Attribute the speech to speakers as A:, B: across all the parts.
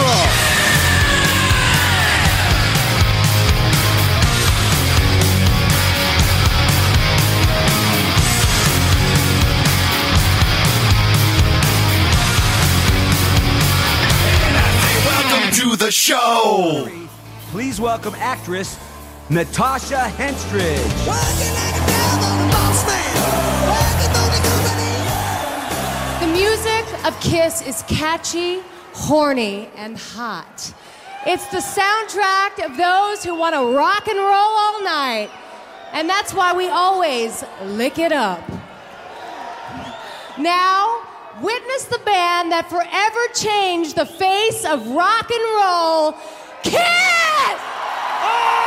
A: roll.
B: Welcome to the show.
C: Please welcome actress Natasha Henstridge.
D: The music of Kiss is catchy, horny, and hot. It's the soundtrack of those who want to rock and roll all night. And that's why we always lick it up. Now, witness the band that forever changed the face of rock and roll, Kiss!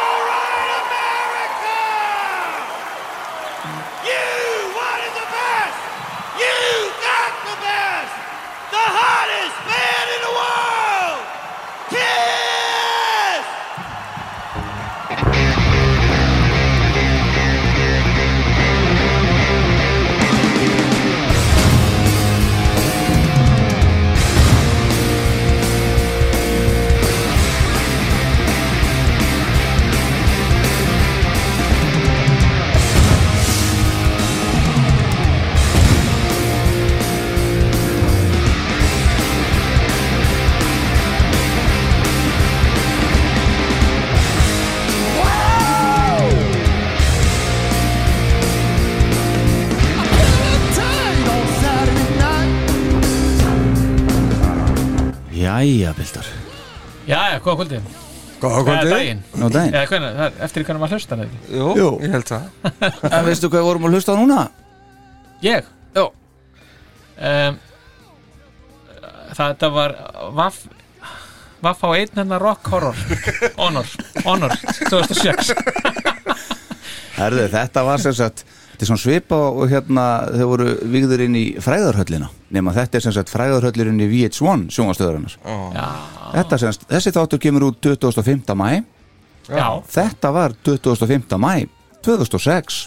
E: Jæja, Bildar
F: Jæja, góða kvöldi
G: Góða
F: Eða
G: kvöldi
F: daginn
E: Ná daginn
F: Eða hvernig, það er eftir hvernig maður hlustar það ekki
G: Jú,
E: Jú.
G: ég held það
E: En veistu hvað við vorum að hlusta á núna?
F: Ég?
E: Já.
F: um, Þetta var Vaff Vaff á einn hennar rock horror Honor, honor 2006
E: Herðu, þetta var sem sagt Þetta er svona svipa og hérna þau voru vigður inn í fræðarhöllina nema þetta er sem sagt fræðarhöllurinn í VH1 sjóngastöðurinnar Þetta sem sagt, þessi þáttur kemur út 25. mæ
F: Já,
E: Þetta var 25. mæ 2006,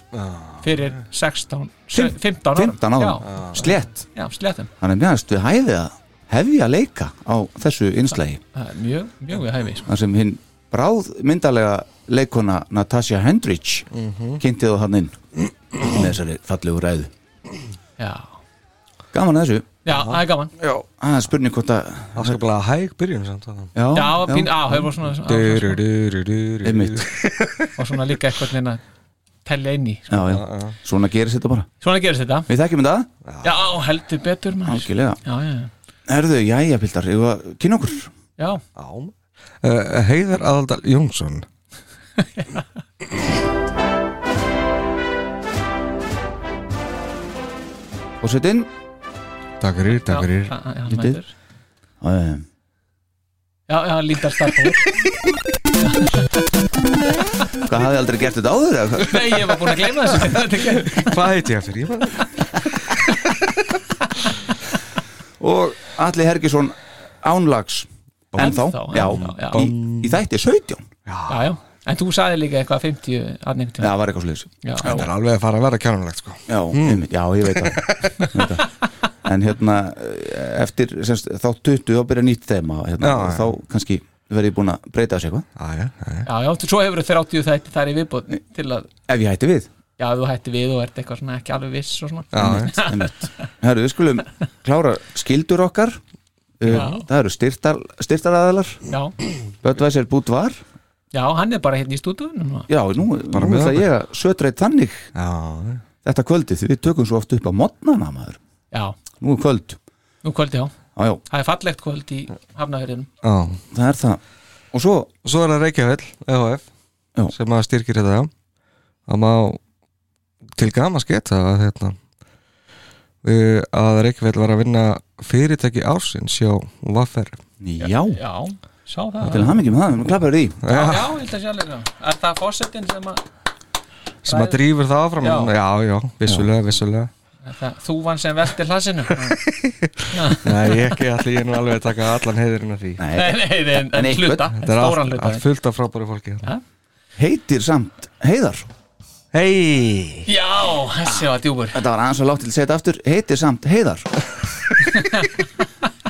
F: fyrir 16
E: Fimm-
F: 15 ára
E: 15
F: Já,
E: ára, slétt
F: já sléttum
E: Þannig mjögast við hæfið að hefja leika á þessu innslægi
F: Það er Mjög, mjög við hæfi sko.
E: þar sem hinn bráð myndalega leikona Natasha Hendrich mm -hmm. kynntið á hann inn með þessari fallegu ræðu
F: Já,
E: gaman að þessu,
F: já það er gaman
G: Já,
E: að spurning hvort að
G: afskaplega hæg byrjun samt þarna.
F: Já, pín, á, það var svona, á,
G: Duru, duru, duru,
E: einmitt,
G: duru.
F: og svona líka eitthvað neina tellja inn í
E: já, já, svona gerist þetta bara
F: Svona gerist þetta
E: við þekkjum þetta,
F: Já, heldur betur maður
E: algjörlega
F: Já, já, já.
E: erðu, jæja pildar, ég var kynna okkur
F: já
G: Já Uh, Heiðar Aðaldal Jónsson
E: og sett inn
G: Takk fyrir, takk
F: já,
G: fyrir
F: já, já, hann
E: Lítið.
F: mætir.
E: um,
F: Já, já, lítar starfbúr
E: hvað hafði aldrei gert þetta áður eða hvað?
F: Nei, ég var búin að gleyma þessu Þetta er ekki-
G: Hvað heit ég eftir? Ég var-
E: og Alli Hergisson ánlags ennþá,
F: Ennþá,
E: já,
F: ennþá, já.
E: Í, í þætti 17
F: Já, já En þú sagði líka eitthvað 50 að nefnt
E: það var eitthvað sliðis
F: já,
G: Þetta er alveg að fara að vera kjánulegt sko
E: Já, einmitt, já, ég veit það, Ég veit það. En hérna eh, eftir semst, þá 20 og byrja nýtt þema hérna,
G: Já,
E: og
G: já.
E: þá kannski verði ég búin að breyta þessu eitthvað
G: Æja, æja
F: já, já, svo hefur þú 30 þætti þar í viðbót Til að,
E: ef ég hætti við
F: já, ef þú hætti við og ert eitthvað svona ekki alveg viss og svona
G: Já,
E: einmitt. Herru, við skulum klára skildur okkar
F: Já.
E: um, það eru styrtar, styrtaraðalar
F: Já,
E: Böttvæsir bútt var
F: já, hann er bara hérna í stúdunum núna.
E: Já, nú, nú
G: með
E: ætla
G: okkur.
E: ég að sötreit þannig
G: já
E: þetta kvöldið, því við tökum svo oft upp á modnana maður,
F: Já,
E: nú er kvöld
F: nú kvöldi já
E: Já, já,
F: Það er fallegt kvöld í hafnaverðinum
G: Já
E: það er það og svo,
G: Svo er það
A: E
G: Reykjavíll EHF
E: Já.
G: sem að styrkir þetta já. Það má til gaman sketa að hérna
A: uh, að Reykjavík var að vinna fyrirtæki ársins hjá Vaffer
E: Já,
F: Já, sá það
E: til hamingi með það, við erum klappaður í
F: Já, já, ég held að sjá líka Er það fórsetin sem að
A: sem að drífur það áfram
F: Já.
A: já, já, vissulega, vissulega
F: er það þúvan sem velti hlasinu?
A: Nei, ég ekki, allir ég er nú alveg að taka allan heiðurinn af því
F: nei,
E: Nei,
F: nei, nei, en,
E: En
F: en
E: einhvern.
F: hluta,
A: Þetta er
F: stóran
A: allt,
F: hluta
A: allt fullt af frábæru fólki hérna.
F: Ja.
E: heitir samt Heiðar
A: Hei,
F: Já, þessi var djúbur
E: Þetta var aðeins að látt til að segja þetta aftur Heitir samt Heiðar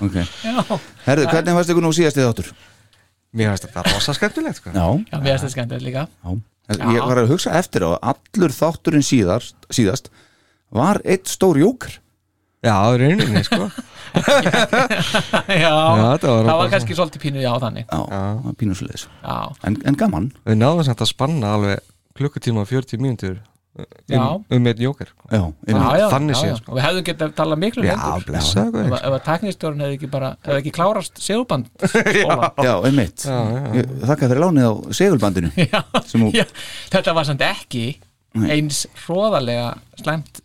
E: Ok,
F: Já,
E: herðu, hvernig varst ykkur nú síðast í þáttur?
A: mér finnst þetta rosa skemmtilegt sko.
E: Já,
F: já mér finnst þetta skemmtilegt líka
E: Ég var að hugsa eftir á að allur þátturinn síðast, síðast var eitt stór jóker
A: Já, í rauninni, sko
F: Já,
A: þetta var-
F: það var kannski svolítið pínu já þannig
E: Já, það var pínusulegis
F: Já,
E: en, en gaman
A: Við náðum samt að spanna alveg klukkutíma og 40 mínútur
F: já,
A: um, um einn jóker sko.
E: Já,
F: já,
E: einmitt.
F: já,
A: þannig
F: já,
A: séð,
F: já.
A: sko.
F: Og við hefðum getað talað miklu
A: Já,
F: lengur
A: blessa
F: Ef að- Ef að teknistjórn hefði ekki bara hefði ekki klárast segulband skóla.
E: já einmitt Ég Þakka fyrir lánið á segulbandinu
F: Já,
E: Sem hún-
F: já, þetta var samt ekki eins hróðalega slæmt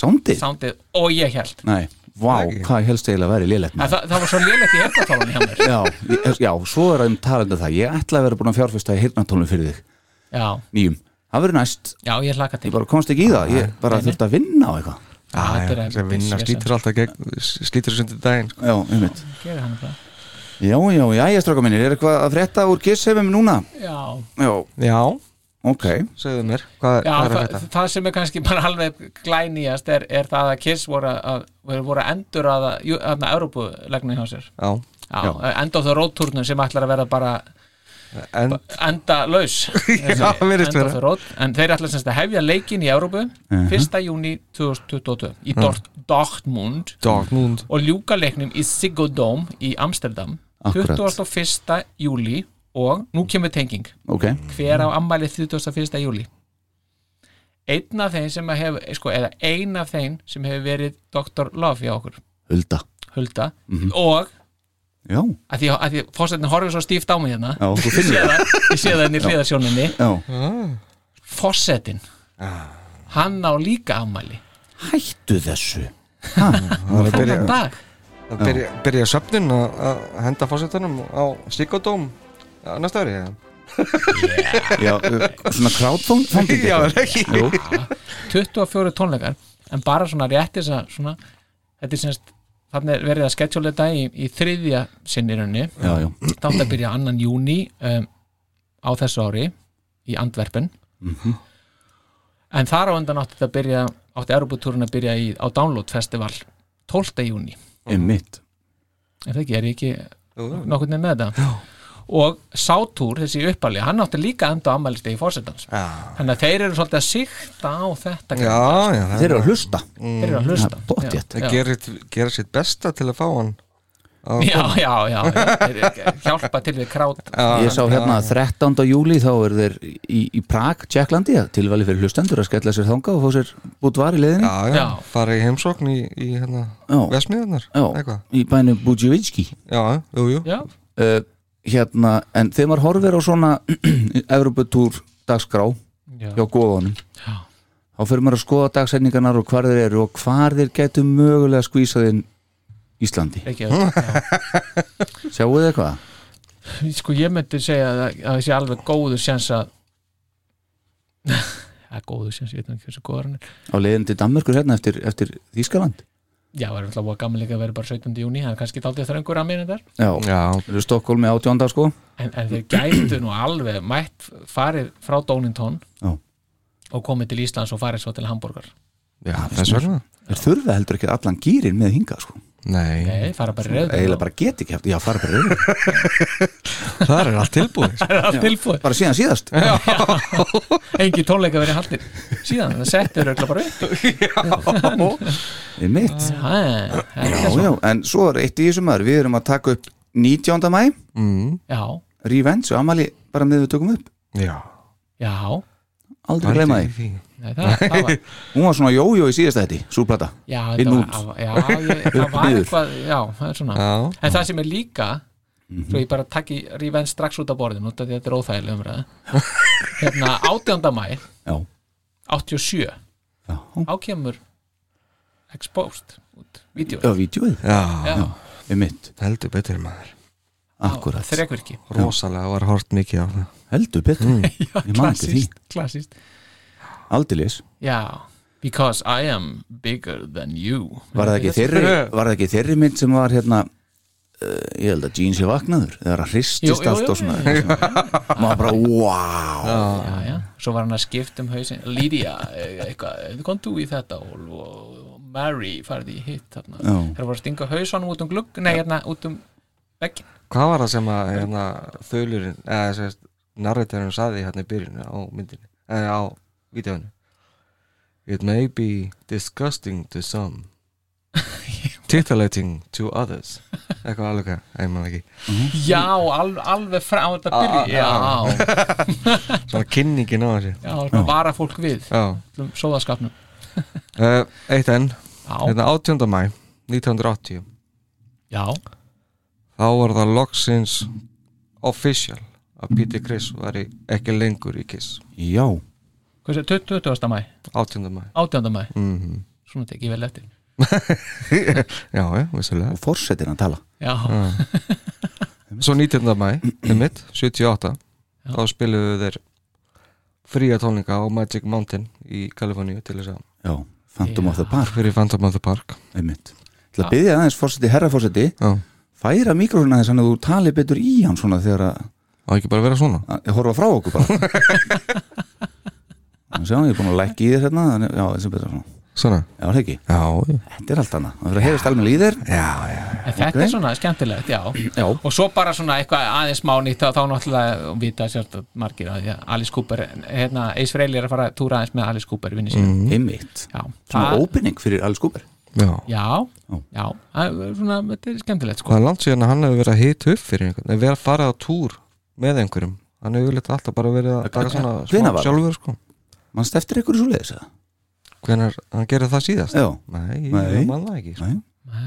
E: Sándi?
F: soundið og ég held
E: Nei, vá, hvað helst eiginlega verið lélegt
F: Að
E: maður.
F: það, það var svo lélegt í heyrnartólunni hjá mér
E: já, ég- já, svo er það um talandi það Ég ætla að vera búin að fjárfesta í hirnatólum fyrir þig
F: Já,
E: Nýjum, það verður næst
F: já, ég hlaka til
E: Ég bara komst ekki í það, ég bara þurfti að vinna á eitthvað
F: Já, þetta er
A: sem vinna
F: vesen.
A: slítur alltaf gegn, slítur sundir daginn sko.
E: Já, einmitt
F: Gerir hann það?
E: Já, já, já, ég stráka mínir, er eitthvað að frétta úr kisshefum núna?
F: Já,
E: Já,
A: Já,
E: ok
A: segðu mér, hvað,
F: já
A: hvað er
F: það,
A: þetta?
F: það sem er kannski bara alveg glænýjast er, er það að Kiss voru að, voru- voru að endur að að Európulegnu hjá sér
A: Já,
F: Já,
E: Já.
F: end of the road turnum sem ætlar að vera bara
A: en
F: enda laus
A: Já, virðist vera.
F: en þeir ætla semst að hefja leikin í Európu 1. júni 2022 í Dort, Dortmund
A: Mhm. Dortmund
F: og ljúka leiknum í Sigurdóm í Amsterdam
E: Akkurat.
F: 21. júli og nú kemur tenging
E: Ok,
F: hver á ammæli 31. júli einn af þeim sem að hef sko, eða ein af þeim sem hefur verið Dr. Love hjá okkur,
E: hulda
F: Hulda
A: Mhm.
F: og
E: Já,
F: að því, að því fórsetin horfir svo stíft á mig hérna
E: já, þú
F: ég
E: finnir
F: sé
E: það
F: það, ég sé það inn í hliðarsjóninni
E: Já,
F: Fossettin
A: Ah.
F: Hann á líka afmæli
E: hættu þessu
A: Það er að byrja,
F: Þannig dag
A: að byrja, byrja söfnin að að henda fósitunum á Sigurdóm næsta ári eða?
E: Já, uh, svona crowdfunding
A: Já,
E: eitthvað.
A: er ekki
E: Jú,
F: 24 tónleikar En bara svona réttis að svona Þetta er semst Þannig er verið að schedule þetta í, í þriðja sinnirunni
E: já, já,
F: Þetta átti að byrja annan júni um, Á þessu ári Í Andverpen
A: Mhm.
F: En þar á undan átti þetta að byrja Átti Europatúrin að byrja í, á Download Festival 12. júni
E: einmitt
F: Er það ekki, er ég ekki
A: Jú, jú.
F: nokkurn veginn með þetta? Og Sátúr, þessi uppalji, hann átti líka enda ammælistegi fórsetans.
A: Já,
F: Þannig að þeir eru svolítið að sikta á þetta.
A: já, já það
E: Þeir eru að hlusta,
A: Mm.
F: Þeir eru að
E: það
F: hlusta.
E: er bóttjétt
A: Það
F: Já,
A: gerir, gerir sitt besta til að fá hann
F: já, já, já, já. Þeir eru að hjálpa til við krát.
A: Ah.
E: Ég sá hérna að 13. júli þá eru þeir í, í Prag, Tjekklandi tilvæli fyrir hlustendur að skella sér þanga og fá sér búdvar í leiðinni
A: Já, já,
F: Já.
A: fara í heimsókn í, í hérna
E: Já.
A: Vesmiðunar
E: Já,
A: eitthvað
E: í bænum Budjevitski
A: Já, jú, jú
F: Já,
E: uh, Hérna, en þegar maður horfir á svona Evropatúr dagskrá
F: já.
E: hjá góðanum
F: Já.
E: þá fyrir maður að skoða dagsetningarnar og hvar þeir eru og hvar þeir getur mögulega skvísað inn Íslandi
F: Ekki, já.
E: Sjáu þið eitthvað?
F: Sko, ég myndi segja að að það sé alveg góðu sjans að Það er góðu sjans, ég veit nú ekki hversu góður hann er.
E: Á leiðin til Danmörkur hérna eftir, eftir Þýskaland
F: Já, það er alltaf búið gaman líka að vera bara 17. júni, það er kannski daldið þröngur að minna þar.
E: Já,
A: Já,
E: Þeir eru Stokkólmi átjónda sko
F: en, en þeir gætu nú alveg mætt farið frá Dónintón
E: Já.
F: og komið til Íslands og farið svo til Hamburgar
A: já þess vegna
E: Þeir þurfa heldur ekki allan gýrin með hingað sko
A: Nei,
F: Nei, fara bara reyð
E: eiginlega bara get ekki eftir, já fara bara yfir
A: þar er allt tilbúið sko.
F: bara tilfóð
E: bara síðan síðast
F: engi tónleika verið haldin síðan, það settur öll bara upp
E: Í mitt
F: Ha,
E: Já,
F: þetta er svo-
E: já, en svo er eitt í þessum maður við erum að taka upp 19. mæ
F: já,
E: Revenge og Amali bara með við tökum upp
A: Já
F: já
E: aldrei gleyma því,
A: því
F: Nei, það, það var,
E: hún var svona jójó í síðasta þetta, súplata
F: já,
E: Inn
F: þetta
E: út.
F: var, já, ég, það var
E: niður.
F: eitthvað já, það er svona
A: Já.
F: en það sem er líka
E: Mhm.
F: svo ég bara takki rífenn strax út af borðin út af því að þetta er óþægileg umræða hérna 18. mæ
E: Já,
F: 87
E: já,
F: þá kemur exposed út, vídeo,
E: Já, vídjóið,
A: Já,
F: já,
E: um mitt,
A: heldur betur maður
E: akkurat
F: þrekvirki,
A: Rosalega var hort mikið á það
E: Heldur betur,
A: Mm.
F: já,
E: Ég man eftir því.
F: klassist klassist,
E: aldilis
F: já because I am bigger than you
E: Var það ekki þeirri, var það ekki þeirri mynd sem var hérna uh, ég held að Jean sé vaknaður þegar hann
F: Jú,
E: hristist
F: jú,
E: allt
F: jú,
E: og svona maður bara, wow
F: já, já, svo var hann að skipta um hausin Lydia, eh, eitthvað, kom þú í þetta og, og, og Mary farið í hitt þarna,
E: Já.
F: þeir voru að stinga hausanum út um glugg, nei, hérna, út um vegg
A: Hvað var það sem að hérna, þölurinn, eða sérst narratorinn saði hérna í byrjunni á myndinni eða á vídeoinu It may be disgusting to some titillating to others eitthvað alveg, ég maður ekki
F: já, al, alveg frá þetta
A: Ah,
F: byrji, já,
A: svona kynningin á þessu
F: já, já vara fólk við,
A: Já,
F: öllum sóðaskapnum
A: uh, eitt enn
F: já,
A: hérna 18. mæ 1980
F: já,
A: þá var það loksins official að Peter Criss var ekki lengur í Kiss
E: Já,
F: hvað sé, 20. mæ
A: 18. mæ
F: 18. mæ,
A: mm
F: svona tek ég vel eftir
A: já, já, Ah, vissulega
E: og forsetin að tala
F: já,
A: svo 19. mæ, mitt, 78 þá spiluðu þeir fría tónlinga á Magic Mountain í Kaliforníu til þess að
E: Já, Phantom of the Park,
A: fyrir Phantom of the Park
E: um mitt Til að byggja aðeins forseti, herra forseti
A: já,
E: færa mikrofona þess að þú tali betur í hann svona þegar að,
A: á ekki bara að vera svona
E: að horfa frá okkur bara Þannig sjá, ég er búin að lækka í þér hérna þannig- Já, þessi betra svona
A: svona,
E: Já, það ekki,
A: já, já,
E: þetta er allt annað Það fyrir að heyrast almenn í þér
A: já, já.
F: en þetta er svona skemmtilegt, já.
E: Já.
F: og svo bara svona eitthvað aðeins má nýtt þá náttúrulega og vita sjálft að margir að því að Alice Cooper hérna, Ace Frehley er að fara að túra aðeins með Alice Cooper vinni sinni,
A: Mm.
E: Einmitt,
F: já,
E: svona
F: það-
E: opening fyrir alls kúpar
A: já.
F: já, já, það er svona, þetta er skemmtilegt sko
A: það er langt síðan að hann hefur verið að hita upp fyrir einhvern en verið að fara á túr með einhverjum hann hefur yfirleitt alltaf bara verið að taka svona
E: Hvenær
A: smá
E: var það?
A: sjálfur sko
E: Manst eftir ykkur svo leiðis að
A: hvenar hann gerði það síðast
E: Já,
A: nei,
E: Nei.
A: ég man það ekki sko.
E: nei,
F: Nei.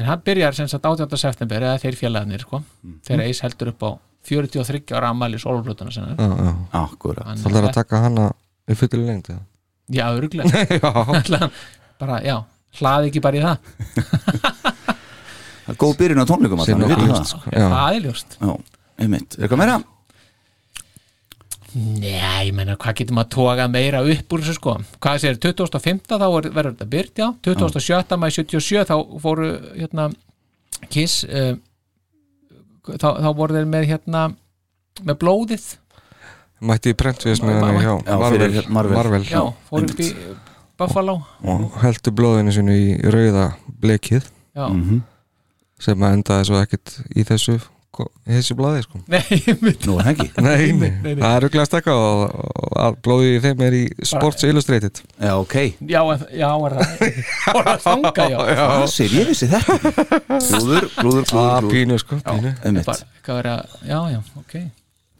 F: en hann byrjar sem sagt 18. september eða þeir félagarnir sko,
A: Mm.
F: þegar Ace heldur upp á 43 ára ammæli sólflutuna sinna
A: já, já.
E: akkurat
A: það er að taka hana í fullu lengt já,
F: já, örglega,
A: já.
F: bara, já hlaði ekki bara í það,
E: Það er Góð byrjun á tónleikum
A: Sem
E: allan, við
A: nokkuð
E: vitum
A: ljóst, sko.
E: það.
F: já. það er ljóst
E: Já, einmitt, er eitthvað meira?
F: Nei, ég meina, hvað getum að toga meira upp úr þessu sko? Hvað sér, 2005 þá er, verður þetta byrt, já 2007, maður 77, þá fóru hérna, Kiss uh, þá, þá voru þeir með hérna, með blóðið
A: mætti í prentvis með hann já,
E: Já, fyrir
A: Marvel,
E: Marvel.
A: Marvel.
F: já, fóru upp í Buffalo
A: og heldur blóðinu sinu í rauða blekið
F: já,
A: sem að endaði svo ekkit í þessu ko- í þessu blóði sko
F: nei, mitt
E: Nú er það ekki
A: nei, nei, það er rugglega stakka og, og að blóðið í þeim er í Sports Illustrated
E: Já, ok,
F: já, en- já, er það fóru að stanga, já, já.
E: það sér ég vissi þetta Ah, Glúður, glúður, glúður,
A: að
E: glúður
A: pínu sko, pínu
E: Einmitt,
F: Bara, hvað er að, já, já, ok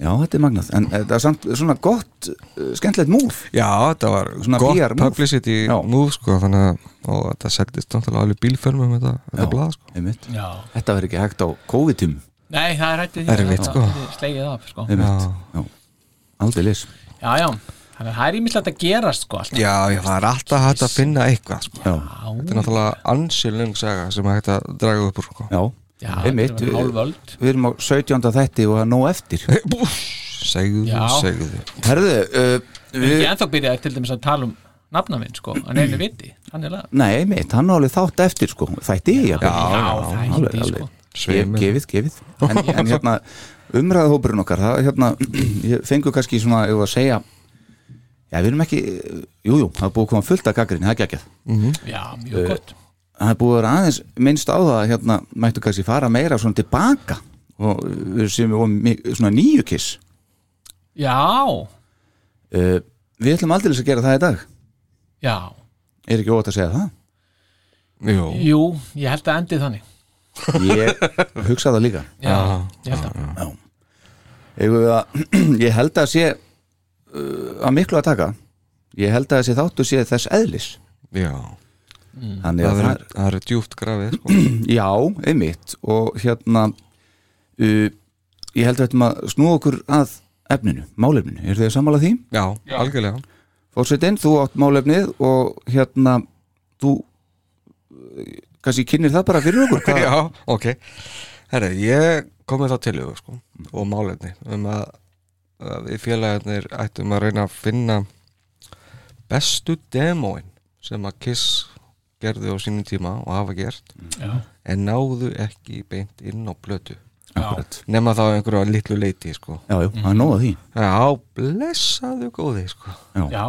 E: já, þetta er magnað En þetta er samt svona gott, uh, skemmtilegt múf
A: Já, þetta var
E: Svona
A: gott
E: PR move.
A: publicity
E: Já.
A: move sko, þannig að og þetta seldist náttúrulega alveg bílförmum þetta, þetta
E: Já.
A: blað sko.
E: Einmitt,
F: já.
E: þetta verður ekki hægt á COVID-um
F: nei, það er hættið
A: Erfitt, sko.
F: slegið af, sko
E: Einmitt, já, aldrei lis
F: já, já, þannig að það er ímislegt að gerast sko, alltaf
A: Já, já, það er alltaf hægt að finna eitthvað sko.
E: Já,
A: Þetta er náttúrulega ansi löng saga sem er hægt að draga upp úr sko.
E: já,
F: Já,
E: einmitt
F: þetta er
E: við-
F: hálf öld.
E: Við erum á 17. þætti og það er nóg eftir
A: Segðu,
F: Já.
A: segðu
E: Herðu, uh,
F: Ég
E: við,
F: ennþá byrjaði til dæmis að tala um nafna minn sko, hann einu viti, hann er lag
E: nei, einmitt, hann á alveg þátt eftir sko Þætti, já,
F: já,
E: alveg,
F: þætti,
E: alveg
F: sko.
E: Gef-
A: Svimur.
E: gefið, gefið en, en hérna, umræðahópurinn okkar það, hérna, ég fengu kannski svona ef að segja já, við erum ekki, jújú, jú, það er búið að koma fullt af gaggrinni, það er geggjað
F: Já,
E: Eh.
F: mjög gott
E: það er búið að vera aðeins minnst á það að hérna, mættu kannski fara meira svona tilbaka og við séum og mi- svona nýju kiss
F: Já,
E: uh, við ætlum aldrei að gera það í dag
F: já,
E: er ekki óvægt að segja það
A: Jú,
F: jú, ég held að endið þannig
E: ég hugsa það líka
F: Já,
A: Ah.
F: ég held að
E: Eigum við að, ég held að sé uh, að miklu að taka ég held að þessi þáttu sé þess eðlis Mm.
A: já
E: þannig
A: Það
E: að það
A: eru- það eru djúpt grafið sko.
E: Já, einmitt og hérna uh, ég held að þetta maður snúa okkur að efninu, málefninu, eru þið að samála því?
A: Já, algjörlega
E: Fórsetin, þú átt málefnið og hérna þú eh, kannski kynir það bara fyrir okkur hvað,
A: Já, ok Herra, ég kom með þá tillögu sko, og málefni um að, að við félagarnir ættum að reyna að finna bestu demóin sem að Kiss gerðu á sínum tíma og hafa gert
F: Já.
A: en náðu ekki beint inn á blötu
E: Akkurat.
A: nema þá einhverju að litlu leiti sko.
E: já, já, það er nóg að því
A: Já, blessaðu góði sko.
F: já,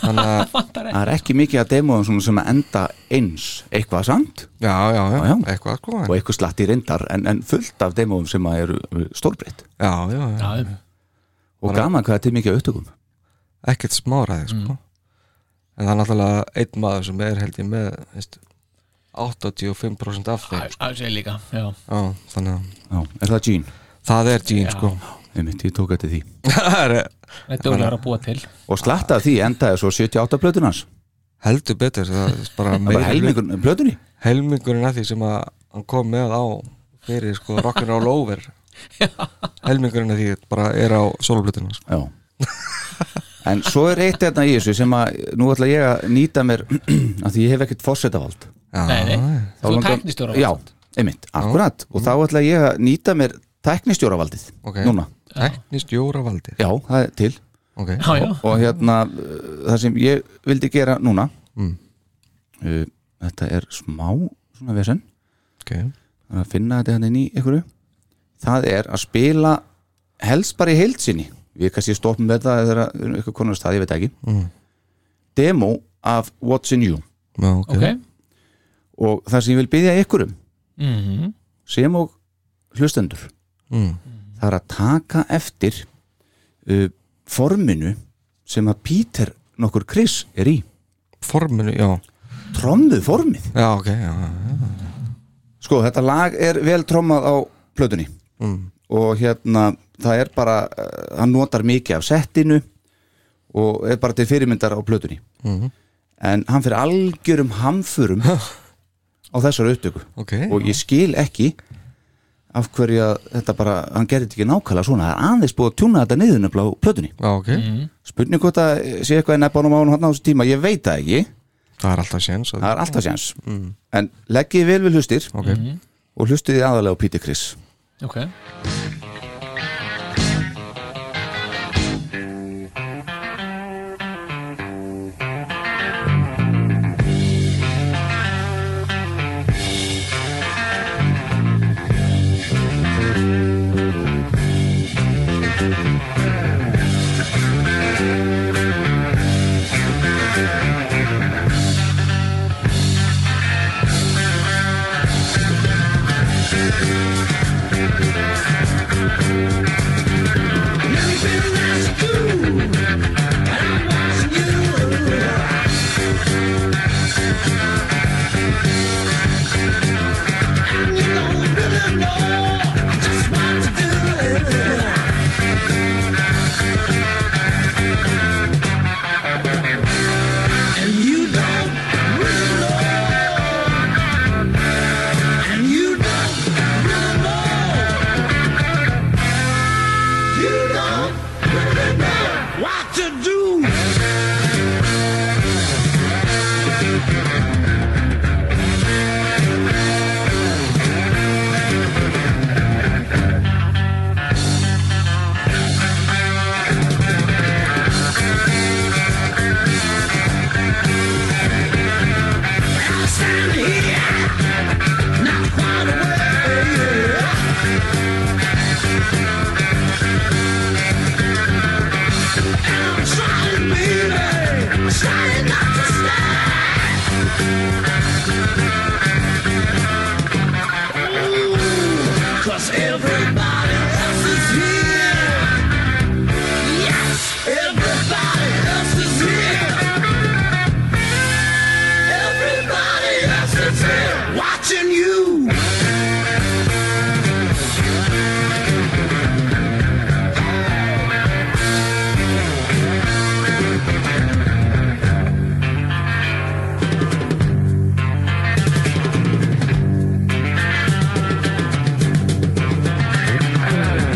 A: Þannig að
E: það er ekki mikið að demóðum svona sem að enda eins eitthvað samt
A: já, já, já,
E: Já, já.
A: eitthvað sko
E: og eitthvað slatt í reyndar en, en fullt af demóðum sem að eru uh, stórbreytt
A: Já, já, já,
F: já,
E: og gaman hvað þetta er mikið að upptökum
A: ekkert smáraði sko. en það er náttúrulega einn maður sem er held ég með veist, 85% af þeim sko.
F: það sé líka já,
A: já, þannig að
E: já, er það Gene?
A: það er Gene
F: Já.
A: sko.
E: Einmitt, ég tók eftir því
A: Það er-
F: þetta er úrlega að búa til
E: og slatt af því endaði svo 78 plötunars
A: heldur betur það er bara
E: það var
A: meiri hlut-
E: helmingur plötunni
A: helmingurinn af því sem að hann kom með á fyrir sko, rockin' all over helmingurinn af því bara er á soloplutinu sko.
E: Já En svo er eitt þetta í þessu sem að nú ætla ég að nýta mér að því ég hef ekkert fórsetavald
A: já,
F: nei, nei,
E: Þá
F: þú
E: langar-
F: tæknistjóra
E: Já, einmitt, akkurat og þá ætla ég að nýta mér teknistjóravaldið
A: Ok.
E: núna,
A: teknist jóravaldi
E: já, það er til
A: okay.
F: já, já,
E: og hérna uh, það sem ég vildi gera núna uh, þetta er smá svona vesen
A: Okay.
E: Það er að finna þetta hann inn í einhverju það er að spila helst bara í heilsinni við kannski stoppum með það eða við erum eitthvað konar stað, ég veit ekki
A: Mm.
E: demo af What's in You
A: Já, ok,
F: ok
E: og það sem ég vil byggja ykkur um
F: mhm,
E: sem og hlustendur
A: Mm.
E: það er að taka eftir uh, forminu sem að Peter nokkur Chris er í
A: forminu, já
E: trommuð formið
A: já, ok, já, já, já.
E: sko þetta lag er vel trommað á plötunni
A: Mm.
E: og hérna það er bara, eh, hann notar mikið af settinu og er bara til fyrirmyndar á plötunni
A: Mhm.
E: en hann fyrir algjörum hamförum á þessar upptöku
A: ok
E: og ég skil ekki af hverju að þetta bara, hann gerði þetta ekki nákvæmlega svona, það er aðeins búið að tjúna þetta niður nefnilega á plötunni
A: já, ok
E: spurning hvort að sé eitthvað í nefnbánum á hann á þessu tíma, ég veit það ekki
A: það er alltaf séns að- Mhm.
E: það er alltaf séns en leggjið vel við hlustir
A: ok,
E: og hlustið þið aðalega á Peter Criss
F: Mhm, ok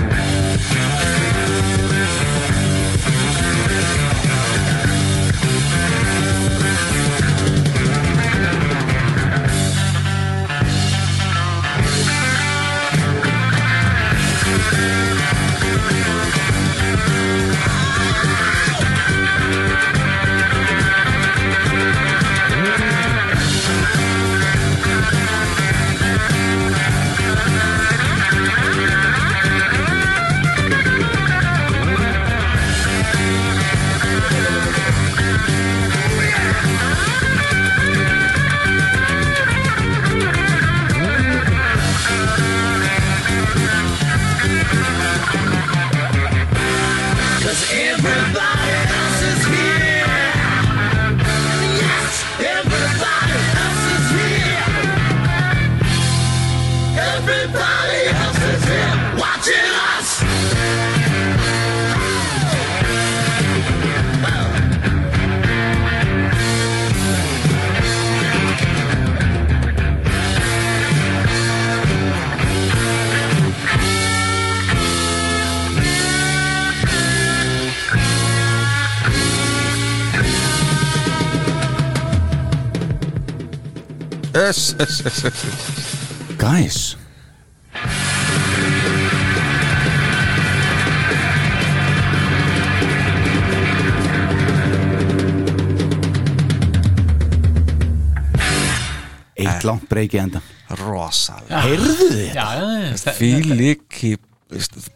H: Everybody
A: yes, yes, yes, yes, yes.
E: Guys Eitt langt breyki enda
A: Eh. rosalega
E: Heyrðu þið?
F: já, já, já, þe-
A: fílíki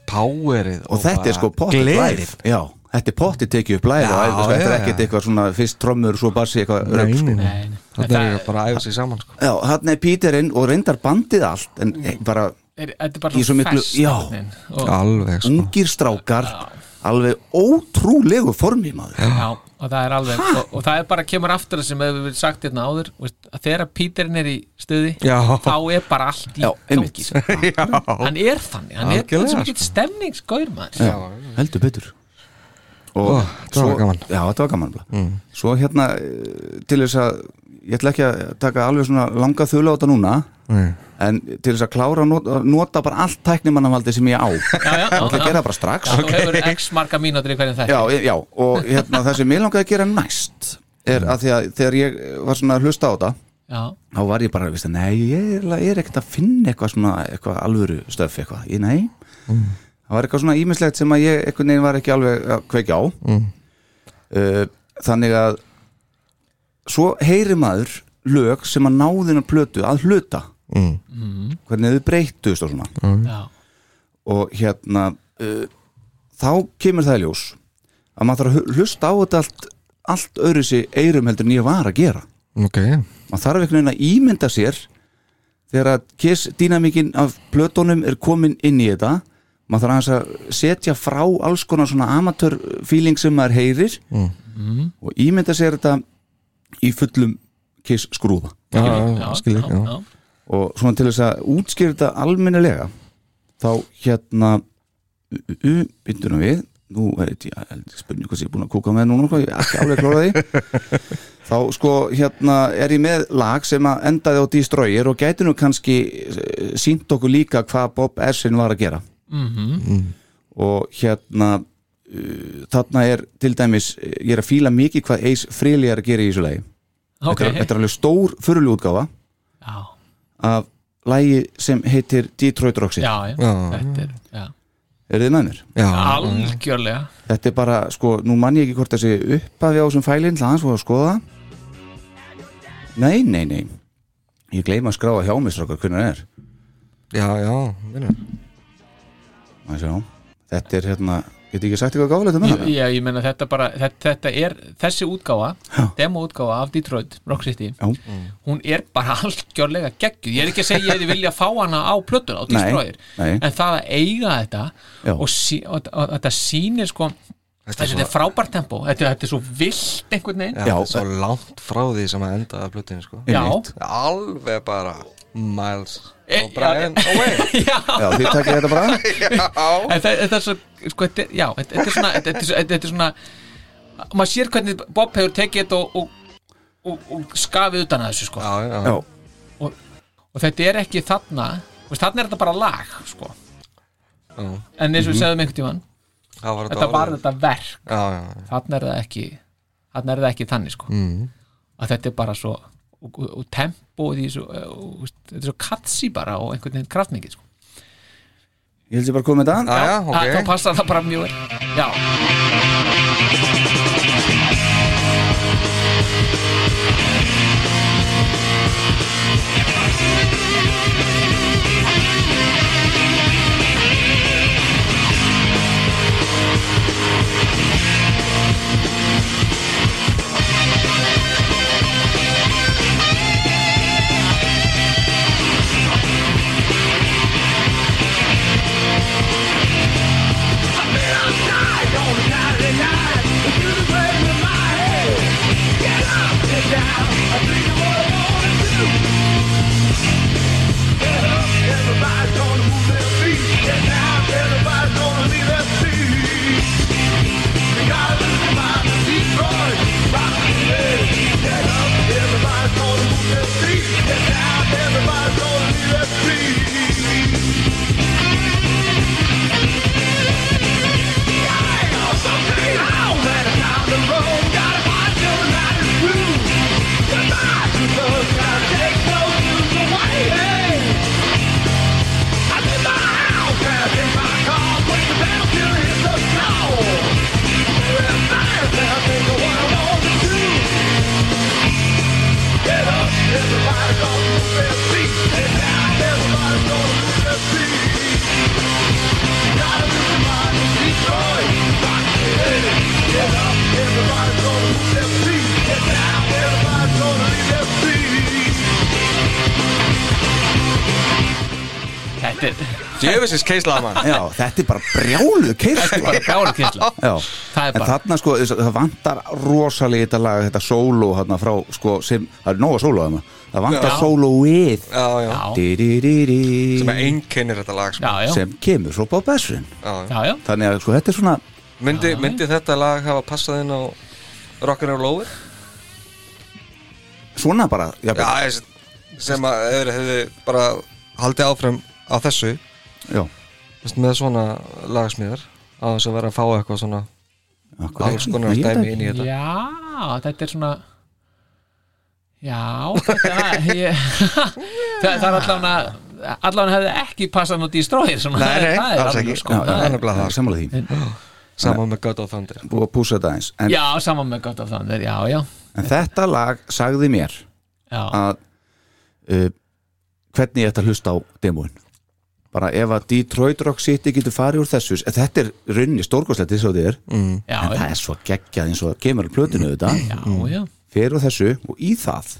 A: powerið
E: Og þetta er sko pottið live
A: gleðin
E: Já, þetta er pottið tekið upp live
A: Já,
E: og æfis, Þetta er
A: já, já.
E: ekkert eitthvað svona fyrst trommur svo bassi eitthvað rögg sko.
F: Nei, nei.
A: Þetta
F: Þetta
A: er bara að æfa sig saman sko.
E: Já, þarna er Píterinn og reyndar bandið allt en
F: Mm.
E: bara
F: er- þetta er bara
E: Í svo miklu-
F: fest,
E: já.
F: einhvern veginn. og,
A: Alveg sko.
E: ungir strákar alveg ótrúlegu formi maður
F: já, og það er alveg og, og það er bara kemur aftur að sem hefur verið sagt hérna áður veist, að þegar Píterinn er í stuði
A: Já.
F: þá er bara allt í
E: Já, einmitt. sko.
F: gangi sko. hann er þannig, hann er
A: Algjörlega,
F: þessi mikið stemningsgóður maður
E: Já, heldur betur og
A: Ó, þetta var gaman.
E: já, þetta var gaman mm. svo hérna eh, til þess að ég ætla ekki að taka alveg svona langa þula á þetta núna
A: Nei.
E: en til þess að klára að nota, nota bara allt tæknimannavaldi sem ég á ég
F: já, já,
E: ætla að
F: já, já.
E: gera bara strax
F: þú hefur x marga mínútur í hverjum þetta
E: já, ég- já, og hérna það sem ég langaði að gera næst
A: Mm.
E: er að því að þegar ég var svona að hlusta á þetta
F: já,
E: þá var ég bara, veist, nei, ég er, eiginlega- ég er ekkert að finna eitthvað svona, eitthvað alvöru stöf eitthvað, ég nei það var eitthvað svona ímislegt sem að ég einhvern veginn var ekki alveg að kveikja á uh, þannig að svo heyri maður lög sem að náðin að plötu að hluta mm. hvernig þau breyttust og svona
F: já,
E: og hérna uh, þá kemur það í ljós að maður þarf að hu- hlusta á þetta allt allt öðru sér eyrum heldur en ég var að gera
A: Ok,
E: maður þarf einhvern veginn að ímynda sér þegar að kiss dýnamíkin af plötunum er komin inn í þetta maður þarf aðeins að setja frá alls konar svona amatör feeling sem maður heyrir og ímynda sér þetta í fullum kiss skrúða
A: já,
F: já,
A: já, skil ekki
F: já,
A: já.
F: já.
E: og svona til þess að útskýra þetta almennilega þá hérna bindunum við nú er þetta, ég spurning hvað sem ég er búin að kúka með núna hvað ég er ekki alveg klóra því þá sko hérna er ég með lag sem að endaði á Destroyer og gæti nú kannski eh, sýnt okkur líka hvað Bob Essin var að gera og hérna uh, þarna er til dæmis eh, ég er að fíla mikið hvað Ace Frehley er að gera í þessu lagi þetta, er,
F: ok
E: þetta er alveg stór fyrirlu útgáfa
F: já,
E: af lægi sem heitir Detroit Roxy
F: já, já,
A: Já.
F: þetta er já.
E: er þið með mér?
A: Já,
F: algjörlega
E: Þetta er bara, sko, nú mann ég ekki hvort þessi upphafi á þessum fælinn, það hans voru að skoða Nei, nei, nei Ég gleyma að skráa hjá mér strókar hvernig það er
A: já, já vinur.
E: Má ég sjá. Þetta er hérna, get ég ekki sagt eitthvað gáfulegt um
F: Ég-
E: það?
F: Já, ég meina þetta bara, þetta, þetta er þessi útgáfa, demo útgáfa af Detroit, Rock City,
E: Já,
F: hún er bara algjörlega geggjuð, ég er ekki að segja að ég vilja fá hana á plötur á
E: Nei,
F: Destroyer,
E: nei.
F: en það að eiga þetta
E: Já.
F: og, sí, og, og þetta sýnir sko,
A: Þetta
F: þessi þetta er frábært tempo þetta, þetta er svo vilt einhvern veginn
A: Já,
E: Já.
A: þetta er svo langt frá því sem að enda að blötinu sko.
F: Já.
E: einmitt.
A: Alveg bara Miles
F: E-
A: og Brian
F: já,
A: away
E: Já, þið takir þetta bara
F: En það- þetta er svo, sko, þetta er, já, þetta þetta er svona, þetta er, svo- þetta er svona, maður sér hvernig Bob hefur tekið þetta og, og, og, og skafið utan að þessu sko.
A: Já, já,
E: Já,
F: og, og þetta er ekki þarna þú veist, þarna er þetta bara lag sko.
A: já.
F: en eins og við segðum einhvern tímann
A: Það var
F: þetta var
A: orðið.
F: þetta verk
A: Já, já, já.
F: þarna er það ekki, þarna er það ekki þannig sko.
A: Mm.
F: að þetta er bara svo og, og, og tempo því, svo, eh, og, og, veist, þetta er svo katsi bara og einhvern veginn kraftmikið sko.
E: ég held ég bara að koma með þetta
A: Já, já,
F: að, þá
A: ok
F: passar það bara mjög vel já,
B: Get
F: Þetta er
A: Djöfisins keislað mann
E: Já, þetta er bara brjáluð keirstu
F: bara gála kynsla
E: Já,
F: Það er
E: en
F: bara-
E: þarna sko, þess- það vantar rosalega í þetta lag, þetta solo hérna frá, sko, sem, það er nóga solo þarna Það vantar
F: Já.
E: soloið
A: Já, já
F: Já,
E: Di-di-di-di.
A: Sem er einkennir þetta lag sko.
F: já, já,
E: sem kemur svo bara á bessun
A: já, já.
F: já, já.
E: Þannig að sko, þetta er svona,
A: Myndi, myndi þetta lag hafa passað inn á Rockin' and Rollin?
E: svona bara
A: Já,
E: jafnvel.
A: ég- sem að ef þeir hefðu bara haldið áfram á þessu
E: Já,
A: veist, með svona lagsmíðar á þess að vera að fá eitthvað svona
E: akkurat.
A: alls konar
E: Ég veit
A: stæmi
E: ekki.
A: inn í þetta
F: Já, þetta er svona Já, þetta ég, það, það er allan að allan hefði ekki passað nú Destroyer svona,
A: Nei, nei,
F: það er
A: alls
F: alveg
A: ekki.
F: sko.
E: Já, já,
A: Það er nefnilega
E: já,
A: það.
E: sammála því
A: saman með God of Thunder
E: Búið að púsa þetta eins en,
F: já, saman með gott af þannig Já, já,
E: en þetta lag sagði mér
F: já,
E: að uh, hvernig ég ætti að hlusta á demóin bara ef að Detroit Rock City getur farið úr þessu en þetta er rauninni stórkoslegt eins og þið er
F: já,
E: en það er svo geggjað eins og kemur á plötinu þetta,
F: já, já.
E: fer úr þessu og í það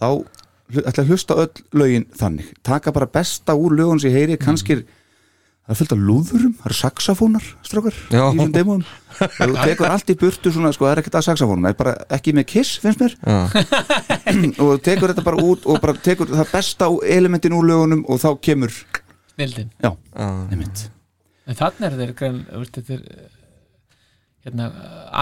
E: þá hlu- ætla að hlusta öll lögin þannig taka bara besta úr lögun sem ég heyri kannski er Það er fullt af lúðurum, það eru saxafónar, strókar, í
A: Já.
E: þessum demóum. Og Þú tekur allt í burtu svona, sko, það er ekkert að saxafónum, það er bara ekki með kiss, finnst mér og þú tekur þetta bara út og bara tekur það besta úr elementin úr lögunum og þá kemur
F: Snildin
E: já, einmitt
F: En þannig er þeir grein, veist, þetta er eh, hérna,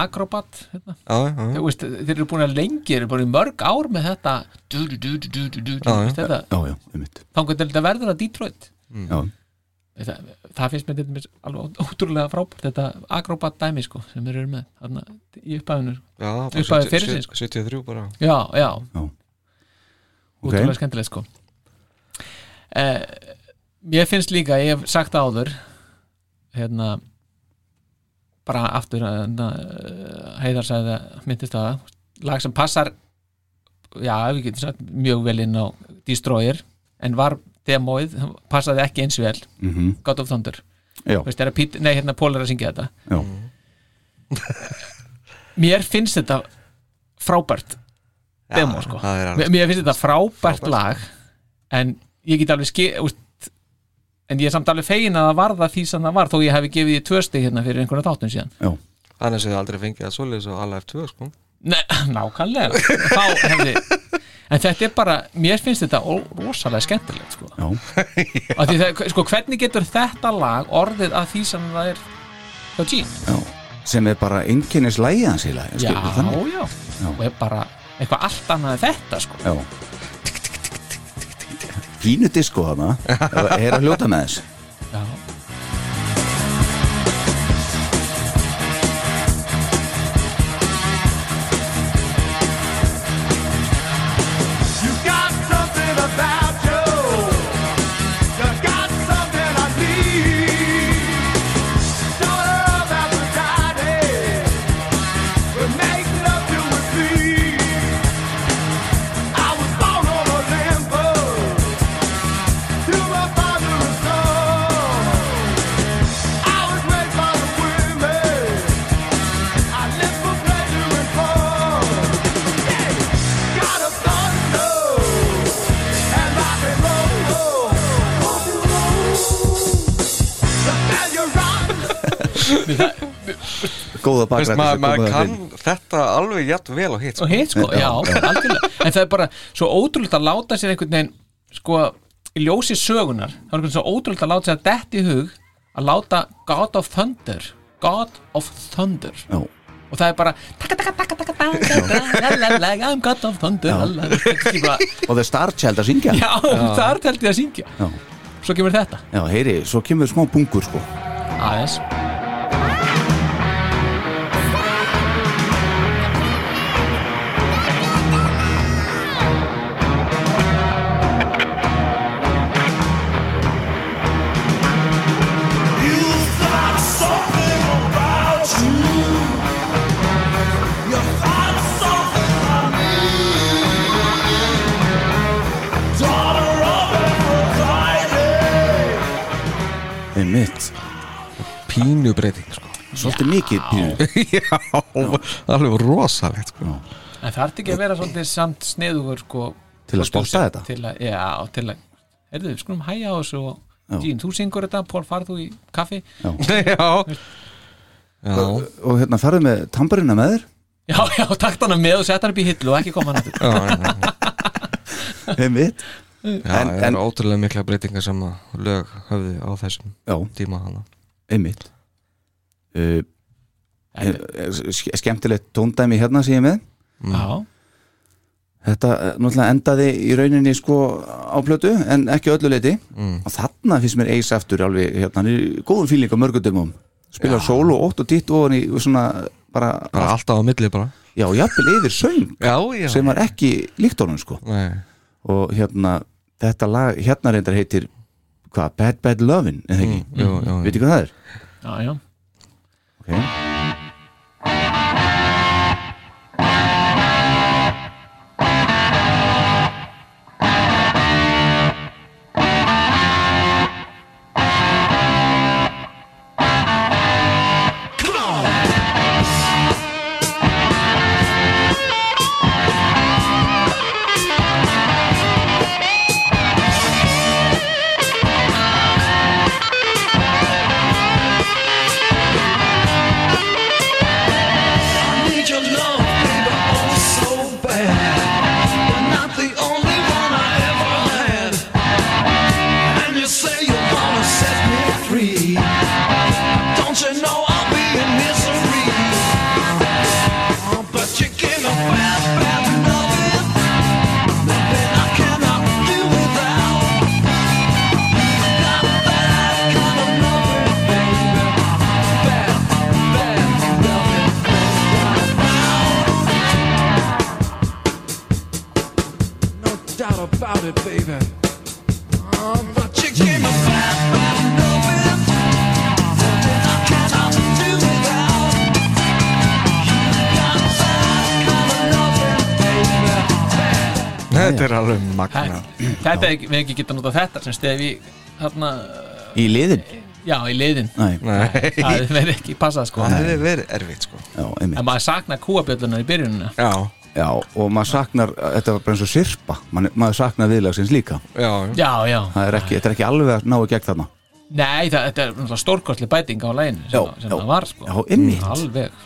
F: akrobat hérna.
A: Já, já, já.
F: Þú veist, þeir eru búin að lengi, þeir eru búin í mörg ár með þetta du, du, du, du, du, du, du,
A: Já, já.
F: veist, þetta,
E: já, já, einmitt
F: þangur til þetta verður að Detroit
A: Mm.
E: já,
F: það, það finnst mér til dæmis alveg ótrúlega frábært þetta akrobat dæmi sko sem þeir eru með þarna í upphæðinu
A: já bara
F: Upphafið
A: 70
F: ferilsins, sko.
A: 73 bara
F: já, já,
E: ok,
F: ótrúlega skemmtilegt sko eh, ég finnst líka, ég hef sagt það áður hérna bara aftur að hérna, eh, Heiðar sagði það myndist á það lag sem passar já, við getum sagt mjög vel inn á Destroyer, en var demóið, passaði ekki eins vel
E: mhm,
F: God of Thunder
E: já,
F: veist, er að Pít, nei, hérna Pól er að syngja þetta
E: já
F: mér finnst þetta frábært demo sko
A: það er
F: mér
A: alveg
F: mér finnst þetta frábært, lag en ég get alveg skil úst, en ég er samt alveg fegin að það varða því sem það var þó ég hefði gefið því tvösti hérna fyrir einhverja þáttum síðan
A: annars hefur aldrei fengið að svoleiðis á Alive 2 sko
F: Nei, nákvæmlega Þá hefði En þetta er bara, mér finnst þetta ó- rosalega skemmtilegt sko.
E: Já.
F: Af því það, sko, hvernig getur þetta lag orðið að því sem það er hjá Gene?
E: sem er bara einkennis lægið hans heila
F: já,
E: þannig.
F: já,
E: Já.
F: og er bara eitthvað allt annað en þetta sko.
E: já fínu disko hana er að hljóta með þess
F: já.
B: You got something about you. You got something I need. Daughter of Aphrodite. Will make love to a thief. I was born on a limbo. To my father and son. I was raised by the women. I live for pleasure and fun. God of thunder and rock and roll. The failure rock.
E: góða
A: Veist,
E: bakrættis
A: maður maður kann þetta alveg jætt vel og hitt sko.
F: og hitt sko, já, algjörlega en það er bara svo ótrúlega að láta sér einhvern veginn sko, í ljósi sögunar það er einhvern veginn svo ótrúlega að láta sér að detti í hug að láta God of Thunder God of Thunder
E: já,
F: og það er bara taka taka taka taka taka taka la, la, la, I'm God of Thunder la, la, la. Þetta er ekki bara-
E: og The Star Child að syngja
F: já, þar telt ég að syngja
E: Já.
F: svo kemur þetta
E: já, heyri, svo kemur smá bungur sko
F: aðeins
E: einmitt,
A: pínu breyting sko.
E: svolítið mikið pínu
A: já, alveg rosalegt sko.
F: en það er ekki að vera svolítið samt sniðugur sko
E: Til að spotta
F: producer,
E: þetta?
F: til að, já, til að heyrðu, við skulum hæja á þessu og
E: Já.
F: Gene, þú syngur þetta, Pól, farð þú í kaffi
A: já, já.
E: og hérna farðu með tamburina með þér
F: já, já, takt hana með og sett hana upp í hillu og ekki koma hana aftur.
A: Já, já, já.
E: einmitt
A: Já,
E: En-
A: það
E: en-
A: eru ótrúlega mikla breytingar sem að lög höfðu á þessum
E: já,
A: tíma hana
E: einmitt uh,
F: En-
E: ske- skemmtilegt tóndæmi hérna sem ég er með
F: já,
E: þetta eh, náttúrulega endaði í rauninni sko á plötu en ekki öllu leiti
A: Mm.
E: og þarna finnst mér Ace aftur alveg hérna, hann er í góðum fíling á mörgundumum spila sól og ótt og ditt og hann í svona bara,
A: bara alltaf á milli bara
E: já, jafnvel yfir söng
A: já, já
E: sem var ekki líkt honum sko
A: Nei,
E: og hérna, þetta lag hérna reyndar heitir hvað, Bad Bad Lovin' eða ekki,
A: Mm, jú, jú, jú.
E: veitir hvað það er?
F: já, já
E: Okay.
B: need your love, baby, oh so bad. You're not the only one I ever had. And you say you wanna set me free. Don't you know I'll be in misery? Oh, But you give a bad, bad loving. Nothing I cannot do without. You got that kind of loving, baby. Bad, bad loving. No doubt about it, baby. Oh, but you gave me bad, bad loving. Something I cannot do without. You got that kind of loving, baby.
A: þetta er alveg magna
F: Þetta, þetta er ekki, við ekki geta nota þetta sem stefi þarna,
E: Í liðin?
F: já, í liðin
E: Nei,
A: Nei,
F: það verður ekki passað sko
A: það hefur verið erfitt sko
E: já, einmitt
F: en maður saknar kúabjöllunar í byrjunina
A: Já,
E: Já, og maður saknar, þetta var bara eins og sirpa Man, maður saknar viðlagsins líka
A: já, já
F: já, já,
E: Það er ekki, þetta er ekki alveg að ná í gegn þarna
F: nei, það, þetta er náttúrulega stórkostli bæting á læginu sem,
E: Já,
F: já, sem
E: já.
F: það var sko
E: Já, einmitt.
F: alveg,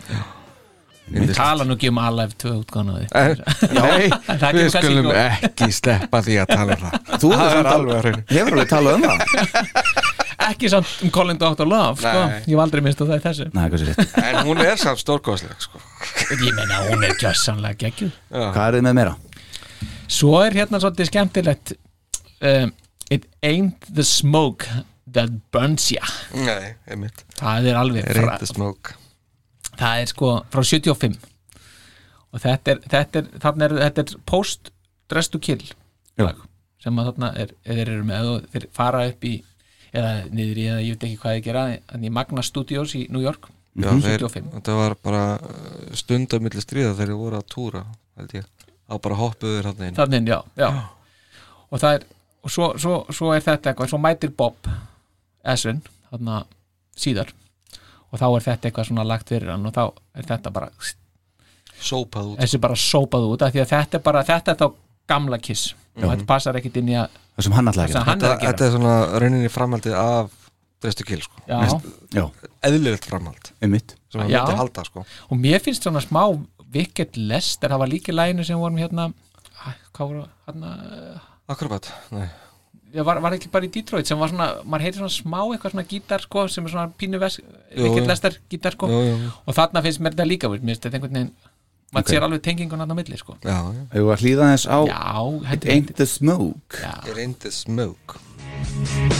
A: Yndislegt.
F: tala nú ekki um Alive 2 útgána því
A: En- Nei,
F: Það er ekki
A: við
F: um
A: skulum
F: klassíku.
A: ekki sleppa því að tala um það
E: Þú
A: Það
E: hefur
A: er
E: samt
A: alveg að hreinu.
E: hefur alveg talað um það
F: ekki samt um Colin Doctor Love sko.
A: Nei.
F: ég hef aldrei minnst á það í þessu
E: Nei, hvað sér þetta?
A: En hún er samt stórkosleg sko
F: ég meina hún er gjössanlega geggjuð
E: Hvað er þið með meira?
F: svo er hérna svolítið skemmtilegt um, it ain't the smoke that burns ya
A: Nei, einmitt
F: það er alveg fra,
A: Reyndi smók
F: það er sko frá 75 og þetta er, þetta er, þarna er, þetta er post dress to kill lag, sem að þarna er, eða þeir eru með og þeir fara upp í eða niður í, eða ég veit ekki hvað þið gera en í Magna Studios í New York
A: Já, þeir,
F: 75.
A: þetta var bara uh, stundamilli stríða þegar þeir voru að túra held ég, þá bara hoppuðu þér hann inn
F: þannig, inn, já, já. og það er og svo, svo, svo er þetta eitthvað, svo mætir Bob Essun, þarna síðar og þá er þetta eitthvað svona lagt fyrir hann og þá er þetta bara
A: sópað út
F: þessi bara sópað út af því að þetta er bara, þetta er þá gamla kiss og þetta passar ekkit inn í að
E: Það sem hann ætlaði að
F: sem hann er
A: Þetta
F: að
A: þetta
F: gera
A: er svona rauninni framhaldið af Drestu Kill sko
F: já,
E: gera Já,
A: eðlilegt framhald
E: einmitt
A: sem hann
F: Já.
A: myndi halda sko
F: og mér finnst svona smá Wicked Lester, það var líka í læginu sem vorum hérna æ, hvað voru, hérna
A: Akrobat, nei
F: Já, var, var ekki bara í Detroit sem var svona, maður heyri svona smá eitthvað svona gítar sko, sem er svona pínu ves,
A: Jú,
F: Wicked
A: jú.
F: Lester gítar sko
A: Jú, jú, jú.
F: og þarna finnst mér þetta líka veist, mér finnst þetta einhvern veginn maður sér alveg tengingun hann á milli sko.
A: Já, já
E: Hefur við að hlýða þess á
F: já,
E: It
F: hendur
E: Ain't The Smoke
A: It ain't the smoke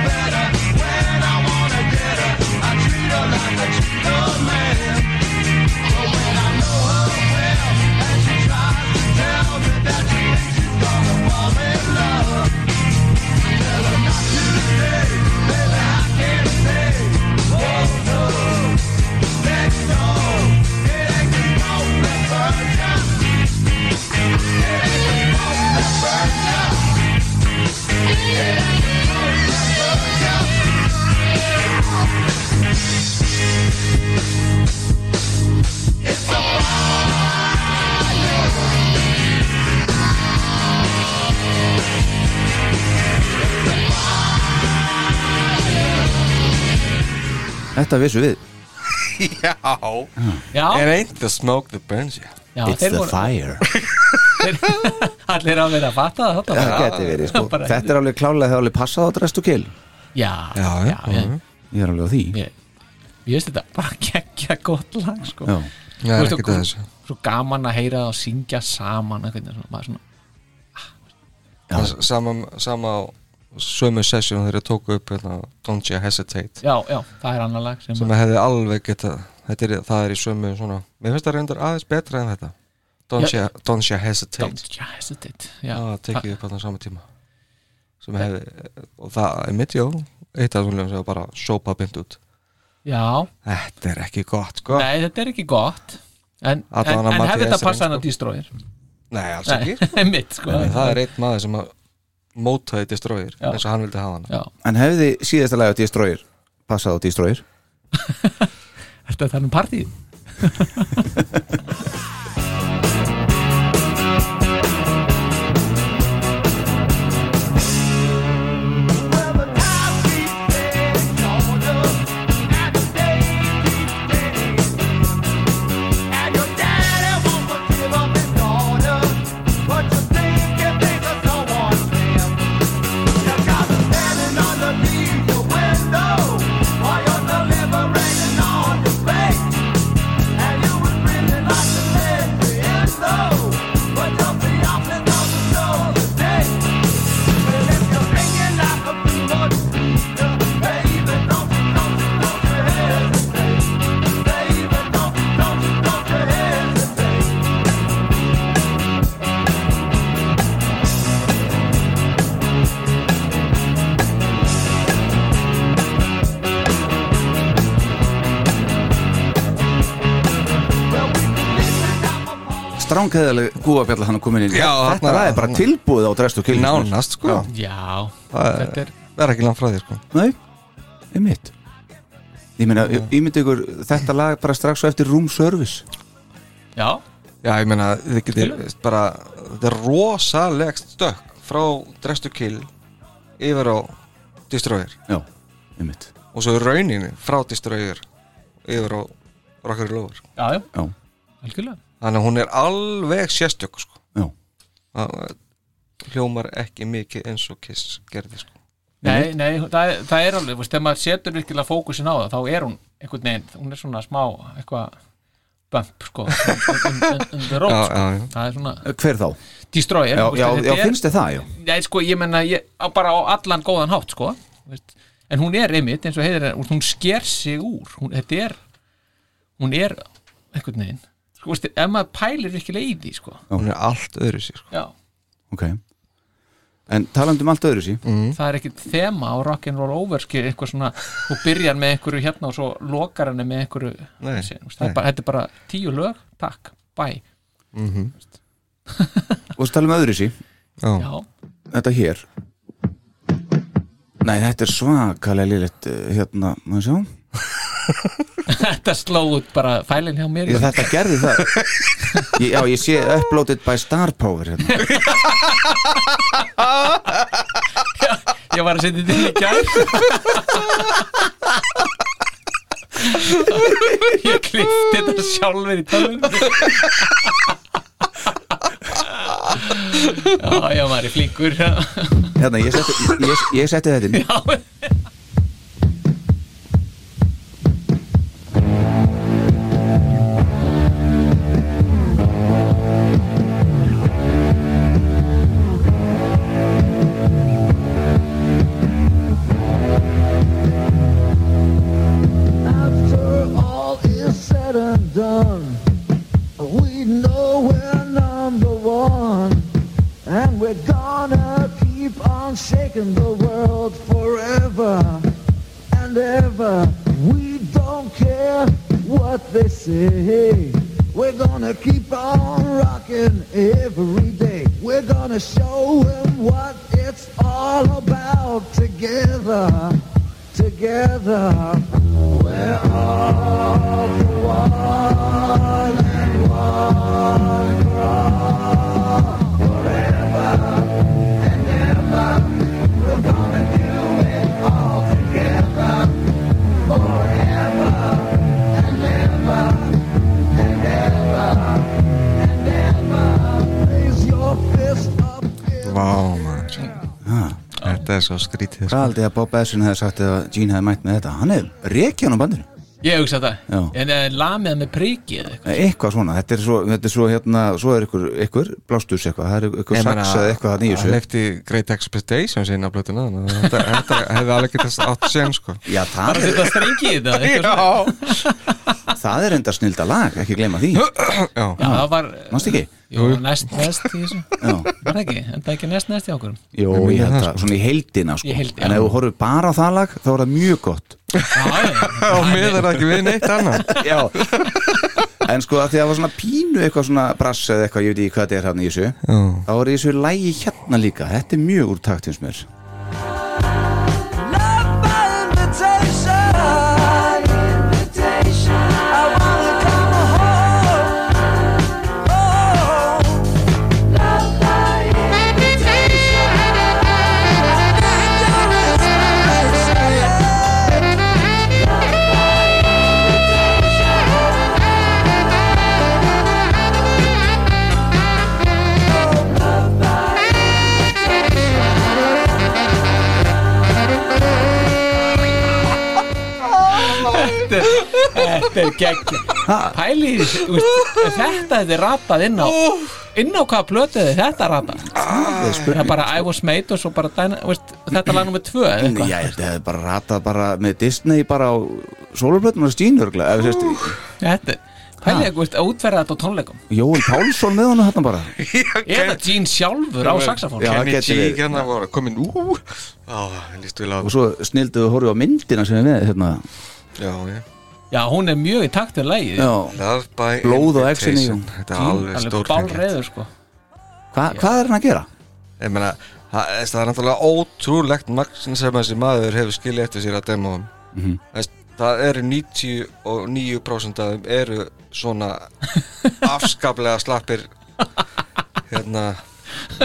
B: It
E: Þetta vissu við
A: Já It
F: já,
A: ain't the smoke that burns you
F: já
E: It's
F: þeir
E: the
F: voru-
E: fire
F: þeir- allir á verið að fatta það þarna.
E: Það geti verið sko
F: Bara-
E: Þetta er alveg klálega þegar alveg passað á dress to kill
F: já, já,
A: Já,
F: já, já.
E: Ég er alveg á því
F: Ég, ég veist þetta bara geggja gott lag sko.
E: Já.
A: Já,
F: Þú veist,
A: ekkert
F: og-
A: að þessu.
F: svo gaman að heyra það og syngja saman einhvern veginn, svona, maður svona,
A: S- Sama, sama á sömu session þegar ég tóku upp hérna, Don't You Hesitate
F: já, já, það er annar lag sem,
A: sem ég hefði alveg getað þetta er, það er í sömu svona mér finnst það reyndar aðeins betra en þetta Don't,
F: Já.
A: you, don't you Hesitate
F: Don't you hesitate
A: Já,
F: já,
A: það
F: það-
A: tekið upp á sama tíma sem ég hefði og það er mitt, já, eitt af svona sem var bara sópa bynd út
F: já,
A: Þetta er ekki gott, sko
F: nei, þetta er ekki gott en, en,
A: Allavega
F: en
A: Matti
F: hefði þetta
A: Hesserén,
F: passað hann
A: sko.
F: að destroyer
A: Nei, alls ekki
F: Nei, mitt sko
A: Nei, það er einn maður sem að mótaði Destroyer
F: Já.
A: eins og hann vildi hafa hana
F: já,
E: En hefði síðasta lagi á Destroyer Passað á Destroyer
F: þetta er
E: um
F: þannig partíð
E: Stránkæðaleg gúabjalla hann að koma inn í.
A: Já,
E: Þetta
A: þarna-
E: lag er bara
A: þarna.
E: tilbúið á dress to kill
A: Nánast, sko
E: Já.
F: já,
A: Það er-
F: þetta er
A: Það er ekki langt frá því, sko
E: Nei, einmitt Ég meina, ég myndi ykkur þetta lag bara strax og eftir room service
F: já,
A: Já, ég meina, þið getur bara þetta er rosalegt stökk frá Dress to Kill yfir á Destroyer
E: Já, einmitt
A: og svo í rauninni frá Destroyer yfir á Rockar Lóður
F: já, já,
E: Já,
F: algjörlega
A: Þannig að hún er alveg sérstök, sko
E: já,
A: Það hljómar ekki mikið eins og Kiss gerði, sko
F: Nei, nei, það, er- það er alveg, þú veist, þegar maður setur virkilega fókusin á það, þá er hún einhvern veginn, hún er svona smá, eitthvað bump, sko, undir rót,
A: Já,
F: sko,
A: já, já.
F: það er svona
E: Eh, hver þá?
F: destroyer,
E: Já,
F: þú veist,
E: já,
F: þetta
E: já
F: er-
E: finnst þið það, já
F: Nei, sko, ég menna, ég, á bara á allan góðan hátt, sko, þú veist, en hún er einmitt, eins og heiðir, hún- hún sker sig úr, hún, þetta er, hún er einhvern veginn, sko, þú veist, ef maður pælir virkilega í því, sko,
A: Hún er allt öðru sér, sko
F: já,
E: Ok En talandi um allt öðru sí
F: það er ekkit þema á rock'n'roll overski eitthvað svona, þú byrjar með einhverju hérna og svo lokar henni með einhverju
A: Nei,
F: þessi, þú veist, það er
A: nei.
F: bara, þetta er bara tíu lög takk, bæ,
E: Og svo talum um öðru sí,
F: já,
E: þetta hér Nei, þetta er svakalega lillitt hérna, maður sjá
F: þetta sló út bara fælinn hjá mér
E: ég, Þetta gerði það ég, Já, ég sé uploaded by star power hérna
F: ég var að setja til í gær ég klifti þetta sjálfur í tölun já, já, maður er flinkur
E: Hérna, ég setti, ég, ég setti þetta inn
B: After all is said and done, we know we're number one. And we're gonna keep on shaking the world forever and ever. We don't care what they say. We're gonna keep on rocking every day. We're gonna show 'em what it's all about together. Together. We're all for one and one for all. Forever and ever, we're gonna do it all together. Forever
A: þetta er svo skrítið
E: Hvað aldrei að Bob Essin hefði sagt ef að Gene hefði mætt með þetta Hann hefði rekið hann á bandinu
F: Ég hugsa þetta,
E: Já.
F: en eh, lamið með prikið
E: Eitthvað svona, þetta er svo, þetta er svo hérna Svo er ykkur, ykkur blásturs eitthvað Það er ykkur saksað eitthvað að nýju
A: hann
E: sér
A: hefði Great Expectations inn á blötuna þannig að þetta, þetta hefði alveg getast átt sen sko
E: Já,
F: Bara
E: það
F: að
E: er,
F: setja strengi í þetta eitthvað svona.
A: já,
E: það er enda snilda lag, ekki gleyma því
F: Já, það var
E: Manst ekki?
F: Jú, næst næst í þessu
E: Já.
F: Var það ekki, en það ekki næst næst í okkur
E: Jó,
A: meina
E: ég held
A: það,
E: það, svona í heildina sko.
F: Í heild, já.
E: En ef þú horfir bara á það lag, þá er það mjög gott
F: Já,
A: og miður ekki við neitt annan
E: Já En sko að því að það var svona pínu eitthvað svona brass eða eitthvað, ég veit ekki hvað þetta er hann í þessu Þá er í þessu lægi hérna líka Þetta er mjög úr takt hins mér
F: Þetta er gegn Pæli, í þessu, þú veist, þetta hefði ratað inn á Inn á hvaða plötu hefði þetta ratað Það er bara I was made og svo bara dæna, veist, Þetta lag nummer tvö eða eitthvað.
E: Já, þetta hefði bara ratað bara með Disney bara á sólarblötum og stínurgla ef, sérst,
F: Þetta Pæli, þú veist, að útferða þetta á tónleikum
E: Jóel Pálsson með hann hérna bara
F: Eða Gene sjálfur á saxofón
E: Já,
A: Kenny G
E: geti verið.
A: hérna var komin ú á, líst við lág
E: Og svo snildu við horfið á myndina sem er með hérna.
A: já, já
F: Já, hún er mjög í takt við lagið
E: Já.
A: Love by
E: Blóð og
A: Invitation.
E: exilíum.
A: Þetta er alveg
F: Alveg
A: stórfengið
F: bálreiður, sko
E: Hva, Hvað er hann að gera?
A: Ég meina, það það er náttúrulega ótrúlegt magn sem þessi maður hefur skilið eftir sér að demóum
E: Mhm.
A: mm -hmm. Það eru 99% af þeim eru svona afskaplega slappir hérna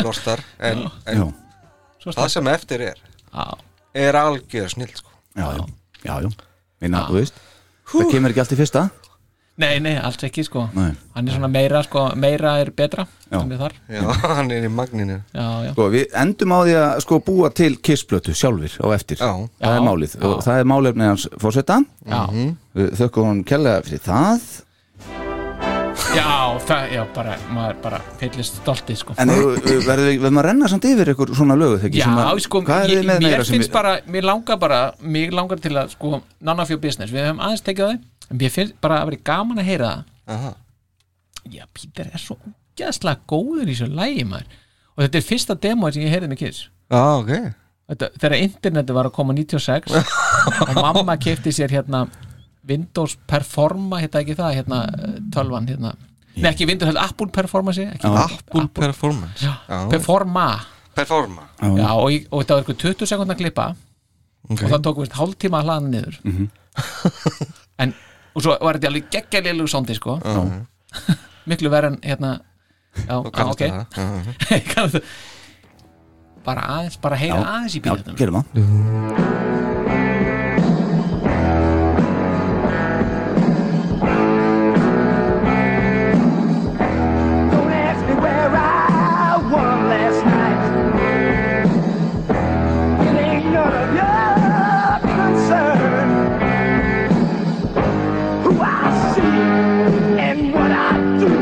A: lortar en, en
E: Já,
F: Svo
A: það
F: slapp.
A: sem eftir er
F: Já,
A: er algjör snill sko.
E: já, já, já, já. Minna, þú veist Það kemur ekki allt í fyrsta
F: Nei, nei, alls ekki sko
E: Nei.
F: Hann er svona meira, sko, meira er betra
E: Já.
F: Hann er þar
A: Já, hann er í magninu
F: Já, já,
E: Sko, við endum á því að sko búa til kissblötu sjálfir á eftir
A: Já.
E: Það
F: Já.
E: er málið og
F: Já.
E: það er málefni hans fórsetta
F: já,
A: Mhm.
E: Þökkum hún kærlega fyrir það
F: já, það, já, bara, maður bara fyllist stoltið sko
E: En eru- verðum við verðum að renna samt yfir ykkur svona lögu þegar
F: Já, sko,
E: Hvað er
F: ég,
E: þið með
F: mér
E: meira sem
F: finnst bara, mér langar bara, mér langar til að, sko, none of your business, við höfum aðeins tekið á þið, en mér finnst bara að vera gaman að heyra það.
A: Aha.
F: Já, Pítur er svo gæðslega góður í þessu lægi, maður. Og þetta er fyrsta demóið sem ég heyrði með Kiss.
A: Já, ok
F: Þetta, þegar interneti var að koma 96 og mamma kefti sér hérna Windows Performa, hérna ekki það, hérna eh, tölvan, hérna. Nei, ekki Windows, hérna Apple Performa sér, ekki
A: Apple performance
F: Já, Performa.
A: Performa
F: Já, og, ég- og þetta var eitthvað 20 sekundna klippa og það tók við hálftíma að hlaða niður
E: Mhm.
F: en, og svo var þetta alveg geggjalilegu sondi sko miklu verð en hérna já, já ok Kannast það. bara aðeins, bara heyra aðeins í
E: Já,
F: bílunum
E: gerum það
H: Don't ask me where I was last night. It ain't none of your concern. Who I see and what I do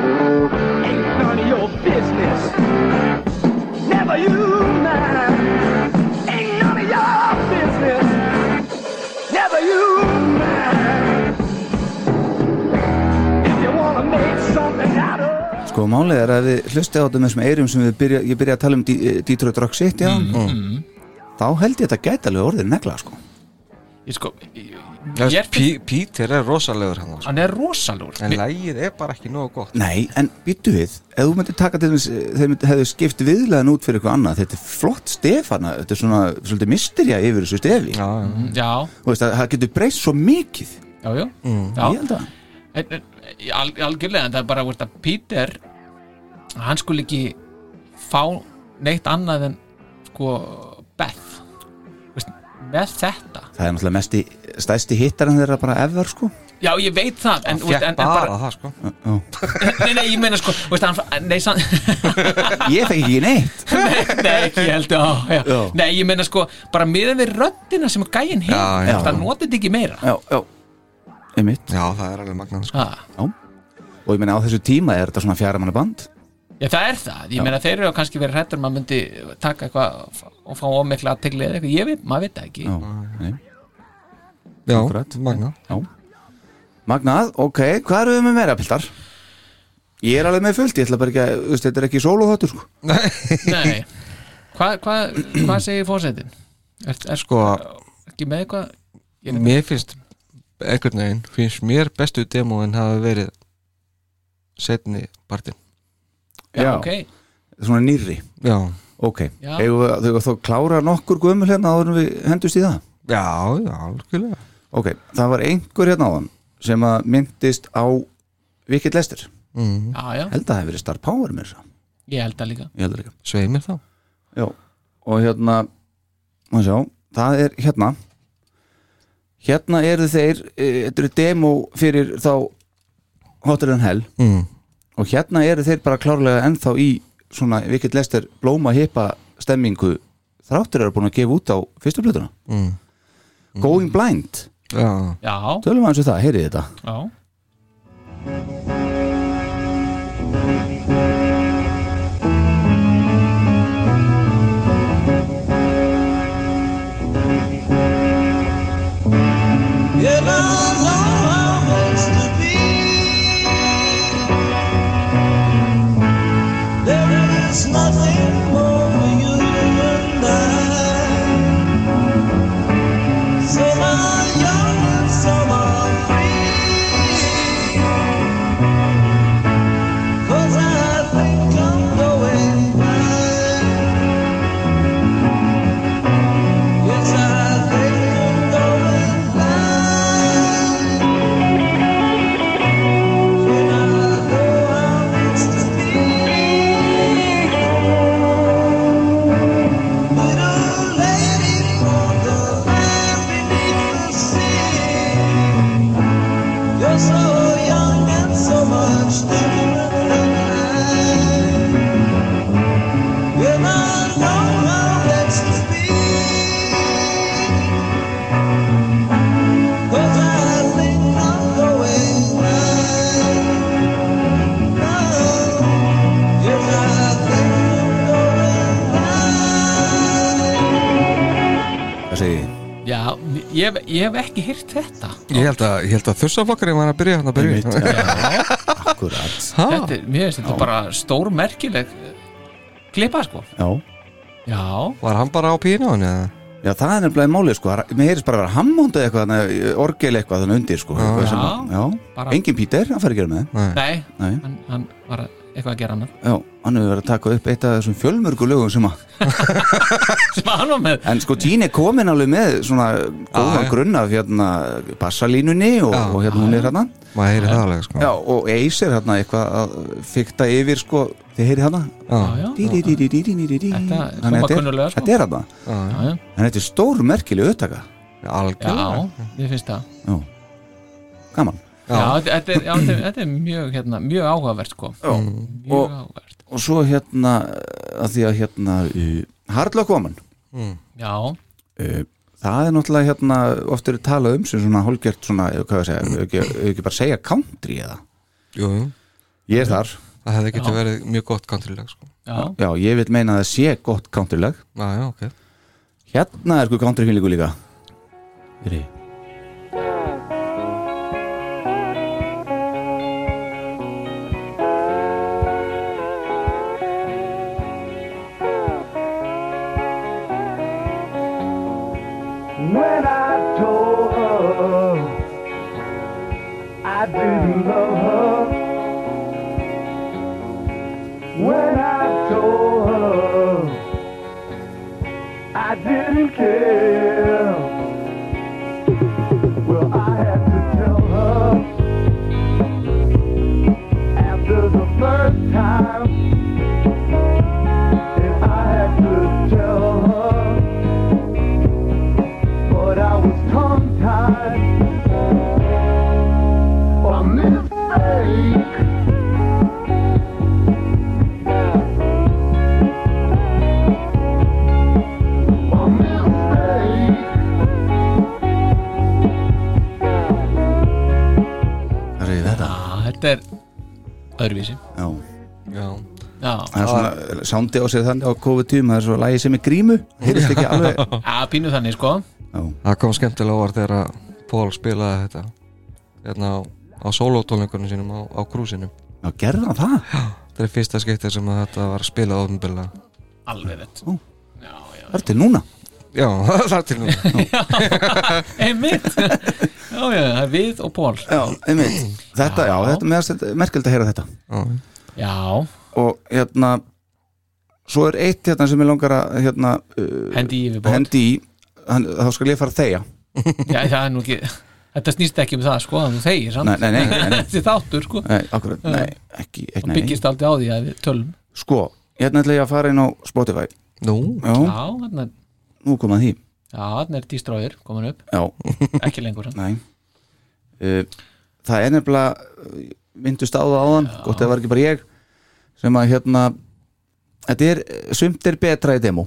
H: ain't none of your business. Never you mind. Ain't none of your business. Never you mind. If you wanna make something out of
E: Sko, málið er að við hlustið á þetta með þessum eyrum sem við byrja, ég byrja að tala um D- eh, Detroit Rock City mm, Þá held ég þetta gæti alveg orðið negla sko.
F: ég sko, ég, ég er
A: Yes,
F: fyrir,
A: Peter er rosalegur hann sko.
F: hann er rosalúr
A: En lægið er bara ekki nógu gott
E: Nei, en býttu við Ef þú myndir taka til þess, þeir myndir hefðu skipt viðlegan út fyrir eitthvað annað Þetta er flott stefana, þetta er svona svolítið misterja yfir þessu stefi
A: Já, já
F: já,
E: Þú veist, það- það getur breyst svo mikið
F: já, já,
E: Ég
F: já.
E: held að
F: En, en, al, algjörlega, en það er bara veist, að Peter hann skulle ekki fá neitt annað en sko Beth veist, með þetta
E: Það er náttúrulega mesti, stæsti hittarinn þeirra bara ever sko
F: Já, ég veit það en, þú veist,
A: Fjekk
F: en, en
A: bara,
F: bara,
A: það sko
F: nei, nei, ég meina sko þú veist, hann, Nei, san,
E: Ég fekk ekki neitt
F: nei, ekki ég held á, já.
E: Já.
F: Nei, ég meina sko bara miðan við röddina sem gæinn hefur
A: Já, já.
F: Það notið þetta ekki meira sko.
E: Já, já Einmitt
A: Já, það er alveg magnað sko.
F: ha.
E: Og ég meina á þessu tíma er þetta svona fjara manna band
F: Já, það er það, ég meina þeir eru kannski verið hrættur maður myndi taka eitthvað og fá ómikla aðtegli eða eitthvað, ég veit, maður veit það ekki
E: Já, nei,
A: Já,
E: Akkurat.
A: magnað
E: já Magnað, ok, hvað erum við með meira, piltar? Ég er alveg með fullt, ég ætla bara ekki að, þú veist, þetta er ekki sólóþáttur, sko
F: Nei, hvað hva, hva segir fórsetin? Er, er sko
A: Sko,
F: ekki með eitthvað? Ég-
A: mér finnst einhvern veginn, finnst mér bestu demóin hafa verið setni partinn
E: Já.
F: ok,
E: Svona nýrri,
A: Já,
E: ok
F: Já.
E: Eigum við að- Þegar þú klára nokkur gömul hérna áður en við hendust í það
A: já, já, algjörlega
E: Ok, það var einhver hérna áðan sem að myndist á Vikit Lester,
A: mm.
F: já, já,
E: held að það hefur verið Star Power með þess að,
F: ég held það líka
E: ég heldur ekki
A: Sveimir þá
E: Já, og hérna má sjá, það er hérna hérna eru þeir e, þetta eru demo fyrir þá Hotter than Hell
A: mm.
E: og hérna eru þeir bara klárlega ennþá í svona Vikit Lester blóma hippa stemmingu þráttur eru búin að gefa út á fyrstu blötuna
A: Mm.
E: Going Blind,
A: Já,
F: Já,
E: tölum aðeins um það, heyrið þetta
F: já,
E: Hvað segið þið?
F: já ég, hef- ég hef ekki heyrt þetta
A: ég held að, ég held að þursaflokkarinn var að byrja hérna hann að byrja
E: Akkurat
A: Ha?
F: þetta, er- Mér finnst þetta bara stór merkileg klippa sko
E: Já,
F: Já,
A: Var hann bara á pínu hann eða?
E: Já, það er nefnilega málið sko, Það- mér heyrðist bara að vera hammóndu eitthvað, þannig, orgel eitthvað þannig undir sko eitthvað sem að- já.
F: bara-
E: Engin Pítur, hann fær að gera með það
F: nei,
E: Nei.
F: Hann, hann var eitthvað að gera annað
E: Já, hann hefur verið að taka upp eitt af þessum fjölmörgu lögum sem að
F: sem hann var með
E: En sko, Tín er komin alveg með svona góðan
A: já.
E: grunn af hérna bassalínunni og,
A: Já.
E: og hérna hún er hérna
A: Maður heyri það alveg sko
E: Já, og Ace er hérna eitthvað að fykta yfir sko, þið heyri hérna
F: Já, já, já,
E: Dí-dí-dí-dí-dí-dí-dí-dí.
F: Þetta
E: Þannig
F: hljómar
E: þetta er-
F: kunnuglega, sko.
E: Þetta er hérna
F: já,
E: En þetta er stór merkileg upptaka
A: Algjörlega
F: já ég finnst það
E: Já, gaman
F: Já, þetta er, já, þetta er, þetta er mjög, hérna, mjög áhugavert sko
A: Mm.
F: Mjög
E: Og-
F: áhugavert
E: og svo hérna að því að hérna uh, Hardlock Woman
F: Já,
E: uh, það er náttúrulega hérna oft eru talað um sem svona hálfgjört svona, eh, hvað ég segja, ef ekki, ef ekki bara segja country eða,
A: Jú, jú
E: ég er þar
A: Það hefði getið verið mjög gott countrylag sko
F: já,
E: já, ég vil meina að það sé gott countrylag
A: Já, já, ok
E: hérna er sko countryfílingu líka Heyri.
H: When I told her I didn't love her. When I told her I didn't care. Well, I had to tell her after the first time. And I had to tell her but I was tongue tied.
F: er öðruvísi
E: Já.
A: Já.
F: Já,
E: Það er svona sándi á sig þannig á COVID-tíum Það er svo lagið sem er grímu Heyrist ekki alveg
F: að pínu þannig sko
A: Það kom skemmtilega óvart þegar að Pól spilaði þetta hérna á, á sólótónleikunum sínum á, á krúsinum
E: Já, gerði hann það?
A: Þetta er fyrsta skipti sem að þetta var spilað ofnbilla
F: Alveg rétt
E: Ó.
F: Já, já,
E: Það er til núna
A: Já, það er til nú
F: einmitt Já, já, það er við og Pól
E: Já, einmitt Þetta, já, þetta meðast merkild að heyra þetta
F: Já,
E: Og hérna Svo er eitt hérna sem ég langar að hérna, uh,
F: hendi í yfirbót
E: hendi í hann, Þá skal ég fara að þegja
F: Já, það er nú ekki Þetta snýst ekki um það sko, að þú þegir samt
E: Nei, nei, nei, nei, nei.
F: Þetta er þáttur sko
E: Nei, akkurat, nei, ekki, ekki
F: Það
E: nei, nei.
F: byggist aldrei á því að við tölum
E: Sko, hérna ætla ég að fara inn á Spotify
A: Nú,
E: Já,
F: Já, þarna er-
E: nú kom að því
F: já, þarna er distróðir komin upp,
E: Já,
F: ekki lengur samt.
E: nei uh, Það er nefnilega uh, myndust á það áðan, gott að það var ekki bara ég sem að hérna þetta er, eh, sumt er betra í demo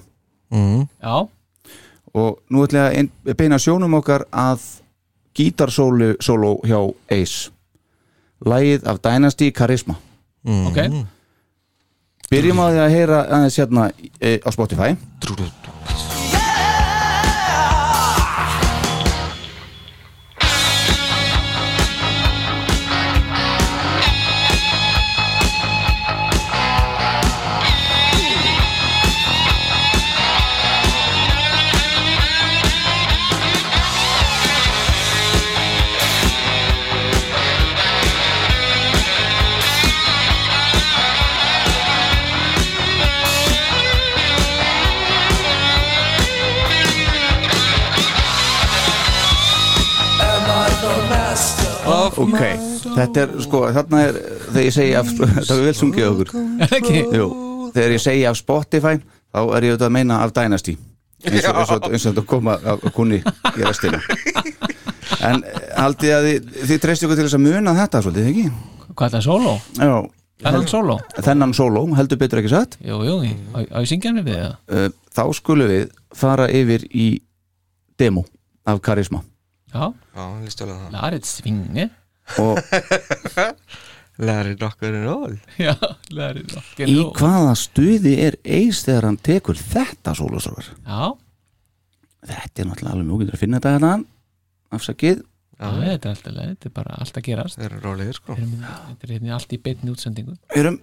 A: mm.
F: Já,
E: og nú ætla ég að ein- beina sjónum okkar að gítarsólu sóló hjá Ace Lægið af Dynasty Charisma
F: ok
E: Byrjum á því að heyra aðeins hérna uh, á Spotify Ok, þetta er sko, þarna er þegar ég segi af, það er vel sungið okkur
F: Ekki,
E: Jú, þegar ég segi af Spotify þá er ég auðvitað að meina af Dynasty eins og, eins og, eins og þetta koma af kunni í restina En e, haldið að þið, þið treystu ykkur til þess að muna þetta svolítið, ekki?
F: hvað er það, sóló?
E: Já,
F: Þennan sóló?
E: þennan sóló, heldur betur ekki satt
F: Jú, jú, í- á á ég syngja hann við það?
E: Uh, Þá skulum við fara yfir í demo af karisma
F: Já,
A: já, lístulega það
F: larið svingi
E: og
A: Larry Rocker and Roll
F: Já, larið rockir
E: í hvaða stuði er Ace þegar hann tekur þetta sólóstrókar?
F: Já,
E: Þetta er náttúrulega alveg mjög getur að finna þetta hérna afsakið
F: já, þetta er alltaf leið, þetta er bara allt að gerast
A: Þeir eru rólegir sko
F: Erum- Þetta er hérna allt í beinni útsendingu
E: Erum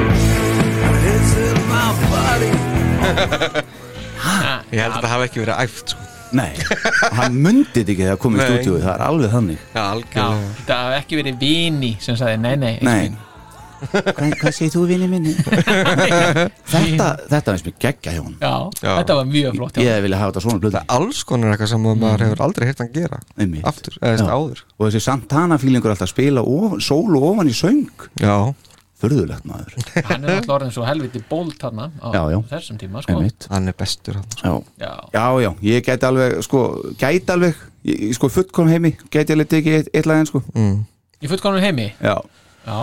B: It's in my body.
A: Ég held að það hafi ekki verið æft sko
E: Nei, hann mundið ekki þegar komið í
A: Nei.
E: stúdíu Það er alveg þannig
A: Já,
F: Já,
A: algjörlega
F: þetta hafði ekki verið vini sem sagði, nei, nei,
E: Nei Hvað, hvað segir þú vinni minni? þetta, þetta er sem geggja hjá hún
F: Já,
A: Já.
F: þetta var mjög flott hjá
E: Ég vilja hafa þetta svona blöð
A: Alls konar eitthvað sem maður hefur aldrei hirt hann gera
E: Einmitt.
A: Aftur, eða þess
E: Já.
A: áður
E: Og þessi Santana fílingur alltaf að spila ofan, sólu ofan í söng
A: Já,
E: Furðulegt maður
F: hann er alltaf orðin svo helviti bólt þarna á
E: Já, já.
F: þessum tíma sko.
E: Einmitt
A: hann er bestur hann sko.
E: Já,
F: já,
E: já, já, ég gæti alveg, sko, gæti alveg ég, ég- Sko, fullkom heimi, gæti alveg tekið eitt, eitt lagin, sko
A: Mm.
F: í fullkomnum heimi
E: Já,
F: já.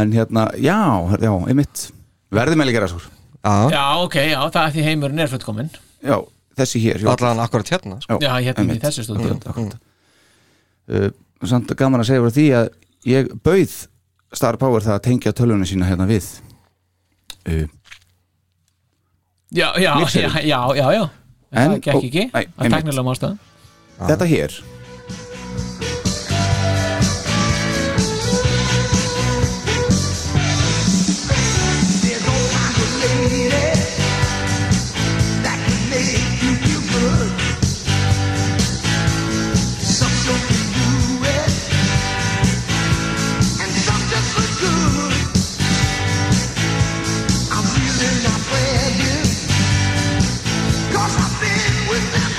E: en hérna, já, já, einmitt Verðum eða gera, sko
A: Já,
F: já, ok, já, það er því heimurinn er fullkomin
E: Já, þessi hér já.
A: allan akkurat hérna sko.
F: já, hérna í
E: einmitt.
F: þessu stúdíu
E: Akkurat, akkurat.
A: Mm,
E: Uh, samt gaman að segja frá því að ég bauð Star Power það að tengja tölunum sína hérna við uh,
F: já, já, já,
E: Mixerin.
F: já, já, já.
E: En-
F: það gekk
E: og-
F: ekki,
E: nei,
F: að
E: einmitt.
F: teknilega mástöðum
A: Ah.
E: þetta hér
B: There's no kind of lady that can make you feel good. Some don't can do it, and some just look good. I'm really not bragging, 'cause I've been with them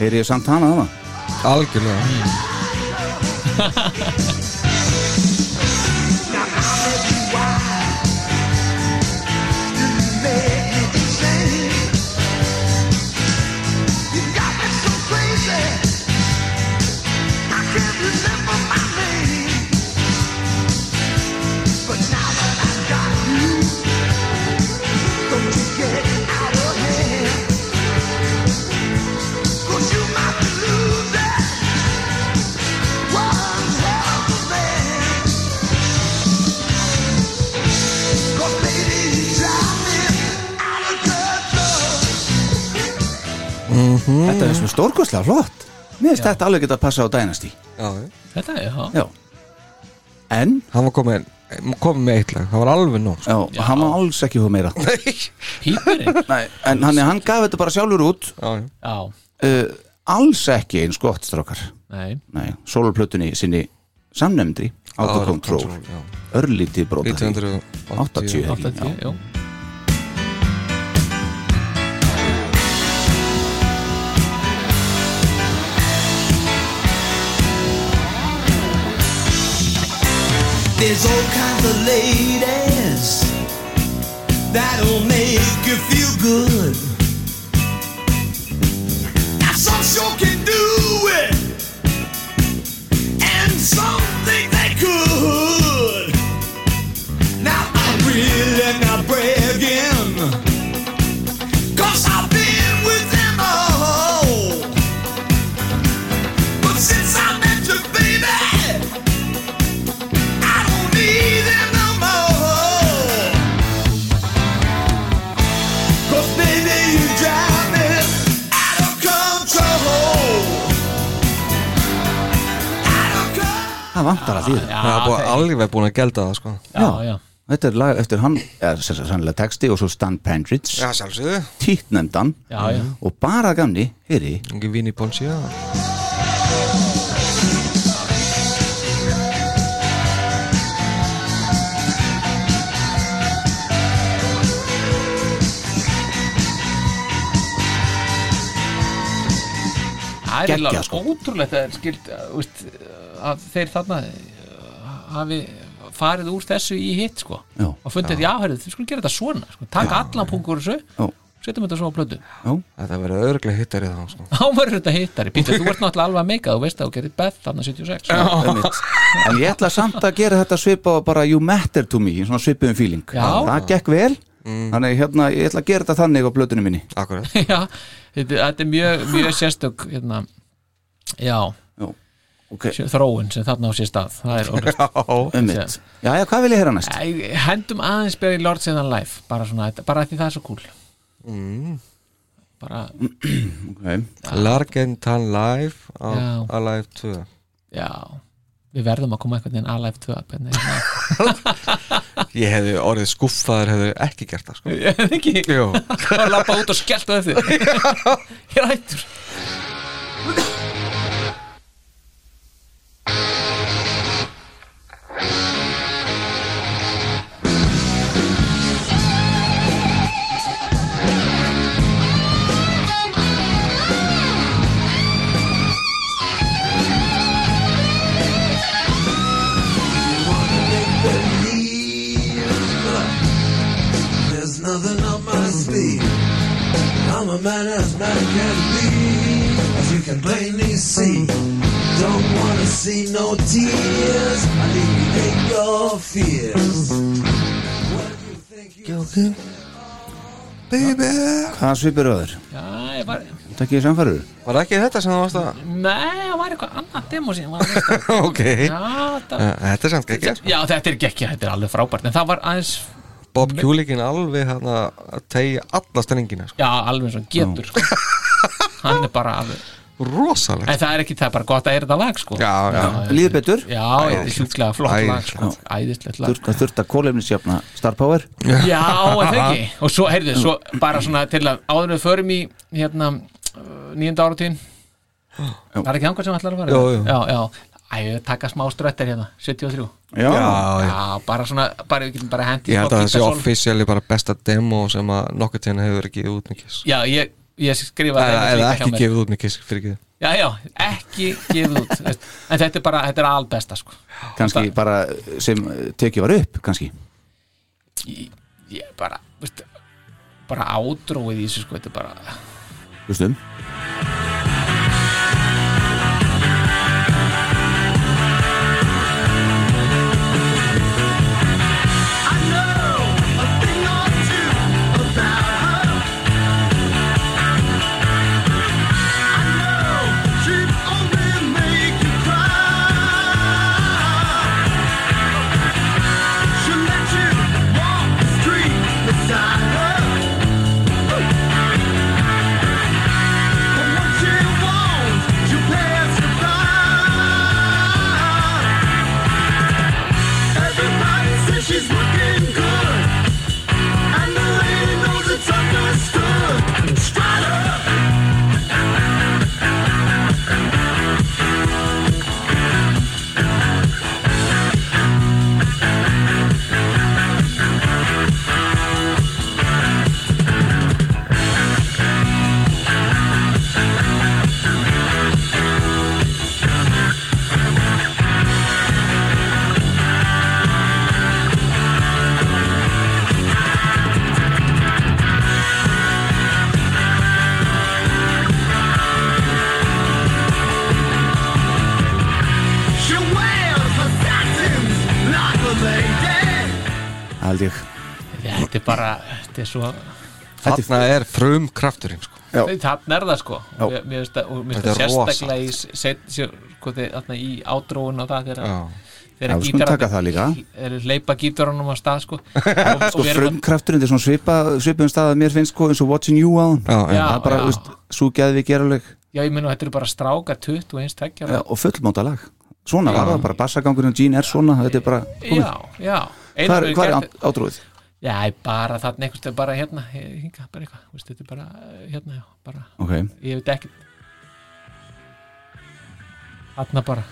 E: Er ég samt hana þarna?
A: Algjörlega
E: Þetta er svo stórkostlega flott Mér finnst þetta alveg geta að passa á Dynasty
A: Já, já.
F: Þetta er, já,
E: Já En,
A: Hann var komið, komið með eitt lag Það var alveg nóg sko.
E: já, hann var alls ekki hún meira
F: pípurinn
E: Nei, en hann, hann gaf þetta bara sjálfur út
A: Já, já.
F: Já,
E: uh, Alls ekki eins gott strókar
F: nei,
E: Nei, sólplötunni sinni samnefndri Out
A: Já,
E: of Control
A: já.
E: Örlítið brota því.
A: 1980
E: 80 ekki,
F: 80, jú
B: There's all kinds of ladies that'll make you feel good. Now some sure can do it, and some think they could. Now I'm really not bragging, cause I've been with them all. But since I met you, baby. I don't need them no more. 'Cause baby, you drive me out of control. Out of control.
E: Það vantar að því það
A: Það er búið, alveg búin að gelda það sko
F: Já, já,
E: Þetta er lag eftir hann, eða sem sagt sannlega texti og svo Stan Pendridge,
A: Já, sjálfsögðu
E: títnefndan
F: já, já
E: og bara að gamni, heyri,
A: Engi vini bónsja
F: Það er
E: Geggjað,
F: eiginlega
E: sko.
F: ótrúlegt að, skild, að, veist, að þeir þarna uh, hafi farið úr þessu í hitt sko.
E: Já.
F: og fundið, já, herrðu, við skulum gera þetta svona sko. taka allan punkur þessu
E: Já.
F: og setjum þetta svo á plötu
A: Þetta verður öðruglega hittari þá sko
F: þá verður þetta hittari, Pítur, þú ert náttúrulega alveg að meika þú veist að þú gerir Beth þarna 76 já,
E: einmitt. en ég ætla samt að gera þetta svipa og bara you matter to me, í svona svipuðum feeling
F: Já.
E: það gekk vel
A: Mm.
E: þannig hérna, ég ætla að gera þetta þannig á blötunum minni
A: Akkurat
F: já þetta, þetta er mjög, mjög sérstök hérna, já,
E: já, ok,
F: þróun sem þarna á sér stað það er orðið
E: ummitt já, já, hvað vil ég heyra næst?
F: Æ, hendum aðeins Barry Lord sinna live bara, svona, bara af því það er svo cool mm. bara,
E: Okay.
A: Largentan Live á
F: Já.
A: Alive 2
F: já við verðum að koma einhvern veginn alive to up en
A: Ég hefði orðið skuffaður hefði ekki gert það sko
F: það er ekki
A: Jó
F: bara að lappa út og skellta eftir ég er hættur
B: There's nothing up my sleeve. I'm a man as man can be. As you can plainly see, don't wanna see no tears. I need to take your fears. What you think you
A: Baby
E: hvað svipur öður?
F: já, ég var
E: þetta ekki samfærður?
A: Var ekki þetta sem það varst að
F: nei, það var eitthvað annað demo sem var að hlusta á.
A: Ok
F: já, þetta
A: Þetta er samt ekki sko.
F: já, þetta er ekki, þetta er alveg frábært en það var aðeins,
A: Bob Kulikin alveg hann að tegja alla strengina sko.
F: já, alveg svo getur sko. hann er bara alveg
A: Rosalega
F: en það er ekki, það er bara gott að er þetta lag sko.
A: Já, já,
E: líður betur?
F: já, þetta er sjúklega flott lag sko. æðislegt lag
E: þurft að þurft að kólefnisjöfna star power
F: Já, en það ekki Og svo, heyrðu, svo bara svona til að áður en við förum í hérna nýjönda áratíðin Var ekki þangar sem ætlar að fara?
A: Jú, jú.
F: Já, já, æ, ég taka smá ströttir hérna, 73
E: já,
A: já, já.
F: Já, bara svona, bara við getum bara hendi
A: Ég held að það sé offisíali bara besta demo sem að nokkuð tíðan hefur verið gefið út með Kiss
F: Já, ég ég skrifa
A: eða eða ekki
F: mér
A: gefið út mikið fyrir ekki
F: já, já, ekki gefið út veist. en þetta er bara, þetta er albesta sko.
E: kannski bara sem eh, tekið var upp kannski
F: ég, ég bara veist, bara ádróið í þessu sko, þetta er bara
E: Hlustum
B: She's looking good, and the lady knows it's understood. Straight up. She wears her satins like a lady.
E: held ég
F: þetta er bara, þetta er svo
A: þarna er frum krafturinn sko.
E: Já.
F: þarna er það sko
E: Já.
F: Mér- mér finnst það- og mér finnst
A: Þetta
F: það
A: er
F: sérstaklega í, set, sér, sko, þið, þarna, í ádróun á það þegar
A: Já.
F: þegar
E: Já, við skulum taka það líka.
F: er leipa gítarunum á stað sko, og,
E: sko
F: við erum að-
E: frumkrafturinn þetta er svona svipa, svipum stað að mér finnst sko eins og watching you á
A: já, já.
F: Já.
E: það er bara, veist, svo geði við geruleg
F: já, ég meina þetta eru bara stráka 21 tekja
E: Eh, og fullmóta lag svona var það bara, bassagangurinn og Gene er svona þetta er bara, komið,
F: já, já
E: hvað er,
F: hefur
E: hvað er
F: gert-
E: át- átrúið?
F: já, ég bara þarna einhvers veginn bara hérna, hinga, bara eitthvað veist, þetta er bara, hérna, já, bara
E: ok,
F: ég veit ekki þarna bara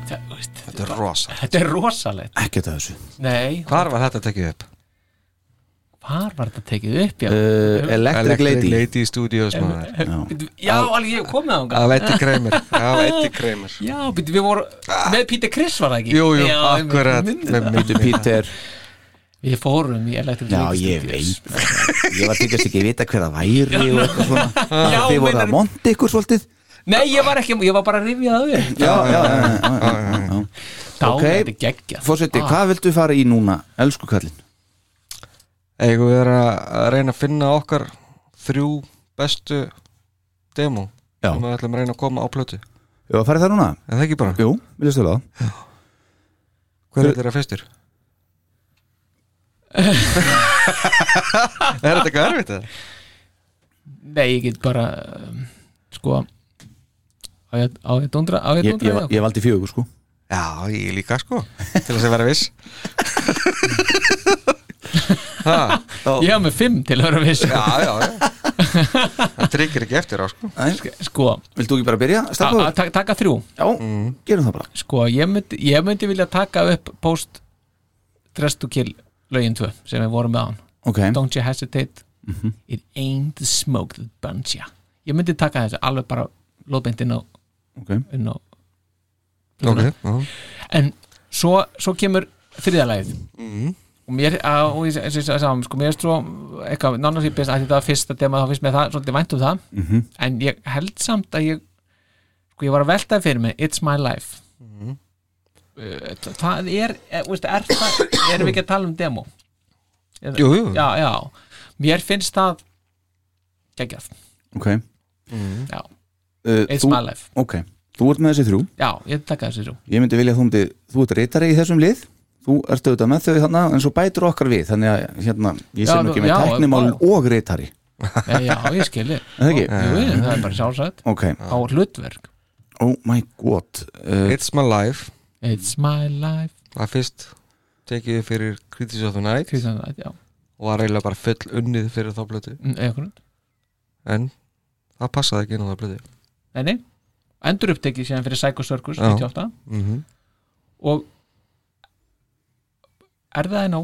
F: það, veist,
A: þetta er rosa
F: þetta er rosalegt
E: ekkert að þessu
F: nei,
A: hvar var þetta tekið upp?
F: hvar var þetta tekið upp já, Eh,
E: uh, Electric Lady
A: Lady Studios maður
F: já alveg ég hef komið á
A: af Eddie Kramer af Eddie Kramer
F: já, býttu, við vorum með Peter Chris var það ekki
A: jú, jú,
F: já,
A: akkurat
F: við-
A: með
E: Þetta er
A: minni
E: Peter,
F: við fórum í Electric
E: já
F: Lady
E: ég
F: Studios.
E: veit ég var þykjast ekki vita hver það væri og eitthvað svona,
A: Ah.
F: Já,
E: þið voru
F: meinar-
E: að monta ykkur svolítið
F: nei, ég var ekki, ég var bara að rifja það
E: já,
F: upp
E: já, já, já, já, já, já.
F: dánu,
E: Ok.
F: þetta er geggjað Ah,
E: Fórseti, hvað viltu fara í núna, elsku kallinn?
A: eigum við erum að reyna að finna okkar þrjú bestu demo
E: Já.
A: sem við ætlum að reyna að koma á plötu
E: Ef að fara í það núna?
A: en það ekki bara,
E: Jú, vilja stöla það
A: hver er þeirra fyrstur? er þetta eitthvað erfitt eða?
F: nei, ég get bara um, sko á ég á ég að dundra, á ég að
E: Ég, ég,
F: dundra
E: ég valdi fjögur sko
A: Já, ég líka sko til þess að vera viss ha,
F: ég hef með fimm til að vera viss
A: Já, já, já Það tryggir ekki eftir á sko
E: Nei,
F: sko,
E: Vilt þú ekki bara byrja?
F: að
E: Stafur?
F: að ta- taka þrjú
E: Já, gerum það bara
F: sko, ég myndi, ég myndi vilja taka upp post Dress to Kill lögin 2 sem við vorum með án
E: Ok,
F: Don't you hesitate It ain't the smoke that burns ya ég myndi taka þessu alveg bara lóðbeint inn á,
E: ok
F: inn á
A: Ok, já.
F: en svo, svo kemur þriðalagið
A: Mhm.
F: og mér, að, og ég- eins og ég sagði sko, mér er svo, eitthvað, nánast ég byrst að þetta var fyrsta dema, þá finnst mér það svolítið vænt um það
E: Mhm.
F: en ég held samt að ég sko, ég var að velta fyrir mig It's My Life
A: Mhm.
F: Eh, þa- það er, er, veist, er það erum við ekki að tala um demo Eða-
A: Jú, jú.
F: já, já, mér finnst það geggjað,
E: ok
A: Mm.
F: já,
E: uh,
F: It's
E: þú,
F: My Life
E: ok, þú ert með þessi þrjú
F: já, ég taka þessi svo
E: ég myndi vilja að þú myndi, þú ert reytari í þessum lið þú ert auðvitað með þau þarna en svo bætur okkar við, þannig að hérna ég
F: Já,
E: sé nú ekki
F: þú-
E: með
F: já,
E: tæknimál
F: vá.
E: og reytari,
F: Eh, já, ég skilji,
E: er það ekki?
F: jú, jú, það er bara sjálfsagt
E: ok,
F: á hlutverk
E: oh my god uh,
A: It's My Life
F: It's My Life
A: Það fyrst tekið við fyrir Critics of the Night
F: Kristján Rætt, já, Mm,
A: og var eiginlega bara full unnið fyrir þá blötu
F: eitthvað
A: en það passaði ekki inn á þá blötu
F: Nei, nei, endur upptekið síðan fyrir Psycho Circus
A: Já.
F: 98
A: mm -hmm.
F: og er það einn á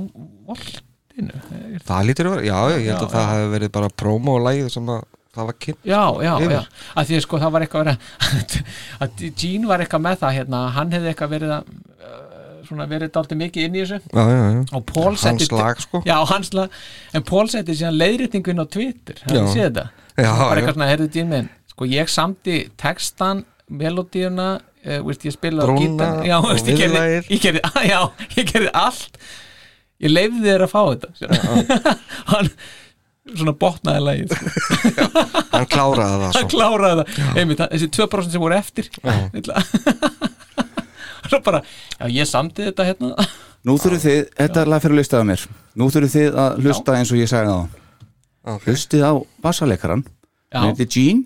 F: voltinu? Er-
A: Það lítur að vera, já, já, ég held
F: Já,
A: að það
F: já.
A: hefði verið bara promo-lægið sem að það var kynnt
F: Já, já,
A: Yfir.
F: já, að því að sko það var eitthvað verið að Gene var eitthvað með það hérna, hann hefði eitthvað verið að uh, svona verið dálítið mikið inn í þessu
A: Já, já, já
F: og Paul setti
A: Mhm. Hans lag, sko
F: Já, hans lag, en Paul setti síðan leiðrýtingu inn á Twitter, hann
A: Já.
F: séð þetta
A: Já,
F: bara
A: já,
F: eitthvað svona, heyrðu Gene minn sko ég samti textan, melodíuna uh, veist, ég spilaði á
A: Brúna
F: gítan Já,
A: og
F: veist, ég gerði,
A: viðlagið.
F: ég gerði Já, ég gerði allt ég leiði þér að fá þetta sko. hann svona botnaði lagið sko.
A: hann kláraði það sko.
F: hann
A: svo
F: kláraði það einmitt, það- þessi 2% sem voru eftir illa. svo bara, já ég samti þetta hérna
E: nú þurfið þið, þetta er lag fyrir að hlusta af mér nú þurfið þið að hlusta eins og ég sagði það
A: Ok.
E: hlustið á bassaleikaran
F: Já. Mm.
E: hann heitir Gene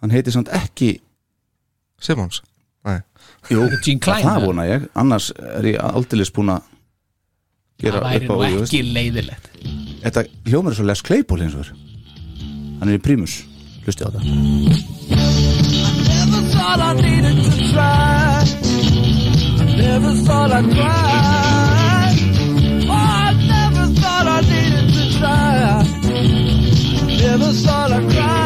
E: hann heitir samt ekki
A: Simons, nei,
E: Jú,
F: Gene Klein,
E: það
F: eða?
E: vona ég, annars er ég aldeilis búin að gera
F: það væri
E: upp á
F: nú
E: ég veist.
F: ekki leiðilegt
E: Þetta hljómar er svo Les Claypool eins og þér Hann er í Primus Hlustið á það
B: Never thought I needed to try. Never thought I'd cry. Oh, I never thought I needed to try. Never thought I'd cry.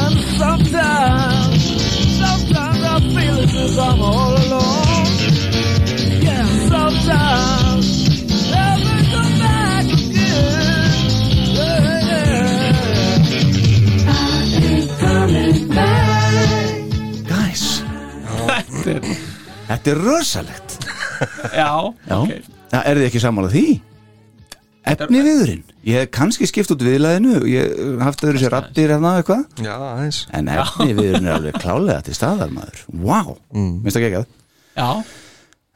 B: And sometimes, sometimes I feel as if I'm all alone. Yeah, sometimes never come back again. Yeah, yeah.
E: Guys Þetta er rosalegt
F: já,
E: Já,
F: ok
E: það er þið ekki sammála því Efni viðurinn Ég hef kannski skipt út viðlaðinu Ég hef haft öðru sér rattir eða eitthvað
A: já, aðeins
E: En efni viðurinn er alveg klálega til staðar maður Vá, wow.
A: Mm.
E: minnst það ekki að
F: já, þá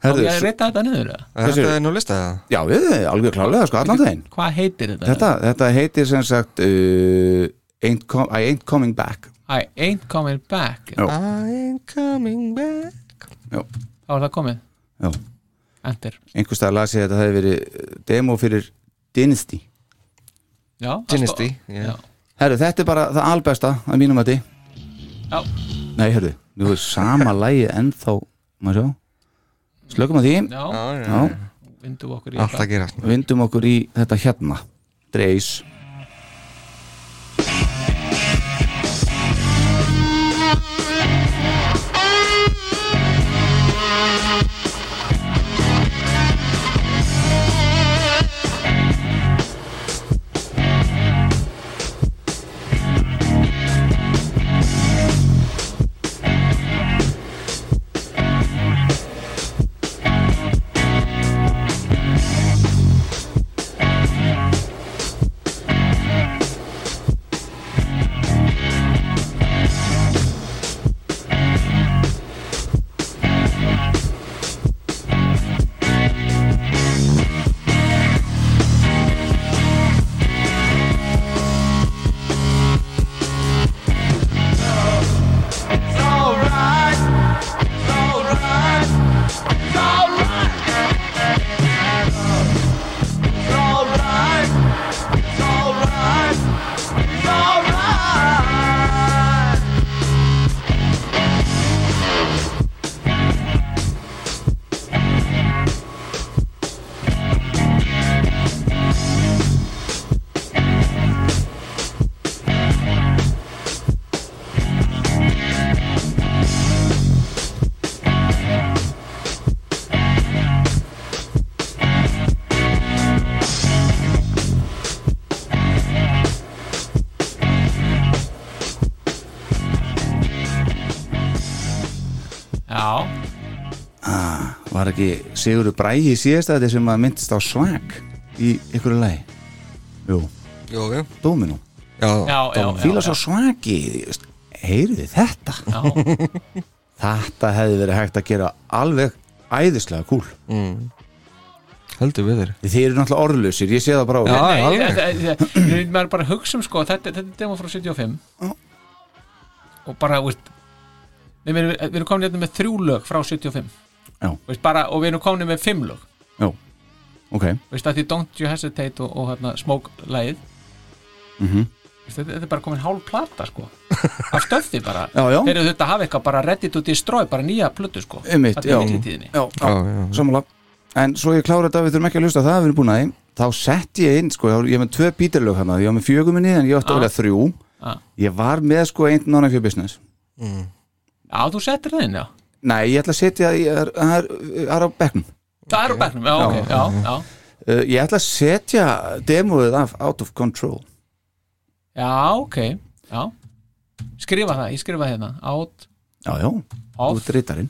E: Herðu,
F: ég reyta þetta niður eða?
A: Er
E: Þessi-
A: Þetta er nú listaðið það
E: já, við erum alveg klálega sko, allan þeim
F: hvað heitir þetta?
E: þetta, þetta heitir sem sagt uh, ain't com I ain't coming back
F: I ain't coming back
E: Já.
A: I ain't coming back
E: Já,
F: þá er það komið,
E: já
F: endur
E: einhvers staðar las ég að þetta hefði verið uh, demo fyrir Dynasty
F: já, það
A: Dynasty,
F: stóð-
A: já.
F: já.
E: Herru, þetta er bara það albesta að mínum að því
F: Já.
E: Nei, herru, nú er sama lægi ennþá maður sjá Slökum að því,
F: já,
A: Já, já,
E: já,
A: já
F: vindu okkur í
A: Allt að gera
E: vindum okkur í þetta hérna Dreis
F: Já,
E: ah, Var ekki Sigurður Brægi síðast að þetta sem að myndist á svag í einhverju lagi Jú,
B: Jú, jú
E: Dóminó
B: Já,
F: já, já,
E: Dóminó,
F: já,
E: fíla
F: já.
E: svo sko. svagi Heyrið þið þetta?
F: já.
E: Þetta hefði verið hægt að gera alveg æðislega kúl
B: heldur við þér
E: Þið eru náttúrulega orðlausir, ég sé það bara á
B: Já,
E: ykkur.
F: Nei,
B: alveg.
F: þetta- þetta- þetta- maður bara hugsa um sko þetta, þetta er demo frá 75 og bara úr, við, við, við erum komin hérna með þrjú lög frá 75
E: Já.
F: Veist, bara, og við erum komin með fimm lög
E: Já, ok
F: Veist, að því Don't You Hesitate og, og hérna, Smoke lagið
E: Mhm.
F: Veist, þetta, þetta er bara komin hálf plata sko af stöfði bara
E: Já, já.
F: þeir eru þetta að hafa eitthvað bara ready to destroy bara nýja plötu sko
E: Einmitt,
F: Þarna í
E: já.
F: millitíðinni.
E: Já, já,
B: Já, já, já.
E: sammála En svo ég klára þetta, við þurfum ekki að hlusta á það við erum búin að því Þá sett ég inn, sko, ég var- ég var með tvö pítarlög hana Ég var með fjöguminni, en ég átti að
F: Ah.
E: velja þrjú
F: Ah.
E: Ég var með, sko, einn nonnan fyrir business
F: já, þú settir það inn já
E: Nei, ég ætla að setja, ég er, það er, það er á bekknum
F: það er á bæknum, já, ok, já, já
E: uh, Ég ætla að setja demóið af Out of Control
F: Já, ok, já Skrifa það, ég skrifa hérna Out
E: Já, já,
F: of
E: út rítarinn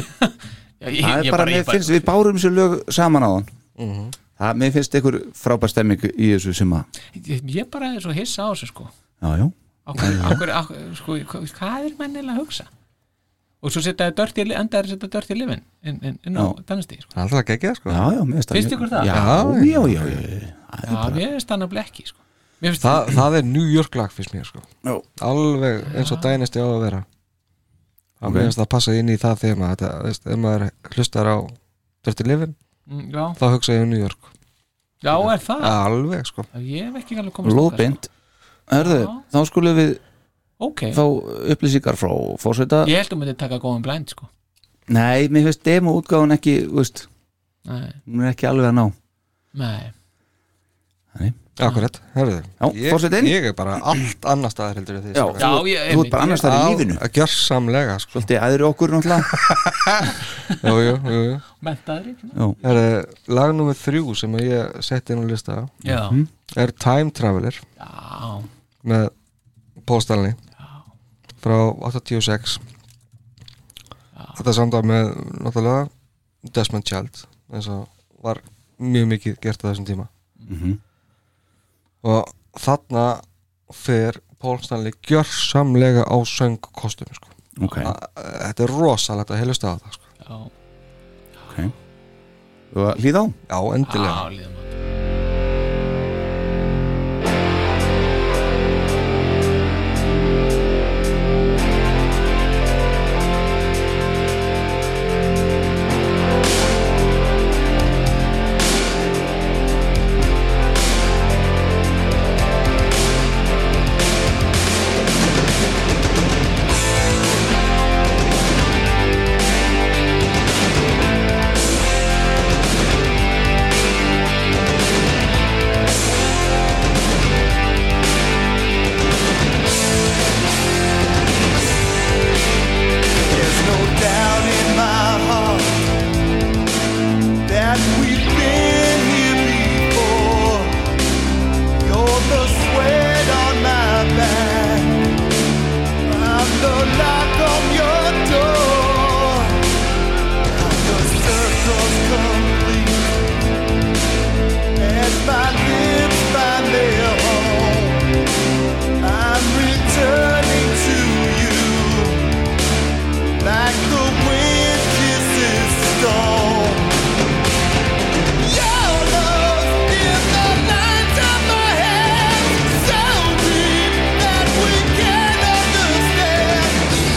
F: já, ég,
E: Það
F: ég
E: er bara, mér
F: ég
E: finnst, við bárum sér lög saman á hann Það, mér finnst einhver frábær stemming í þessu sem að
F: Ég, ég bara er svo hissa á þessu sko
E: Já, já,
F: Á hver- á hver- á- sko, hva- Hvað er mennilega að hugsa? Og svo setja dört í endaður að setja dört í lifin inn, inn, inn á
E: Já.
F: dannstí sko.
B: Það er alltaf geggjað sko
E: já, já, mér finnst
F: Finnst ykkur það?
E: Já, já, já, já, já. Það er
F: Já, mér finnst þannig að blekki sko. Mér finnst
B: það, það er New York lag fyrst mér sko
E: Já.
B: Alveg eins og dænist ég á að vera Það okay. meðast það passa inn í það þegar maður þetta, veist, ef maður hlustar á Dirty Living,
F: Mm, Já,
B: þá hugsa ég um New York
F: já, er það?
B: Alveg sko
F: Ég hef ekki alveg komast þangað,
E: Lóðbind Hörðu,
F: Já.
E: þá skulum við
F: sko. Ok,
E: fá upplýsingar frá fórsveita
F: ég held um þetta taka góðan blind sko.
E: Nei, mér finnst demo útgáðan ekki, þú veist
F: Nei,
E: Hún er ekki alveg að ná
F: nei
B: Akkurat, hörðu
E: Já, forsetinn.
B: ég, ég er bara allt annað staðar heldur en þið
E: Já,
B: strákar.
F: Já,
E: þú,
F: ég-
E: þú
F: einmitt,
E: ert bara annars þar í lífinu
B: Á- Gjörsamlega sko
E: Svolítið aðri okkur náttúrulega
B: Jú, jú, jú, jú Mhm.
F: Mentaðri
B: Herðu, lag nummer þrjú sem að ég setti inn á lista
F: Já,
B: er Time Traveler
F: já,
B: með Póstalni frá 86 þetta er samt að með náttúrulega Desmond Child eins og var mjög mikið gert á þessum tíma og þarna fer Pólstanli gjörsamlega á söngkostum sko.
E: Ok,
B: A- þetta er rosalegt að heilust á það sko.
F: já,
E: ok Þú að hlýða á?
B: já, endilega
F: já líðum að
G: There's no doubt in my heart that we've been here before. You're the sweat on my back. I'm the lock on your door. I'm the circle's complete. As my lips find their home, I'm returning to you like the wind kisses stone. Your love is the light of my head, so deep that we can't understand.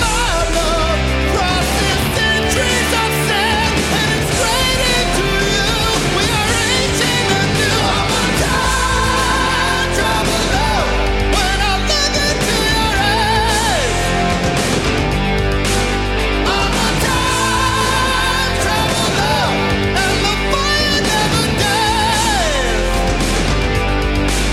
G: My love crosses centuries of sand, and it's straight into you. We are reaching a new time traveler. When I look into your eyes. I'm a time traveler, and the fire never dies.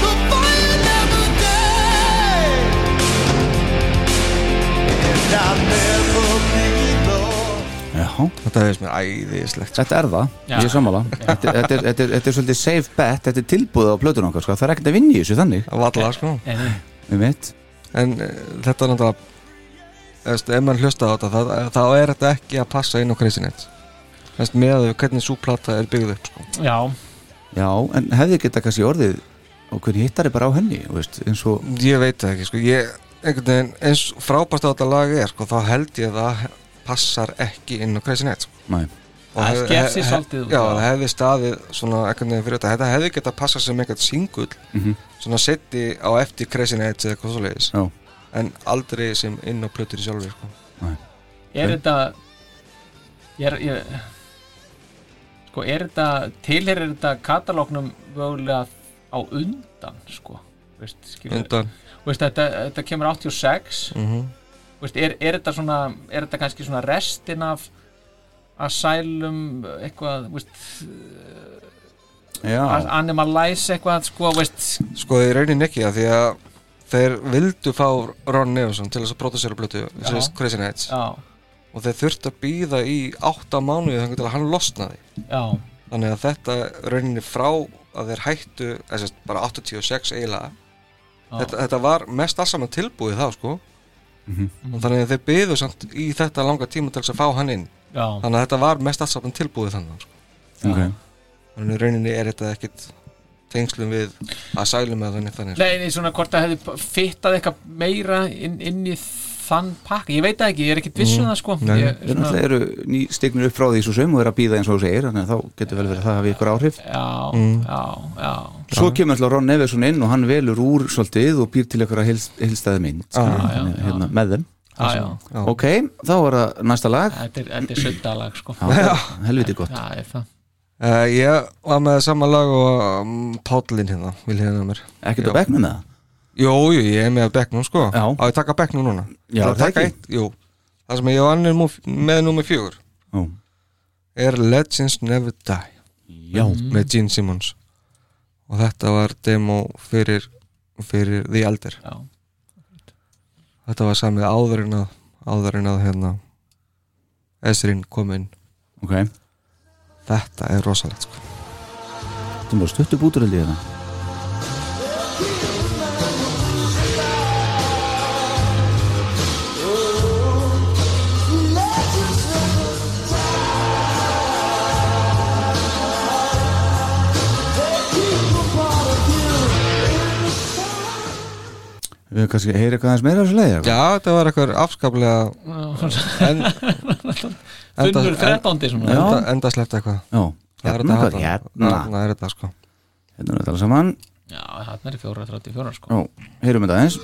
G: The fire never dies, and I'll never be lost.
E: Já,
B: þetta hefist mér æðislegt
E: þetta er það,
F: Já.
E: ég er sammála þetta, er- þetta, er, þetta, er, þetta er svolítið safe bet, þetta er tilbúið á plötun okkar sko. Það er ekkert að vinna í þessu þannig
B: að valla sko
F: Nei, nei.
E: Við mitt
B: en eh, þetta er náttúrulega
A: veist, ef mann hlusta á þetta þá, þá er þetta ekki að passa inn á Crazy Nights Veist, með að við hvernig svo plata er byggð upp sko.
F: Já,
E: Já, en hefði geta kannski orðið og hvernig hittari bara á henni þú veist, eins og
A: ég veit það ekki sko. ég, einhvern veginn, eins frábært á þetta lag er sko, þá held ég að það passar ekki inn á Crazy Nights sko.
E: Nei.
A: Og
F: Það
A: hef-
F: sker sig
A: hef-
F: svolítið út,
A: já,
F: já.
A: það hefði staðið svona einhvern veginn fyrir þetta þetta hefði getað passað sem einhvern singull svona setti á eftir Crazy Nights eða hvað svo leiðis
E: Já.
A: en aldrei sem inn á plötur í sjálfur sko. Hm?
F: er þetta ég er, ég, sko, er þetta tilherir þetta katalóknum vögulega á undan sko, veist, skilur,
A: undan
F: veist þetta, þetta kemur 86
A: Mhm.
F: veist, er, er þetta svona er þetta kannski svona restin af asylum eitthvað, veist,
E: Já,
F: animalize eitthvað, sko, veist
A: sko þeir raunin ekki að því að þeir vildu fá Ron Neveson til þess að pródusera plötu sem þess Crazy Nights
F: já,
A: og þeir þurftu að býða í átta mánuði þannig til að hann losnaði
F: já,
A: þannig að þetta rauninni frá að þeir hættu eða sem sagt, bara 86 eiginlega þetta, þetta var mest alls saman tilbúið þá sko
F: Mhm.
A: og þannig að þeir býðu samt í þetta langa tíma til þess að fá hann inn
F: já,
A: þannig að þetta var mest alls saman tilbúið þannig sko.
E: ok
A: þannig að rauninni er þetta ekkit tengslum við að sælum eða þannig þannig sko.
F: Nei, nei, svona hvort það hefði fittað eitthvað meira inn, inn í þann pakka, ég veit það ekki, ég er ekkert viss um það sko
A: Mm. Nei,
F: ég,
E: Þeir náttúrulega eru ný stignir upp frá því svo sem og eru að býða eins og þú segir þannig að þá getur vel verið að það hafi ykkur áhrif
F: já,
A: Mm.
F: já, já,
E: Svo kemur alltaf Ron Neveson inn og hann velur úr svolítið og býr til ykkur að heilstæði mynd ah,
F: já, já.
E: hérna, með þeim
F: já, já,
E: Ok, þá er það næsta lag
F: þetta er, þetta er söndalag sko,
E: Já, það er Helviti gott
F: það er það
A: Uh, ég var með sama lag og um, Pállinn hérna, vil hérna mér
E: Ekkert
A: Já.
E: á bekknum með það
A: Jú, jú, ég er með að bekknum sko
E: Já.
A: Á ég taka bekknum núna
E: Já,
A: Það
E: það
A: taka
E: ekki.
A: eitt, jú Það sem ég var annir múf, með númer fjögur
E: Ó,
A: Er Legends Never Die
E: Já,
A: Með Gene Simmons Og þetta var demo fyrir, fyrir The Elder
F: já.
A: Þetta var samið áður en að áður en að hérna Esrin kom inn
E: ok Þetta
A: Þetta er rosalegt sko
E: er bara stuttu bútur held ég það Við kannski heyri eitthvað aðeins meira af þessu leiði
A: Já, þetta var eitthvað afskaplega en, enda,
F: Þunnur 13. svona
A: enda, enda sleppt eitthvað
E: Já,
A: Það er
E: hérna
A: þetta
E: hvað,
A: hérna.
E: hérna
A: Þarna er þetta sko
E: Hérna er þetta alveg saman
F: Já, þarna er í 434 sko
E: Ó, heyrum þetta aðeins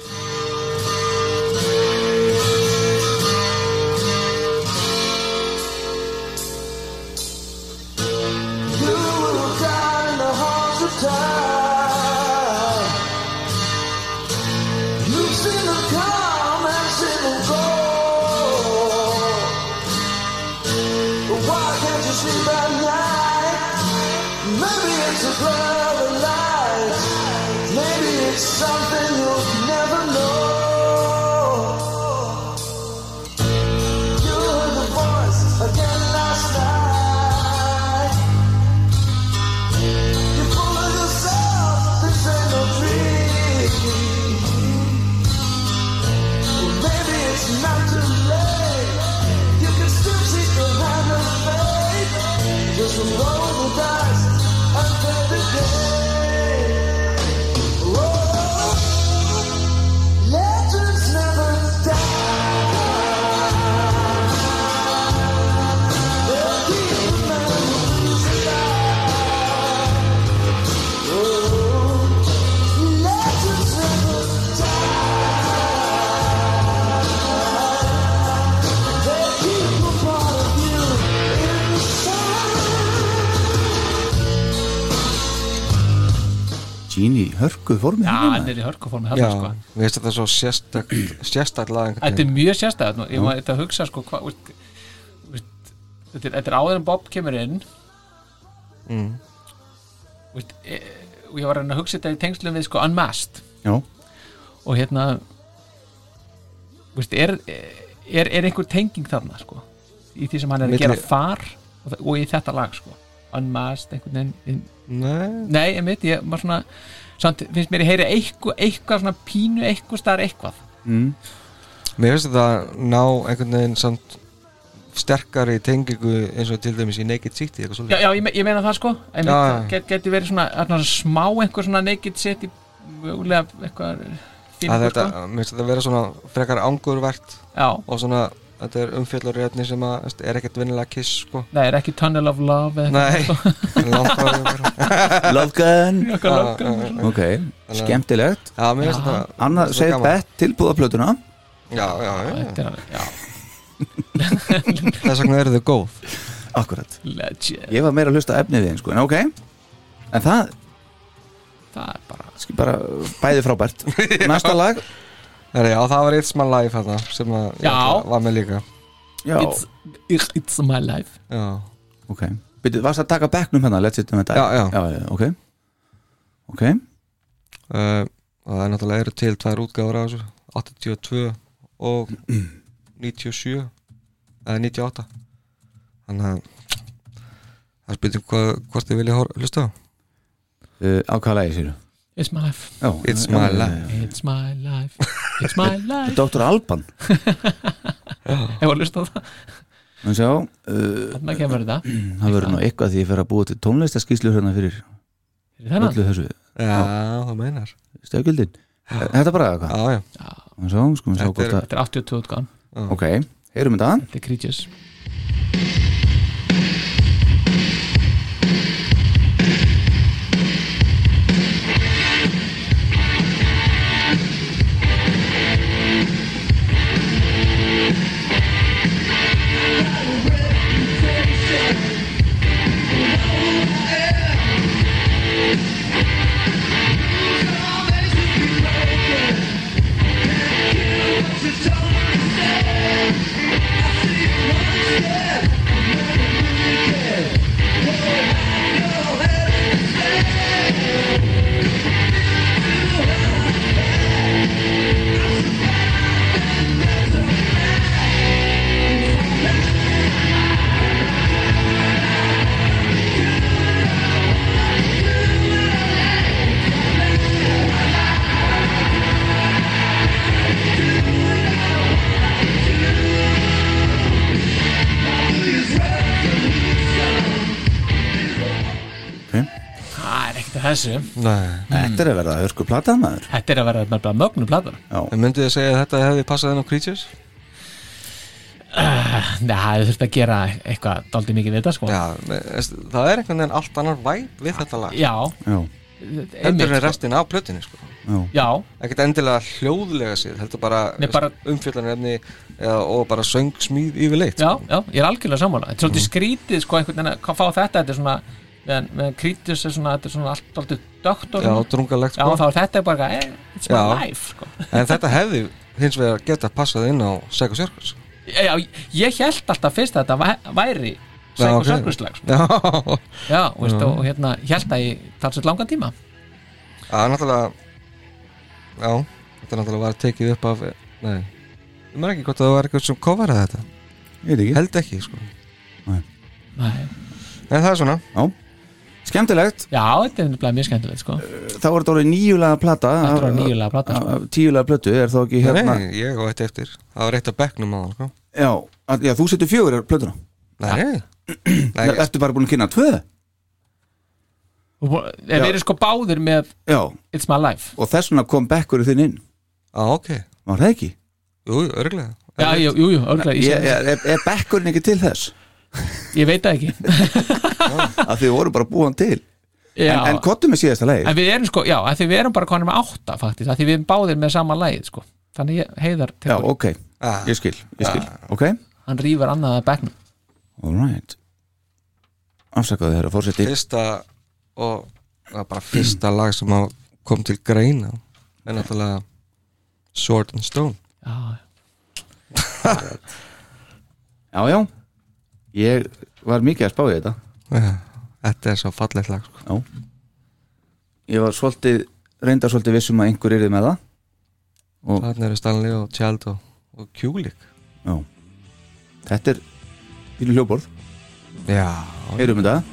B: Something you'll never know. You heard the voice again last night. You fooled yourself, this ain't no dream. Well, maybe it's not too late. You can still see the hand of fate. Just roll the dice until the day. Oh, legends never die.
E: Gini, hörkuð formi
F: Já,
E: hann
F: þetta er í
A: Já,
F: hörkuformi þarna sko
A: mér finnst þetta svo sérstakt sérstakt lag einhvern
F: Þetta
A: veginn.
F: er mjög sérstæð, ég maður þetta að hugsa sko hva, veist, veist, þetta, er, þetta er áður en Bob kemur inn veist, e, og ég var að reyna að hugsa þetta í tengslum við sko Unmasked
E: Já,
F: og hérna veist, er, e, er, er einhver tenging þarna sko, í því sem hann er að
A: Milli-
F: gera far og, þa- og í þetta lag sko Unmasked, einhvern veginn inn,
A: Nei,
F: nei, einmitt, ég var svona
E: Mm.
F: samt finnst mér ég heyri eitthvað, eitthvað svona pínu eitthvað starf eitthvað
A: Mér finnst þetta ná einhvern veginn samt sterkari tengingu eins og til dæmis í Naked City eitthvað
F: já,
A: svolítið.
F: já, ég, me- ég meina það sko en
A: Já,
F: það
A: já.
F: get, geti verið svona, svona smá einhver svona naked set í mögulega eitthvað
A: Að
F: fílingur,
A: þetta,
F: sko.
A: mér finnst þetta vera svona frekar angurvert
F: já,
A: og svona, þetta er umfjallurrétni sem að, veist, er ekkert vinnilega kiss, sko.
F: það er ekki tunnel of love eða
A: Nei, langt frá því bara.
E: Love Gun
A: Já,
F: eitthvað
A: já,
F: langar
A: já.
E: Ok, skemmtilegt
A: Já, mér finnst þetta
E: Anna,
A: Svo
E: segir
A: gaman.
E: Bett tilbúða plötuna
A: Já, já, já,
F: Þetta er alveg- já,
A: þess vegna eru þau góð
E: Akkurat
F: legend
E: Ég var meira að hlusta á efnið þín, sko, en ok En það,
F: það er bara
E: skil bara bæði frábært Næsta lag
A: Herra, Já, það var eitt smá live þarna sem að ég
F: Já.
A: ætla- var með líka
E: Já,
F: it's, it's my life
A: Já,
E: ok Byrju, varst að taka bekknum hérna, let's it um þetta
A: já, já.
E: já, já, ok Ok,
A: Uh, og það er náttúrulega eru til tvær útgáður á þessu 82 og 97 eða 98 þannig að það er spytum hvað, hvort þið vilja hlusta á
E: uh, á hvaða lagi séru?
F: it's my life,
E: Já,
A: It's
E: já,
A: my
E: já, já,
A: life.
E: já.
F: it's my life it's my life
E: Dr. Alban
F: ef að hlusta á það,
E: Nú sjá, uh,
F: þannig að kemur þetta
E: það verður nú eitthvað því ég fer að búa til tónlistaskíslu hérna fyrir
F: er þennan,
E: öllu þessu
A: Já, það meinar
E: stöðgjöldin Þetta bara eða hvað?
A: Já, já,
E: Nú sjá, sko, sjá
A: Þetta er-
E: hvort að
F: þetta er 82 útgáðan
E: Ok, heyrum þetta
F: þetta er Creatures það er ekkert að þessu,
A: nei
E: Þetta er að verða hörku plata maður
F: þetta er að vera bara mögnum platar
A: En myndið þið segja að þetta hefði passað inn á Creatures?
F: Nei, það þurft að gera eitthvað daldið mikið við þetta sko
A: Já, me- veist, það er einhvern veginn allt annar væp við þetta lag
F: Já,
E: Já,
A: Heldur en
F: sko.
A: restin af plötinni, sko
F: Já,
A: Ekkert endilega hljóðlega séð, heldur bara,
F: Nei, bara-
A: umfjöllanefni og bara söngsmíð yfirleitt sko.
F: já, já, ég er algjörlega sammála Þetta er svolítið skrítið sko einhvern veginn að hvað fá þetta Þetta er svona, meðan, meðan krítis er svona Þetta er svona allt daldið dögt og
A: Já,
F: svona.
A: drungalegt
F: já,
A: sko
F: þá er þetta bara eh, It's my
A: Já.
F: life sko
A: En þetta hefði hins vegar geta passað inn á Psycho Circus
F: Já, ég held alltaf fyrst að þetta væ- væri
A: Já,
F: Sækur
A: ok.
F: sörgurslag sko.
A: Já,
F: Já, veist, og hérna, ég held að ég talsett langan tíma
A: það er náttúrulega Já, þetta er náttúrulega var tekið upp af Nei, ég maður ekki hvort að það var eitthvað sem coveraði þetta
E: ég veit ekki
A: Held ekki, sko
F: Nei.
A: En það er svona
E: Skemmtilegt,
F: Já, þetta er nefnilega mjög skemmtilegt sko
E: þá er þetta orðið nýjulega plata
F: Þetta var nýjulega plata sko.
E: Tíulega plötu, er þá ekki hérna
A: Nei, ég á eitt eftir Það var eitt af bekknum á hann, sko
E: Já, að, já, þú setur fjögur er plötuna
A: Nei, nei
E: Nei, Ertu bara búin að kynna tvö?
F: Og bú- En við erum sko báðir með
E: Já,
F: It's my life
E: og þess vegna kom bekkurinn þinn inn
A: Á, ok
E: Var það ekki?
A: Jú, jú, örglega
F: Já, jú, jú, jú, örglega, ég,
E: Ég,
F: ég,
E: er, er- er bekkurinn ekki til þess?
F: ég veit það ekki
E: Að þið voru bara búin til
F: Já.
E: En, en kottum er síðasta leið
F: En við erum sko, já, að því við erum bara konum með átta faktisk, að því við erum báðir með sama lagið sko. þannig ég heiðar til
E: Já, ok,
A: Ah.
E: ég skil, ég skil Ok,
F: hann rýfur annað að bekknum
E: alright Afsakaðu þeirra fórseti
A: Fyrsta og það var bara fyrsta lag sem að kom til greina er náttúrulega Sword and Stone
F: já,
E: Já, já, ég var mikið að spá í þetta
A: Já, Þetta er svo fallegt lag sko.
E: Já Ég var svolítið, reyndar svolítið vissum að einhver yrði með það
A: Þarna eru Stanley og Child og, og Kulik
E: Já Þetta er bínu hljóborð
A: Já
E: Heyrum þetta
F: já,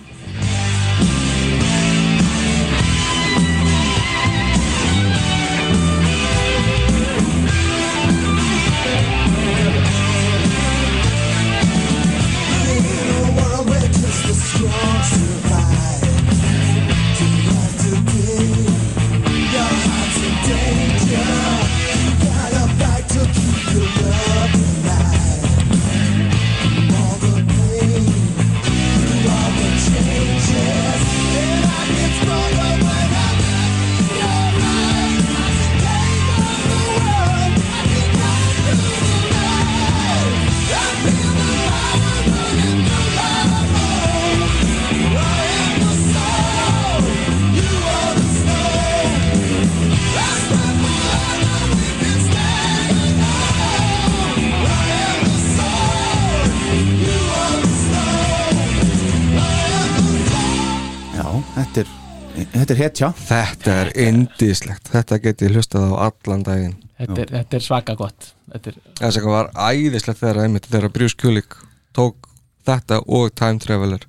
E: þetta er, þetta er hetja
A: Þetta er indislegt Þetta geti hlustað á allan daginn
F: þetta, er, þetta er svaka gott þetta er,
A: Þess að var æðislegt þegar einmitt þegar Bruce Kulik tók þetta og Time Traveler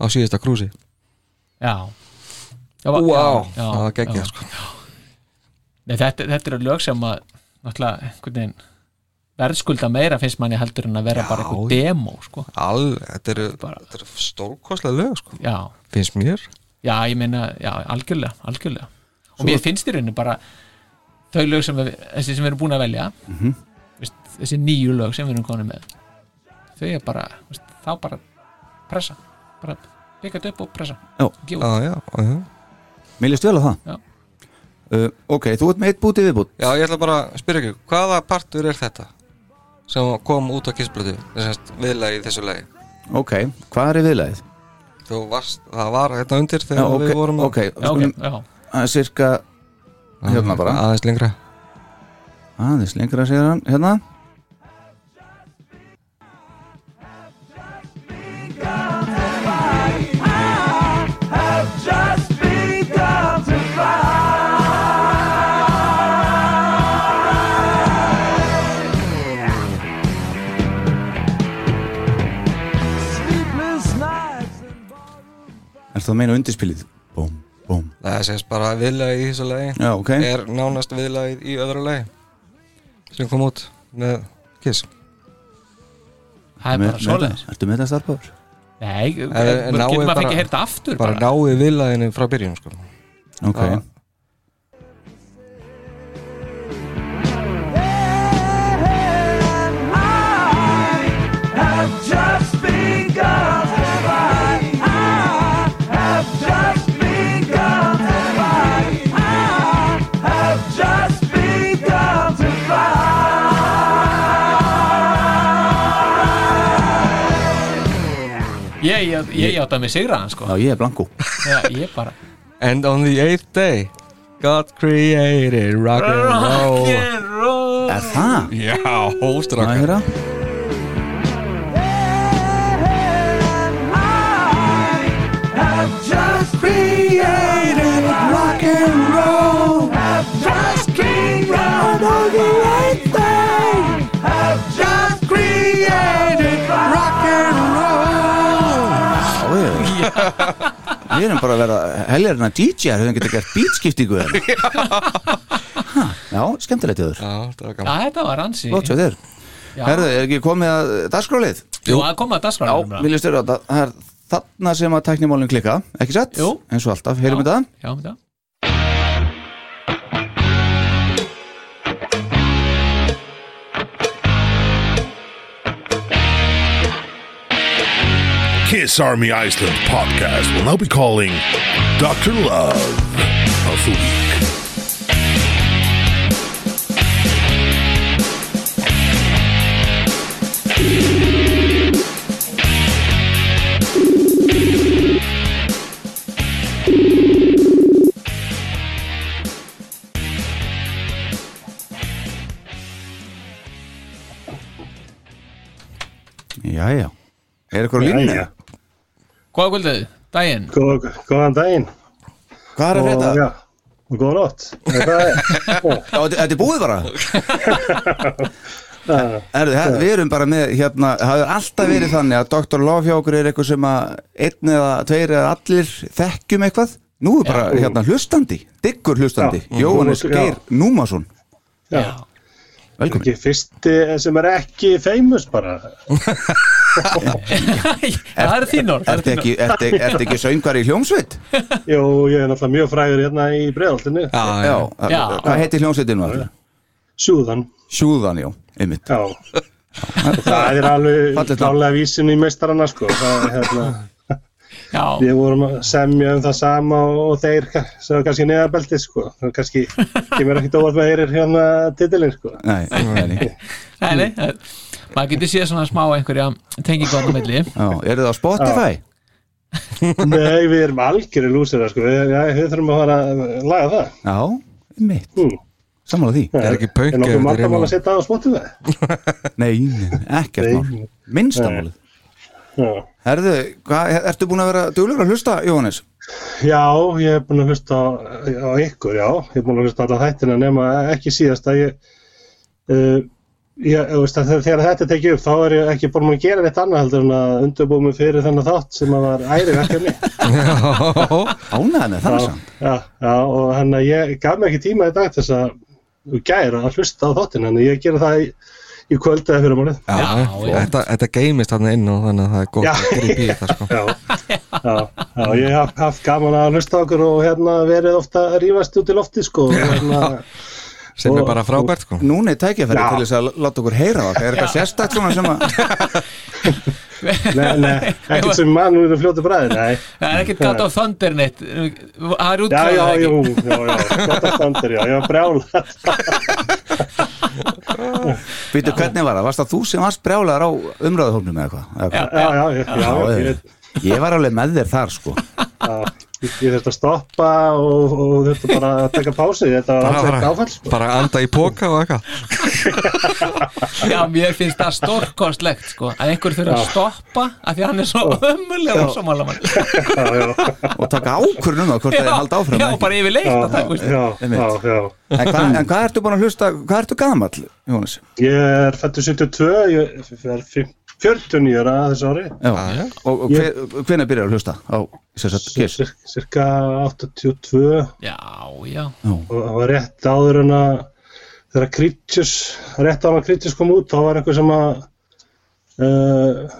A: á síðasta krúsi
F: já já, va-
A: Vá,
F: já, já,
A: það var
F: já.
A: geggjað sko
F: Nei, þetta, þetta eru lög sem að náttúrulega einhvern veginn verðskulda meira finnst manni heldur en að vera bara eitthvað demo sko.
A: Alveg, þetta eru,
F: Bara-
A: þetta eru stórkostlega lög sko
F: já,
A: Finnst mér
F: já, ég meina já, algjörlega, algjörlega og mér finnst í rauninu bara þau lög sem við, þessi sem við erum búin að velja
A: Mhm.
F: veist, þessi nýju lög sem við erum konum með þau er bara, veist, þá bara pressa, bara pika þetta upp og pressa
E: Já.
F: Gefa út.
A: Já, já, já
E: Mér líst vel á það
F: Já.
E: uh, Ok, þú ert með eitt búti viðbútt
A: Já, ég ætla bara að spyrja ekki, hvaða partur er þetta sem kom út á kissblötu viðlagi í þessu lagi
E: Ok, hvað er í viðlæðið?
A: Þú varst, það var hérna undir
E: Já,
A: þegar
E: ok,
A: við vorum
E: ok,
F: já,
E: skulum-
F: ok, já,
E: Það er cirka hérna bara.
A: aðeins lengra
E: aðeins lengra segir hann hérna Er það að meina undirspilið? Búm, búm
A: Það sést bara viðlagi í þessu lagi
E: Já, ok
A: er nánast viðlagið í öðru lagi sem kom út með kiss
F: það er bara svoleiðis
E: Ertu með það starfbáður?
F: nei,
A: Eh, náið
F: getur maður
A: bara-
F: fengið að heyrta aftur
A: bara
F: bara,
A: náið viðlaginu frá byrjun sko.
E: Ok
A: Já.
F: ég, ég, ég, ég átt að mig sigra hann sko
E: Já, ég er blanko
F: Já, ég bara
A: And on the eighth day God created rock and roll
F: roll
E: Er það?
A: Já,
E: Má ég
A: hóstrakar
E: heyra? Já, ég Við erum bara að vera helgarinn að DJ-ar höfum getað gert beatskiptingu hérna. Ha, Já, skemmtilegt yfir
A: Já, það var gaman
F: Já, þetta var ansi
E: Flott hjá þér
F: Já.
E: Herðu, er ekki komið að dagskrálið?
F: Jú, að koma að
E: Já,
F: dagskráðum
E: viljum störu á þetta Það er þarna sem að tæknimálinn klikka, ekki satt?
F: Jú.
E: Eins og alltaf, heyrum við
F: Já,
E: það?
F: já, já.
I: Kiss Army Iceland podcast will now be calling Dr. Love of the Week.
E: Jæja Er eitthvað línu?
F: Góða kvöldið, daginn
J: Góð, góðan daginn
E: Hvað er að
J: og,
E: frétta?
J: já, og góða nótt Nei, það er- ó,
E: Já, þetta þetta er búið bara Herðu, her, við erum bara með hérna, það er alltaf verið þannig að Dr. Love hjá okkur er eitthvað sem að einn eða tveir eða allir þekkjum eitthvað Nú er bara hérna hlustandi, diggur hlustandi
J: Já.
E: Jóhannes
J: Já.
E: Geir Númason
J: já,
E: Velkomin
J: ekki fyrsti eh, sem er ekki famous bara
F: Það eru þínor
E: Ertu ekki, ertu, ertu ekki söngvar í hljómsveit?
J: Jú, ég er náttúrulega mjög frægur hérna í breiðaltinu
A: Já,
E: Já,
A: já,
F: Já.
E: hvað heitir hljómsveitin var?
J: Sjúðan,
E: Sjúðan, já, einmitt
J: já og það er alveg
E: Fallegt nafn.
J: nálega vísin í meistarana sko það, er, hérna,
F: Já,
J: við vorum að semja um það sama og þeir ka- sem var kannski neðabelti sko það kannski kemur ekkit óvart með þeir er hérna titilin sko
E: Nei, nei, nei
F: nei, nei það- Maður getur séð svona smá einhverja tengingar á milli
E: Já, eru það á Spotify?
J: Nei, við erum algjörir lúsir sko. við, já, við þurfum að fara að laga það
E: Já, einmitt,
J: Hmm.
E: sammála því
A: er ekki punk
J: Er
A: ef
J: nokkuð
A: þetta
J: vandamál
A: er inn á-
J: að setja það á Spotify?
E: Nei, nei, ekkert
J: Nei.
E: mál Minnsta
J: Nei.
E: málið
J: Já.
E: Herðu, hva, ertu búin að vera duglur að hlusta, Jóhannes?
F: Já, ég hef búin að hlusta á, á ykkur, já, ég hef búin að hlusta á alla þættina nema ekki síðast að ég, uh, ég þú veist, að þegar, þegar þetta tekið upp þá er ég ekki búin að gera neitt annað heldur en að undurbúið mig fyrir þennan þátt sem að var æri verkefni.
E: Ánaði með það
F: Já,
E: samt.
F: já, já, og hann að ég gaf mér ekki tíma í dag til þess að gæra að hlusta á þáttin, en ég gera það í, í kvöld eða fyrir málið.
B: Já, þetta, þetta geimist hann inn og þannig að það er góð
F: Já.
B: að gripa í þetta sko.
F: Já, já, ég haf haft gaman að hlusta á okkur og hérna verið ofta að rífast út í lofti sko og hérna,
B: sem
F: Og-
B: er bara frábært sko.
E: Núna er tækjafæri
F: Já.
E: til þess að láta okkur heyra það Er eitthvað sérstakt svona sem að
F: nei, nei, ekkert sem mann úr fljótu bræði, nei
K: Það er ekkert gata á Thunder neitt Það er
F: Já,
K: útlæðið
F: já,
K: ekki
F: jú, já, já, gott að standur, já, ég var brjála
E: Býtu, hvernig var það? Varst það þú sem varst brjálaðar á umræðuhóknum eða hvað? Eða hvað?
F: Já, já, já, já,
E: Já,
F: ég,
E: ég- Ég var alveg með þér þar sko
F: já, ég, ég þurfti að stoppa og, og þurfti bara að taka pási, þetta var
B: Bara,
F: alltaf ekki
B: bara,
F: áfall sko
B: bara anda í póka og eitthvað
K: Já, mér finnst það stórkostlegt sko, að einhver þurfa að stoppa af því að hann er svo ömulega og sammála mann
F: Já, já,
E: Og taka ákvörðun um það hvort það er halda
K: Já,
E: áfram eða ekki.
K: bara yfir leitt að taka
F: já, já, já
E: En hvað, en hvað ertu búin að hlusta, hvað ertu gamall, Jónas?
F: Ég er fættu 72, ég er 49 ára þessu ári
E: Já, og, og hver, hvenær byrjar að hlusta á sem sagt, Kiss?
F: Cir- Cirka 82
K: Já, já,
F: og það var rétt áður en að þegar Creatures, rétt áður en að Creatures kom út þá var einhver sem að uh,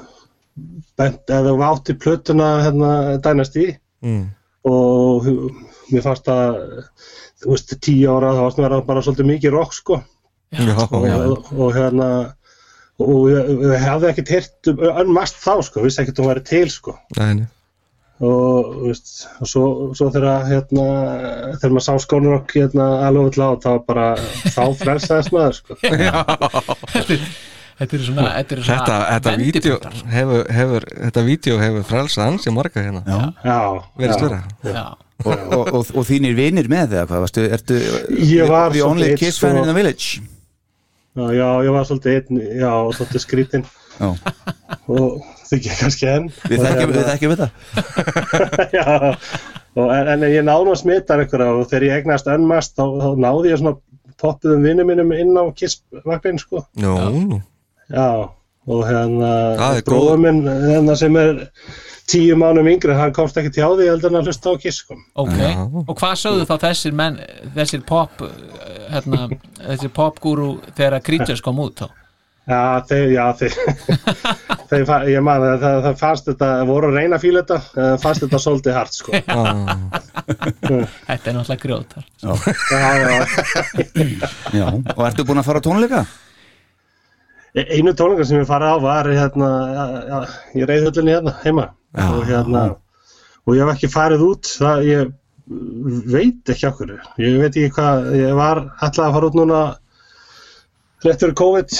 F: bent eða var átt í plötuna hérna dænast í
B: mm.
F: og hu- mér fannst að þú veist, tíu ára þá varst mér bara svolítið mikið rock sko
B: já,
F: og,
B: já,
F: og, og hérna og ég, ég hefði ekkert heyrt um önnmast þá sko, vissi ekkert hún væri til sko
B: Nei, nei.
F: og, þú veist, og svo, svo þegar hérna, þegar maður sá skónurokk hérna, alveg vill á þá bara þá frelsaðist maður sko.
K: þetta eru svona Þetta eru svona
B: þetta, þetta vídeo
K: vendipunktar.
B: hefur, hefur þetta vídeo hefur frelsað hans í marga hérna
F: já, já.
B: verið störa
K: Já,
E: Og, og, og, og þínir vinir með eða hvað, varstu, ertu
F: Ég var
E: The only
F: svolítið
E: Kiss
F: sko-
E: fan in the village
F: Já, já, ég var svolítið einn já, og svolítið skrítinn
E: Já.
F: og þykja kannski enn
E: Við
F: Og
E: þekkjum
F: hérna-
E: við þekkjum þetta
F: já, og, en, en ég náðum að smita einhverja og þegar ég egnast önnmast þá, þá náði ég svona poppuðum vinnum mínum inn á kissvagnin sko
B: Nú, nú.
F: Já, og hérna
B: Það er
F: bróður
B: góð.
F: minn hérna sem er tíu mánum yngri, hann komst ekki til á því heldur en að hlusta á kiss sko.
K: ok
B: Já.
K: Og hvað sögðu þá þessir menn þessir pop uh, hérna, þessir popgúru þegar að Creatures kom út þá
F: Já, þeir, já, þeir, þeir fa- ég man að það, það fannst þetta, voru að reyna að fíla þetta, eh, fannst þetta svolítið hart sko. Já,
K: Þetta er náttúrulega grjótar
F: já.
E: Já. Og ertu búin að fara á tónleika?
F: E- Einu tónleika sem ég farið á var hérna, já, ég reyði höllinni hérna heima og hérna, og ég hef ekki farið út, það ég veit ekki okkur, ég veit ekki hvað, ég var alltaf að fara út núna rétt fyrir COVID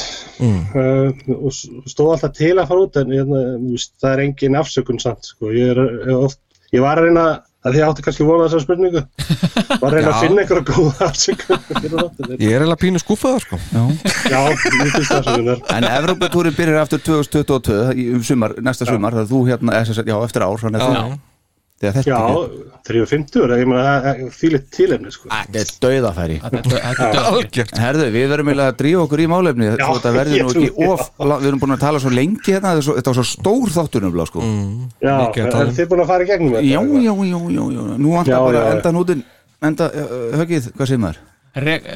F: uh, og s- stóð alltaf til að fara út en hérna, þú veist, það er engin afsökun samt sko. ég, er, ég, oft, ég var að reyna að því ég átti kannski vona þessar spurningu var að reyna að
B: Já.
F: finna einhverja góða afsökun fyrir
B: ég
F: þáttinn.
B: er eiginlega pínu skúfaður sko
F: já, mjög afsökunar
E: En Evrópatúrin byrjar aftur 2022 í- um sumar, næsta sumar, það er þú hérna eða sem sagt, já, eftir ár, þannig að þú þegar þetta
F: já,
E: er-
F: 350 ég meina, það er fílitt tilefni sko.
E: Þetta er dauðafæri
K: Þetta þetta er döðlegt
B: algjört
E: Herðu, við verðum eiginlega að drífa okkur í málefni já,
F: Já,
E: þetta verður
F: ég
E: nú
F: trúi
E: ekki
F: því.
E: of la- við erum búin að tala svo lengi hérna þetta er svo- þetta var svo stór þáttur nefnilega sko
B: Mm.
F: já,
B: mikið að tala
F: er
B: um.
F: þið búin að fara í gegnum þetta?
E: já, já, já, já, já, nú
F: Já,
E: vantar bara
F: já,
E: að
F: já.
E: enda nútin enda uh, höggið, hvað segir maður?
K: Rek-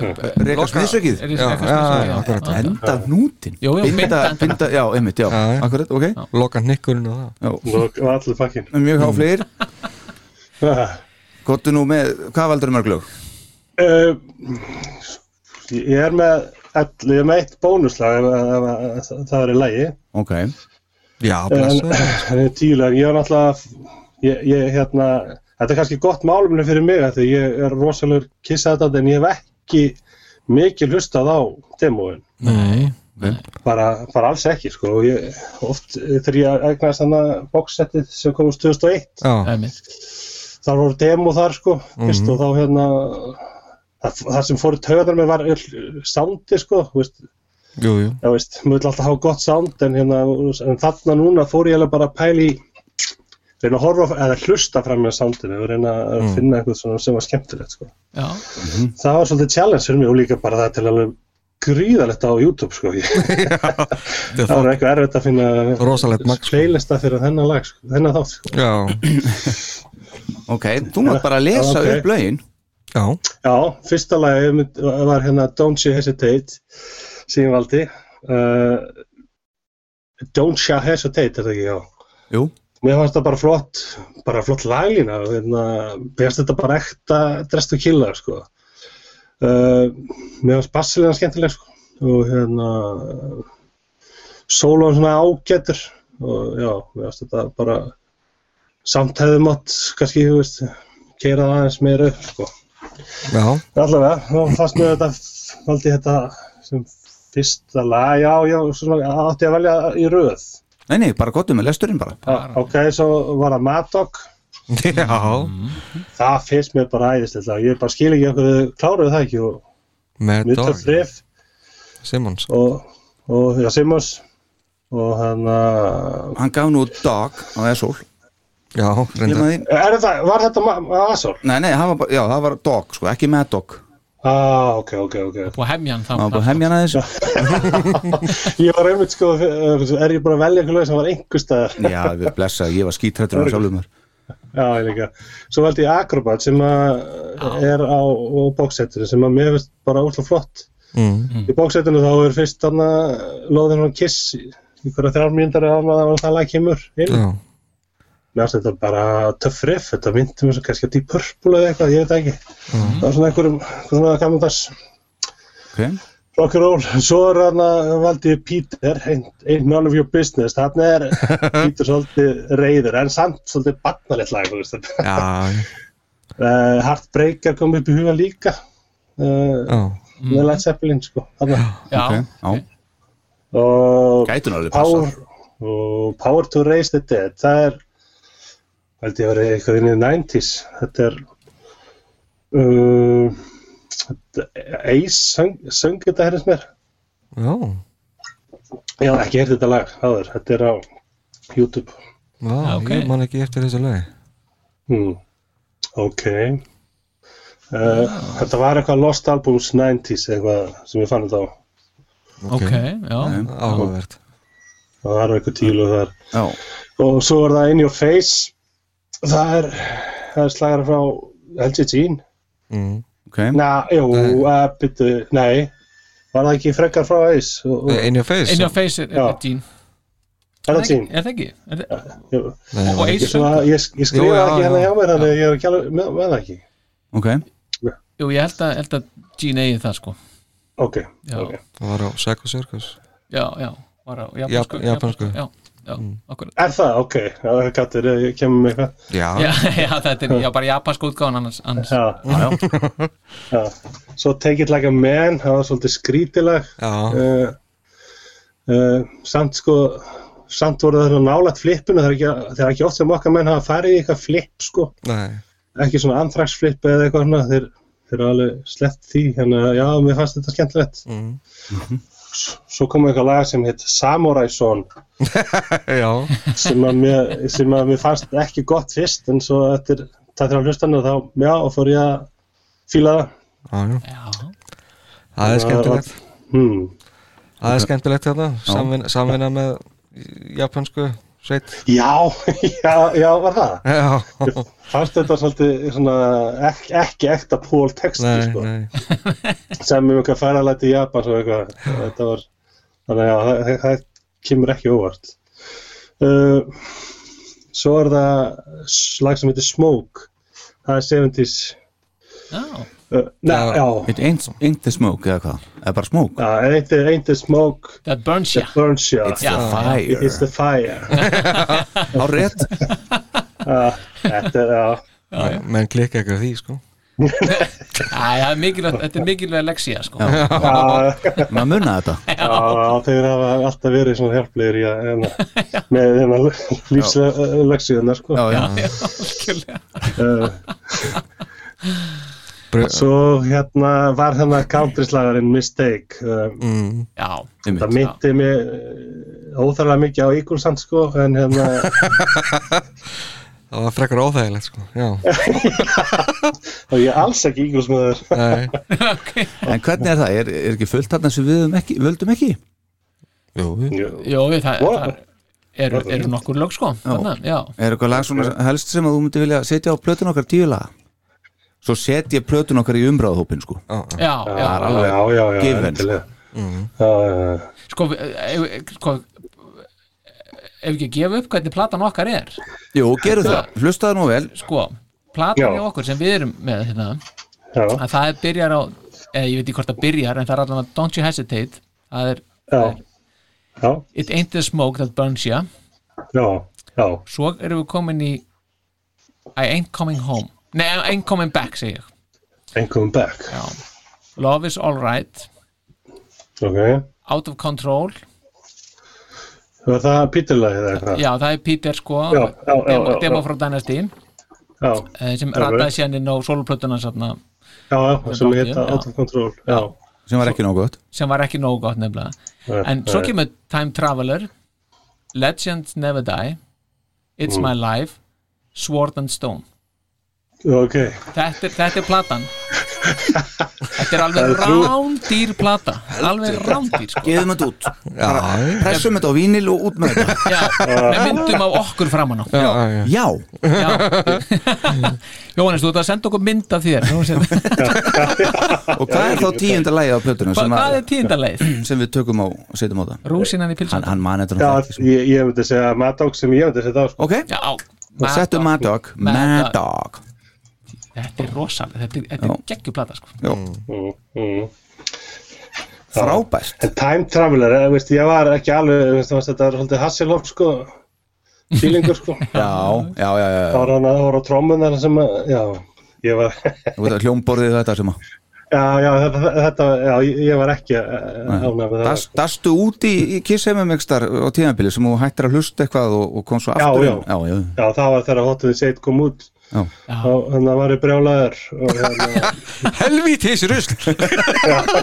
E: Reka smiðsökið?
K: Reka smiðsökið,
B: Já, já,
K: já.
B: akkurat.
K: Já.
E: Enda nútin?
K: Jú, jú,
E: binda,
K: binda-
E: binda, já, einmitt, já,
B: Já, já.
E: akkurat, ok já.
B: loka nikkurinn og það Mm.
F: og og allir pakkin
E: mjög háflegir,
F: uh,
E: gottu nú með hvað valdur mörg lög?
F: Eh, ég er með all, ég er með eitt bónuslag ef, ef, ef, ef það er í lagi
E: ok,
B: já,
F: en
B: blessa
F: en er tíulega, ég er náttúrulega ég, ég hérna, þetta er kannski gott málumni fyrir mig af því ég er rosalegur kissaðat en ég hef ekki mikið hlustað á demóin
B: nei,
F: bara, bara alls ekki sko. Og ég, oft eh, þegar ég eignast þannig boxsettið sem komist 2001
B: já, Mhm.
K: Einmitt.
F: þar voru demo þar sko veist, og þá hérna það, það sem fór í taugarnar mér var öll soundi sko þú veist,
B: jú, jú
F: já veist, maður vil alltaf hafa gott sound en, hérna, en þarna núna fór ég eiginlega bara að pæli reyna að horfa eða hlusta fram með soundinu og reyna að
B: Mm. Mhm.
F: finna eitthvað svona sem var skemmtilegt sko.
D: Já.
F: það var svolítið challenge fyrir mig og líka bara það til alveg gríðalegt á YouTube sko. Ég- það var eitthvað erfitt að finna
B: rosalegt magn sko.
F: playlista fyrir þennan lag sko. þennan þátt sko.
E: ok, þú mátt bara lesa
F: Já, ok.
E: upp lögin
B: já,
F: já, fyrsta lagi mynd- var hérna Don't You Hesitate sem ég valdi uh, Don't You Hesitate er það ekki, já
E: Jú.
F: Mér fannst það bara flott, bara flott laglína og hérna, mér fannst þetta bara ekta drestu killa, sko. Uh, mér fannst bassilina skemmtileg, sko, og hérna, sólóðan svona ágætur og já, mér fannst þetta bara samt hefði mátt, kannski, þú veist, keira það aðeins meira upp, sko.
B: já,
F: Allavega, þá fannst mér þetta, valdi ég þetta sem fyrsta lag, já, já, svona átti ég að velja í röð.
E: nei, nei, bara gottum með lesturinn bara
F: Já, ok, svo var það Maddock
B: já
F: það finnst mér bara æðislega ég bara skil ekki okkur þau kláruðu það ekki og
B: með
F: Mitra
B: Dog
F: Frif
B: Simmons
F: og, og ja, Simons og hérna, hann að-
E: hann gaf nú dog á Esól
B: já, reynda
E: nei,
F: er þetta, var þetta Ma- Ma- Asor?
E: nei, það var, bara- já, það var dog, sko, ekki með dog
F: Ah, ok, ok, ok
D: Búið að hefja hann þá
E: hann var bara hemmjan aðeins
F: ég var einmitt sko, er ég bara að velja einhver lög sem var einhver staðar
E: já, við blessa, ég var skítrættur á sjálfum þar
F: já, ég líka, svo valdi ég Acrobat sem að er á, á bóksettinu sem að mér finnst bara útla flott
B: mm.
F: í bóksettinu þá er fyrst þarna lóðin hann Kiss í hverja þrjár mínútur eða annað að það lag kemur inn
B: já,
F: mér finnst þetta bara töffrif þetta myndi mér svo kannski að dýpa purple eða eitthvað, ég veit það ekki
B: Mm.
F: það var svona einhverjum, svona gaman þess
E: ok,
F: rock and roll, svo er hann að valdi ég Peter, ain't, ain't none of your business þarna er Peter svolítið reyður, en samt svolítið barnalegt lag, þú veist þetta
B: já,
F: uh, Heartbreaker kom upp í huga líka uh,
B: já
F: með Led Zeppelin sko, þarna
D: Já,
E: ok, já,
F: og
E: gætun alveg
F: Power,
E: passa
F: og Power to Raise the Dead það er held ég að vera eitthvað inn í 90s þetta er um, þetta- Ace söng, söng þetta herrins mér
B: já,
F: ég hef ekki hert þetta lag áður, þetta er á YouTube
B: já,
D: ok.
B: ég man ekki eftir þessu lögi
F: hmm. ok uh, þetta var eitthvað Lost Albums 90s eitthvað sem ég fann þetta á
D: ok, já
B: áhugavert
F: það var eitthvað tílu þar
E: já,
F: og svo er það In Your Face það er, það er slagara frá held ég Jean
B: mm.
E: ok,
F: Næ, jú,
B: Nei.
F: að byttu, nei Var það ekki frekar frá Eis? og- og-
B: In your face
D: Inni á face er
F: Já.
D: þetta Jean
F: Er það tín?
D: Er það ekki? Er það-
F: Jú.
B: Nei,
D: uh, Og
F: Ég,
D: Ace
F: svona-
D: söng
F: ég, ég
B: Jú,
F: skrifa
B: já,
F: ekki
B: já.
F: hérna hjá mér þannig að ég er ekki alveg með, með það ekki
E: ok
D: Jú, ég held að, held að Jean eigi það sko
F: Ok,
D: Já,
F: ok
B: það var á Psycho Circus
D: já, já Var á
B: Jap-
D: japansku
B: japansku. Mm.
D: Já, já, okkur
F: Er það? Ok, já, það er gattur, ég kemur með eitthvað
B: já,
D: Já, já, þetta er já, bara japansku útgáðan annars, annars.
F: Já,
E: já,
F: já Svo Take It Like a Man, það var svolítið skrítilag
B: já,
F: uh, uh, Samt sko, samt voru það svona nálægt flippinu Það er ekki, það er ekki oft sem okkar menn hafa farið í eitthvað flipp sko
B: nei
F: ekki svona andragsflip eða eitthvað svona þeir, þeir eru alveg slett því þannig að já, mér fannst þetta skemmtilegt
B: Mm.
F: S- svo kom eitthvað lag sem heit Samurai Son
B: já,
F: sem að, mér, sem að mér fannst ekki gott fyrst en svo eftir það þrjá hlustanu þá, já, og fór ég að fíla það
B: já, já
D: Já,
B: það er skemmtilegt
F: hmm.
B: Það er skemmtilegt þetta, samvinna, samvinna með japansku sveit
F: já, já, já, var það
B: Já,
F: fannst þetta svolítið svona ekki, ekki ekta pól texti
B: nei,
F: sko,
B: nei
F: sem um eitthvað færalæti í Japan svo eitthvað, þetta var þannig að það, það, það kemur ekki óvart uh, svo er það slag sem heitir Smoke það er 70s
D: já,
F: uh,
B: Já.
F: neð, já,
E: it ain't, ain't the smoke eða hvað, eða bara smoke
F: já ain't, the- ain't the smoke
D: that burns ya
F: that burns you
E: it's
D: Já.
E: the fire,
F: it's the fire
E: á rétt
F: þetta er já
B: Men- Menn klikka ekki á því, sko
D: Æ, það er mikilvægt, þetta er mikilvægt leksía sko
F: Já,
E: maður munna þetta,
F: já, þeir hafa alltaf verið svona hjálplegir í að, hérna, með þennan lífslegsíðunar sko.
E: já, já
F: uh,
B: Bru-
F: Svo hérna var hérna countryslagarinn Mistake uh,
B: mm,
D: Já,
E: einmitt.
F: það eh, myndi mig uh, óþarlega mikið á Eaglesand sko en hérna
B: það var frekar óþægilegt sko. já,
F: og ég er alls ekki ígjóðsmaður
E: En hvernig er það? Er, er ekki fullt þarna sem við höfum ekki, völdum ekki?
B: Jú,
J: Jó, við, það, það eru, eru nokkur lög sko þarna, já.
E: Er eitthvað lag svona helst sem að þú myndi vilja setja á plötun okkar tíu laga? Svo set ég plötun okkar í umbráðhópin sko
J: Já, já.
E: Það er alveg
F: já, já, já,
E: given,
F: endilega.
B: Mhm.
F: Já, já, já.
J: Sko, við- ef, sko ef ekki að gefa upp hvernig platan okkar er
E: Jú, gerum það, hlustaðu nú vel
J: sko, platan
F: Já.
J: í okkur sem við erum með hérna,
F: Já,
J: að það byrjar á eða ég veit ekki hvort það byrjar en það er allan að Don't You Hesitate það er
F: já, já,
J: It Ain't The Smoke That Burns Ya
F: já, já,
J: svo erum við komin í I Ain't Coming Home Nei, I Ain't Coming Back segi ég
F: einhverjum back,
J: Já. Love Is Alright
F: ok.
J: Out Of Control
F: Var það pítilagið eða eitthvað?
J: Já, það er Peter sko
F: Já, já, já,
J: demo,
F: já, já.
J: demo frá Dynasty
F: Já,
J: eh, sem
F: Já,
J: rataði
F: vel.
J: sérnin á soloplötuna satna,
F: já, já, sem
J: Sem
F: heita
J: já.
F: Out of Control, já.
E: sem var ekki nógu gott
J: sem var ekki nógu gott nefnilega
F: Nei,
J: en svo
F: nei.
J: kemur Time Traveler Legends Never Die It's
F: Mm.
J: My Life Sword and Stone
F: Ok,
J: þetta er, þetta er platan þetta er alveg
F: trú.
J: rándýr plata alveg rándýr sko
E: Geðum þetta út,
B: já,
E: pressum þetta á vínil og út með þetta
J: Já, með myndum af okkur framan á
B: já, já, já.
E: Já,
J: Já. Jóhannes, þú ert að senda okkur mynd af þér Nú sér- Hva,
E: og hvað er þá tíunda lagið á plötunum sem,
J: Hvað
E: að,
J: er tíndaleið?
E: sem við tökum á og setjum á það?
J: Rúsinan í
E: Hann,
J: pilsan
E: hann man
F: já,
E: eitthvað ekki
F: ég, ég myndi segja Maddox sem ég myndi segja það, sko.
E: Ok,
J: Já,
E: og settum Mad Dog Mad
J: Mad
E: Dog
J: Þetta er rosalega, þetta er, þetta er geggjuplata sko
E: Jó,
F: Mm, mm.
E: frábært
F: En Time Traveler, eh, veist, ég var ekki alveg, veist, þú veist, þetta er svolítið Hasselhoff, sko, feelingur, sko.
E: Já, já, já, já, já.
F: Það var hann að voru á trómunar sem að, já, ég var,
E: Þú veit að hljómborðið þetta sem að
F: já, já, þetta, þetta já, ég- ég var ekki ánægð með það.
E: Das- Dastu út í, í kissememikstar á tíðanbili sem þú hættir að hlusta eitthvað og, og kom svo
F: Já,
E: aftur
F: já.
E: inn. já, já,
F: Já, það var þegar Hot Wheels 1 kom út,
E: já.
F: þá, þannig að var ég brjálæður og hérna,
B: helvítis rusl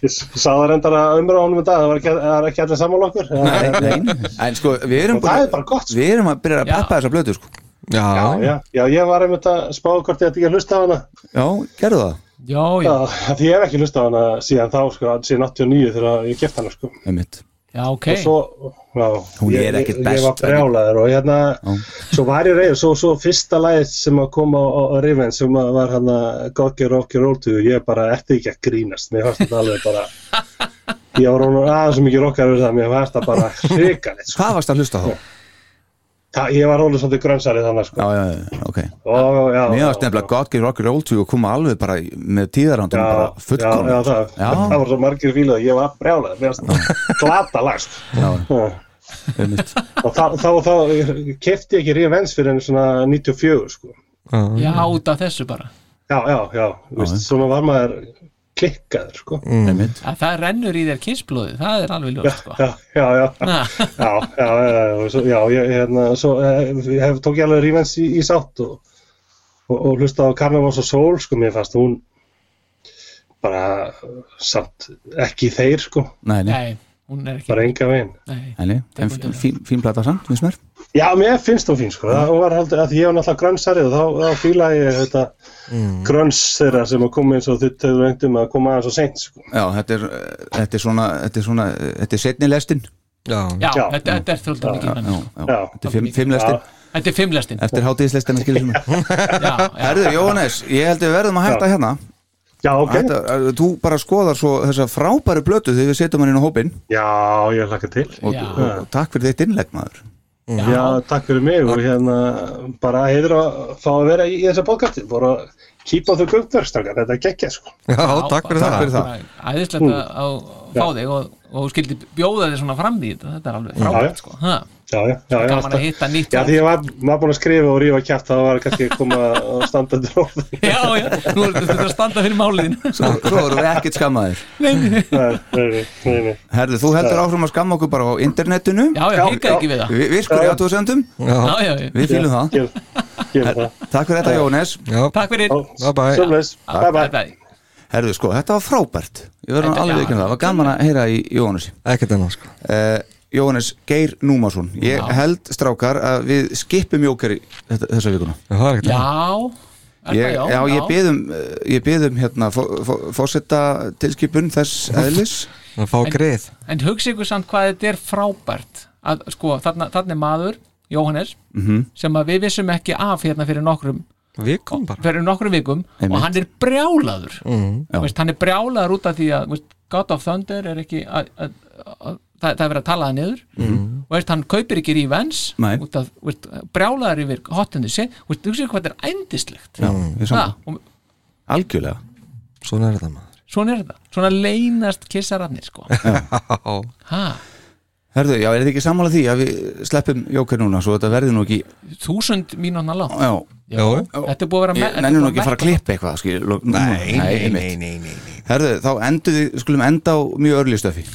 F: ég sá það reyndar að umræða honum þetta, það var ekki, það er ekki allir sammála okkur.
E: Nei, nei, en sko við erum,
F: Og það er bara gott, sko.
E: við erum að byrja
J: Já.
E: að peppa þessa blötu sko.
B: já,
F: Já, já, ég var einmitt að spáðu hvort ég ætti ekki að hlusta á hana.
E: Já, gerðu það
J: Já, já,
F: Já, af því ég hef ekki hlusta á hana síðan þá, sko, síðan 89 þegar ég keft hana, sko.
E: einmitt.
J: já, ok
F: og svo, já,
E: Hún
F: ég-
E: er ekkert
F: ég-
E: best,
F: ég var brjálaður og hérna, svo var ég reyður svo, svo fyrsta lagið sem að koma á, á, á Riven sem að var hérna, hann að Goggi Rokki Róltu, ég bara ertu ekki að grínast mér fannst þetta alveg bara ég var honum aðeins svo mikið rokkar við það mér fannst það bara hrikalegt sko.
E: Hvað varst að hlusta þá?
F: Það- ég var honum svolítið grönsari þannig sko.
E: Já, já, já, ok
F: og, já,
E: Mér
F: já,
E: varst nefnilega God Give Rocky Roll 2 og koma alveg bara í- með tíðarhandum
F: já,
E: bara fullkom
F: já, já, það, það var svo margir fílað ég var brjálaður, mér fannst það glata lagst já.
E: einmitt.
F: og þá, þá, þá kefti ég ekki Revenge fyrir enn svona 94 sko.
J: Já, út af þessu bara
F: já, já, já, þú veist, svona var maður klikkaður, sko
E: Einmitt.
J: að það rennur í þér kissblóði það er alveg ljóst sko.
F: já, já, já, já,
J: Ha,
F: já, já, já, já, svo, já ég, hérna, svo eh, ég hef tók ég alveg rífens í, í sátt og, og, og hlusta á Carnivals og Soul, sko, mér fannst hún bara eh, samt ekki þeir, sko,
E: Nei, nei,
J: nei, hún er ekki
F: bara enga veginn
J: nei.
E: nei, nei. En fín, fín, fín plata samt, finnst mér
F: já, mér finnst hún fín, sko, það hún var haldið að því ég var náttúrulega grönnsari og þá, þá fílaði ég þetta grönns þeirra sem að koma eins og þitt höfðu vengtum að koma aðeins og seint, sko
E: Já, þetta er, eh, þetta er svona Þetta er svona, eh, þetta er setni lestin
B: já,
J: já,
F: Já.
J: þetta, þetta er þjóldum ekki
E: Já,
J: innan
E: já,
F: Já.
E: þetta er fimm, fimm lestin
J: þetta er fimmlestin já,
E: Eftir hátíðislestina skilur sem
J: já,
E: Herðu, Jóhannes, ég held við verðum að hætta hérna
F: já, ok,
E: Þetta, eh, Þú bara skoðar svo þessa frábæru blötu þegar við setjum hann inn á hópinn
F: já, ég hlakka til
E: og,
J: Já.
E: og, og takk fyrir þitt innlegg maður
F: Já, takk fyrir mig og hérna bara heiður að fá að vera í, í þessa podcasti, bara keep on the good work strákar, þetta er geggja sko Mm.
B: já, takk fyrir
E: Takk
B: það
E: fyrir það.
J: æðislegt að að fá þig og, og þú skildi bjóða þig svona fram í þetta þetta er alveg
F: Já, já.
J: frábært sko. Ha,
F: Já, já, já, já,
J: gaman
F: alltaf-
J: að hitta nýtt
F: já því ég var, var búin að skrifa og rífa kjæft þá var kannski að koma að standa undir orðin
J: já, já, þú ert þetta að standa fyrir máliðin
E: Svo, svo erum við ekkert skammaðir
F: Nei, nei, nei, nei.
E: Herðu, þú heldur áfram að skamma okkur bara á internetinu
J: já, já,
F: Já,
J: hikaði ekki við það
E: Vi- Virkur í aðtóðsendum,
J: já, já, já.
E: við fýlum það
F: Ger, ger það
E: Takk fyrir þetta Jóhannes
B: já,
J: takk fyrir
B: bye bye
F: Sjöfnleis, bye bye
J: bye.
E: Herðu sko, þetta var frábært Ég verður
J: Þetta-
E: alveg
J: já.
E: ekki það, það var gaman að heyra í Jóhannesi
B: ekkert enná sko
E: uh, Jóhannes Geir Númason Ég
F: Já.
E: held strákar að við skipum jókar í þetta, þessa vikuna
A: Það er
F: Já, er
E: Ég,
F: það
E: já, ég byðum, ég byðum hérna fósetta tilskipun þess eðlis
A: Það fá
F: En-
A: greið
F: En hugsa ykkur samt hvað þetta er frábært að sko, þarna, þarna er maður Jóhannes,
E: Mhm.
F: sem að við vissum ekki af hérna fyrir nokkrum
A: Vikum bara
F: fyrir nokkrum vikum
E: Einmitt. Mhm.
F: og hann er brjálaður
A: mm.
E: Já.
F: veist, hann er brjálaður út af því að veist, God of Thunder er ekki að, að, að, það, það er verið að tala það niður mm. veist, hann kaupir ekki rívens
E: Mhm. Nei.
F: út af, veist, brjálaður yfir hotinu sé, veist, þú séu hvað þetta er ændislegt
E: Já,
A: Mm.
E: ég er sammála.
F: og
E: Algjörlega
A: Svona er þetta maður
F: svona er þetta, svona leynast kissararnir sko
A: Já,
F: ha,
E: Herðu, já, er þið ekki sammála því að við sleppum jókar núna svo þetta verði nú ekki
F: þúsund mínúna langt
E: Já,
F: Já. Þetta er búið að vera me-
E: Ég nenni
F: þetta er
E: nú
F: búið
E: ekki að fara að klippa eitthvað skil, lo- núna. einmitt.
A: nei, nei, nei.
E: Herðu, þá endur við, skulum enda á mjög örli stöfi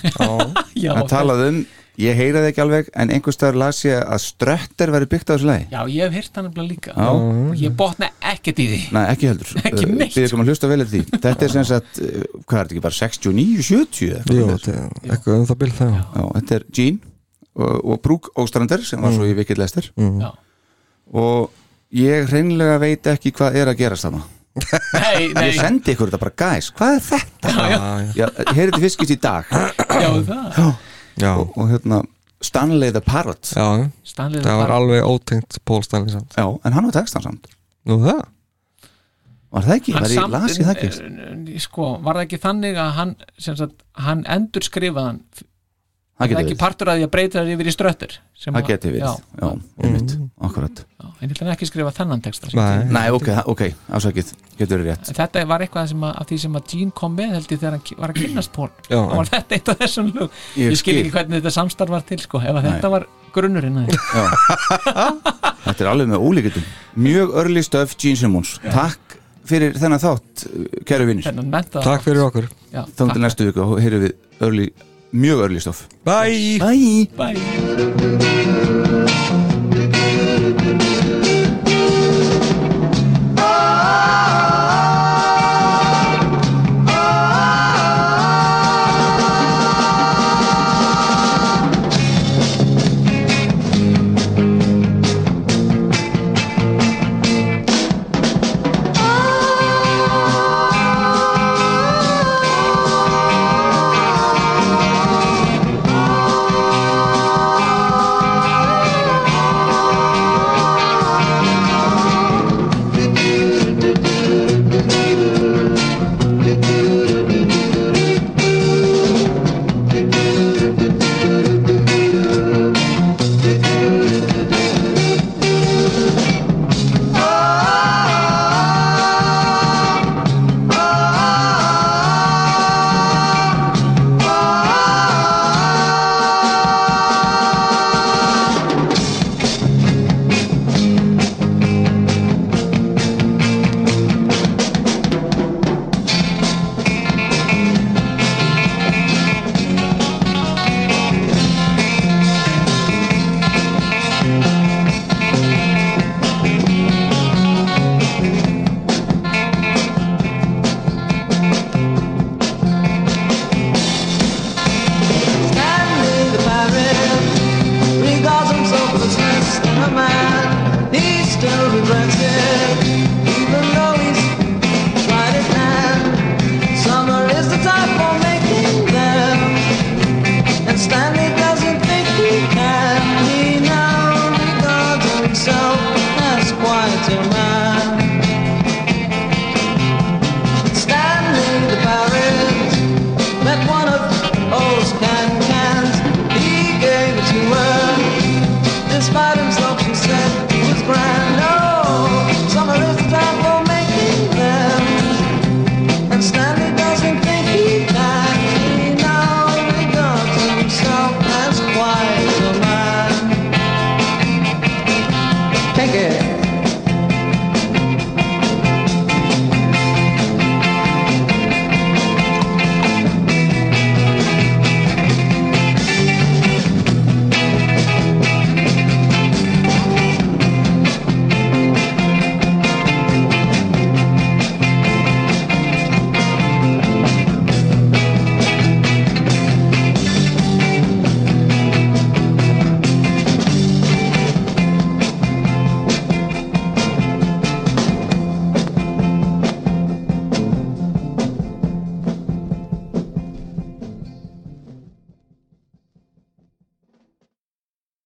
F: Já,
E: Það talaði um, ég heyraði ekki alveg en einhvers staðar las ég að ströttir verið byggt á þessu lagi
F: Já, ég hef hýrt hann nefnilega líka
E: Já.
F: og ég botna ekkert í því
E: Nei, ekki heldur
F: Mm.
E: Eh,
F: Ekki neitt.
E: Við erum að hlusta vel eftir því Þetta er sem sagt, uh, hvað er þetta ekki bara 69, 70 eða eitthvað
A: Jú,
E: svoleiðis?
A: þetta er eitthvað um það byrð það
E: Já, þetta er Jean og, og Brúk Óstrander sem
A: Mm.
E: var svo í Vikil Lester
F: Já.
E: og ég hreinlega veit ekki hvað er að gerast þarna
F: Nei, nei,
E: Ég sendi ykkur þetta bara, guys, hvað er þetta?
F: já,
E: Já, heyrði fiskist í dag
F: já, það
A: Já,
E: og, og hérna, Stanley the Parrot
A: já,
F: Stanley
A: það var alveg ótengt Pól Stanley samt
E: Já, en hann var textan samt
A: Nú það?
E: Var það ekki?
F: hann
E: Var ég
F: samt-
E: las ég það ekki?
F: sko, var það ekki þannig að hann sem sagt, hann endur skrifaðan
E: Það
F: það
E: getur
F: ekki
E: verið
F: partur að því að breyta það yfir í ströttir
E: Það getur verið,
F: já,
E: já, einmitt, akkurat
F: já, en ég ætla hann ekki að skrifa þennan texta sem
A: Nei.
F: Gene-
E: Nei, ok, ok, ásakið, getur verið rétt
F: En þetta var eitthvað sem að, af því sem að Gene kom með held ég þegar hann ki- var að kynnast pól
A: Já.
F: og var þetta eitt af þessum lög
E: Ég
F: ég, skil
E: skil.
F: ekki hvernig þetta samstarf var til sko, ef að þetta var grunnurinn að því.
E: Þetta er alveg með ólíkjöndum Mjög early stuff Gene Simmons Takk fyrir þennan þátt, kæru vinnir
F: þennan menta
A: Takk fyrir okkur
F: já,
E: Þannig til næstu viku og heyrðum við early, mjög early stuff
A: Bye
E: Bye!
F: bæ
H: Thank
B: Oh,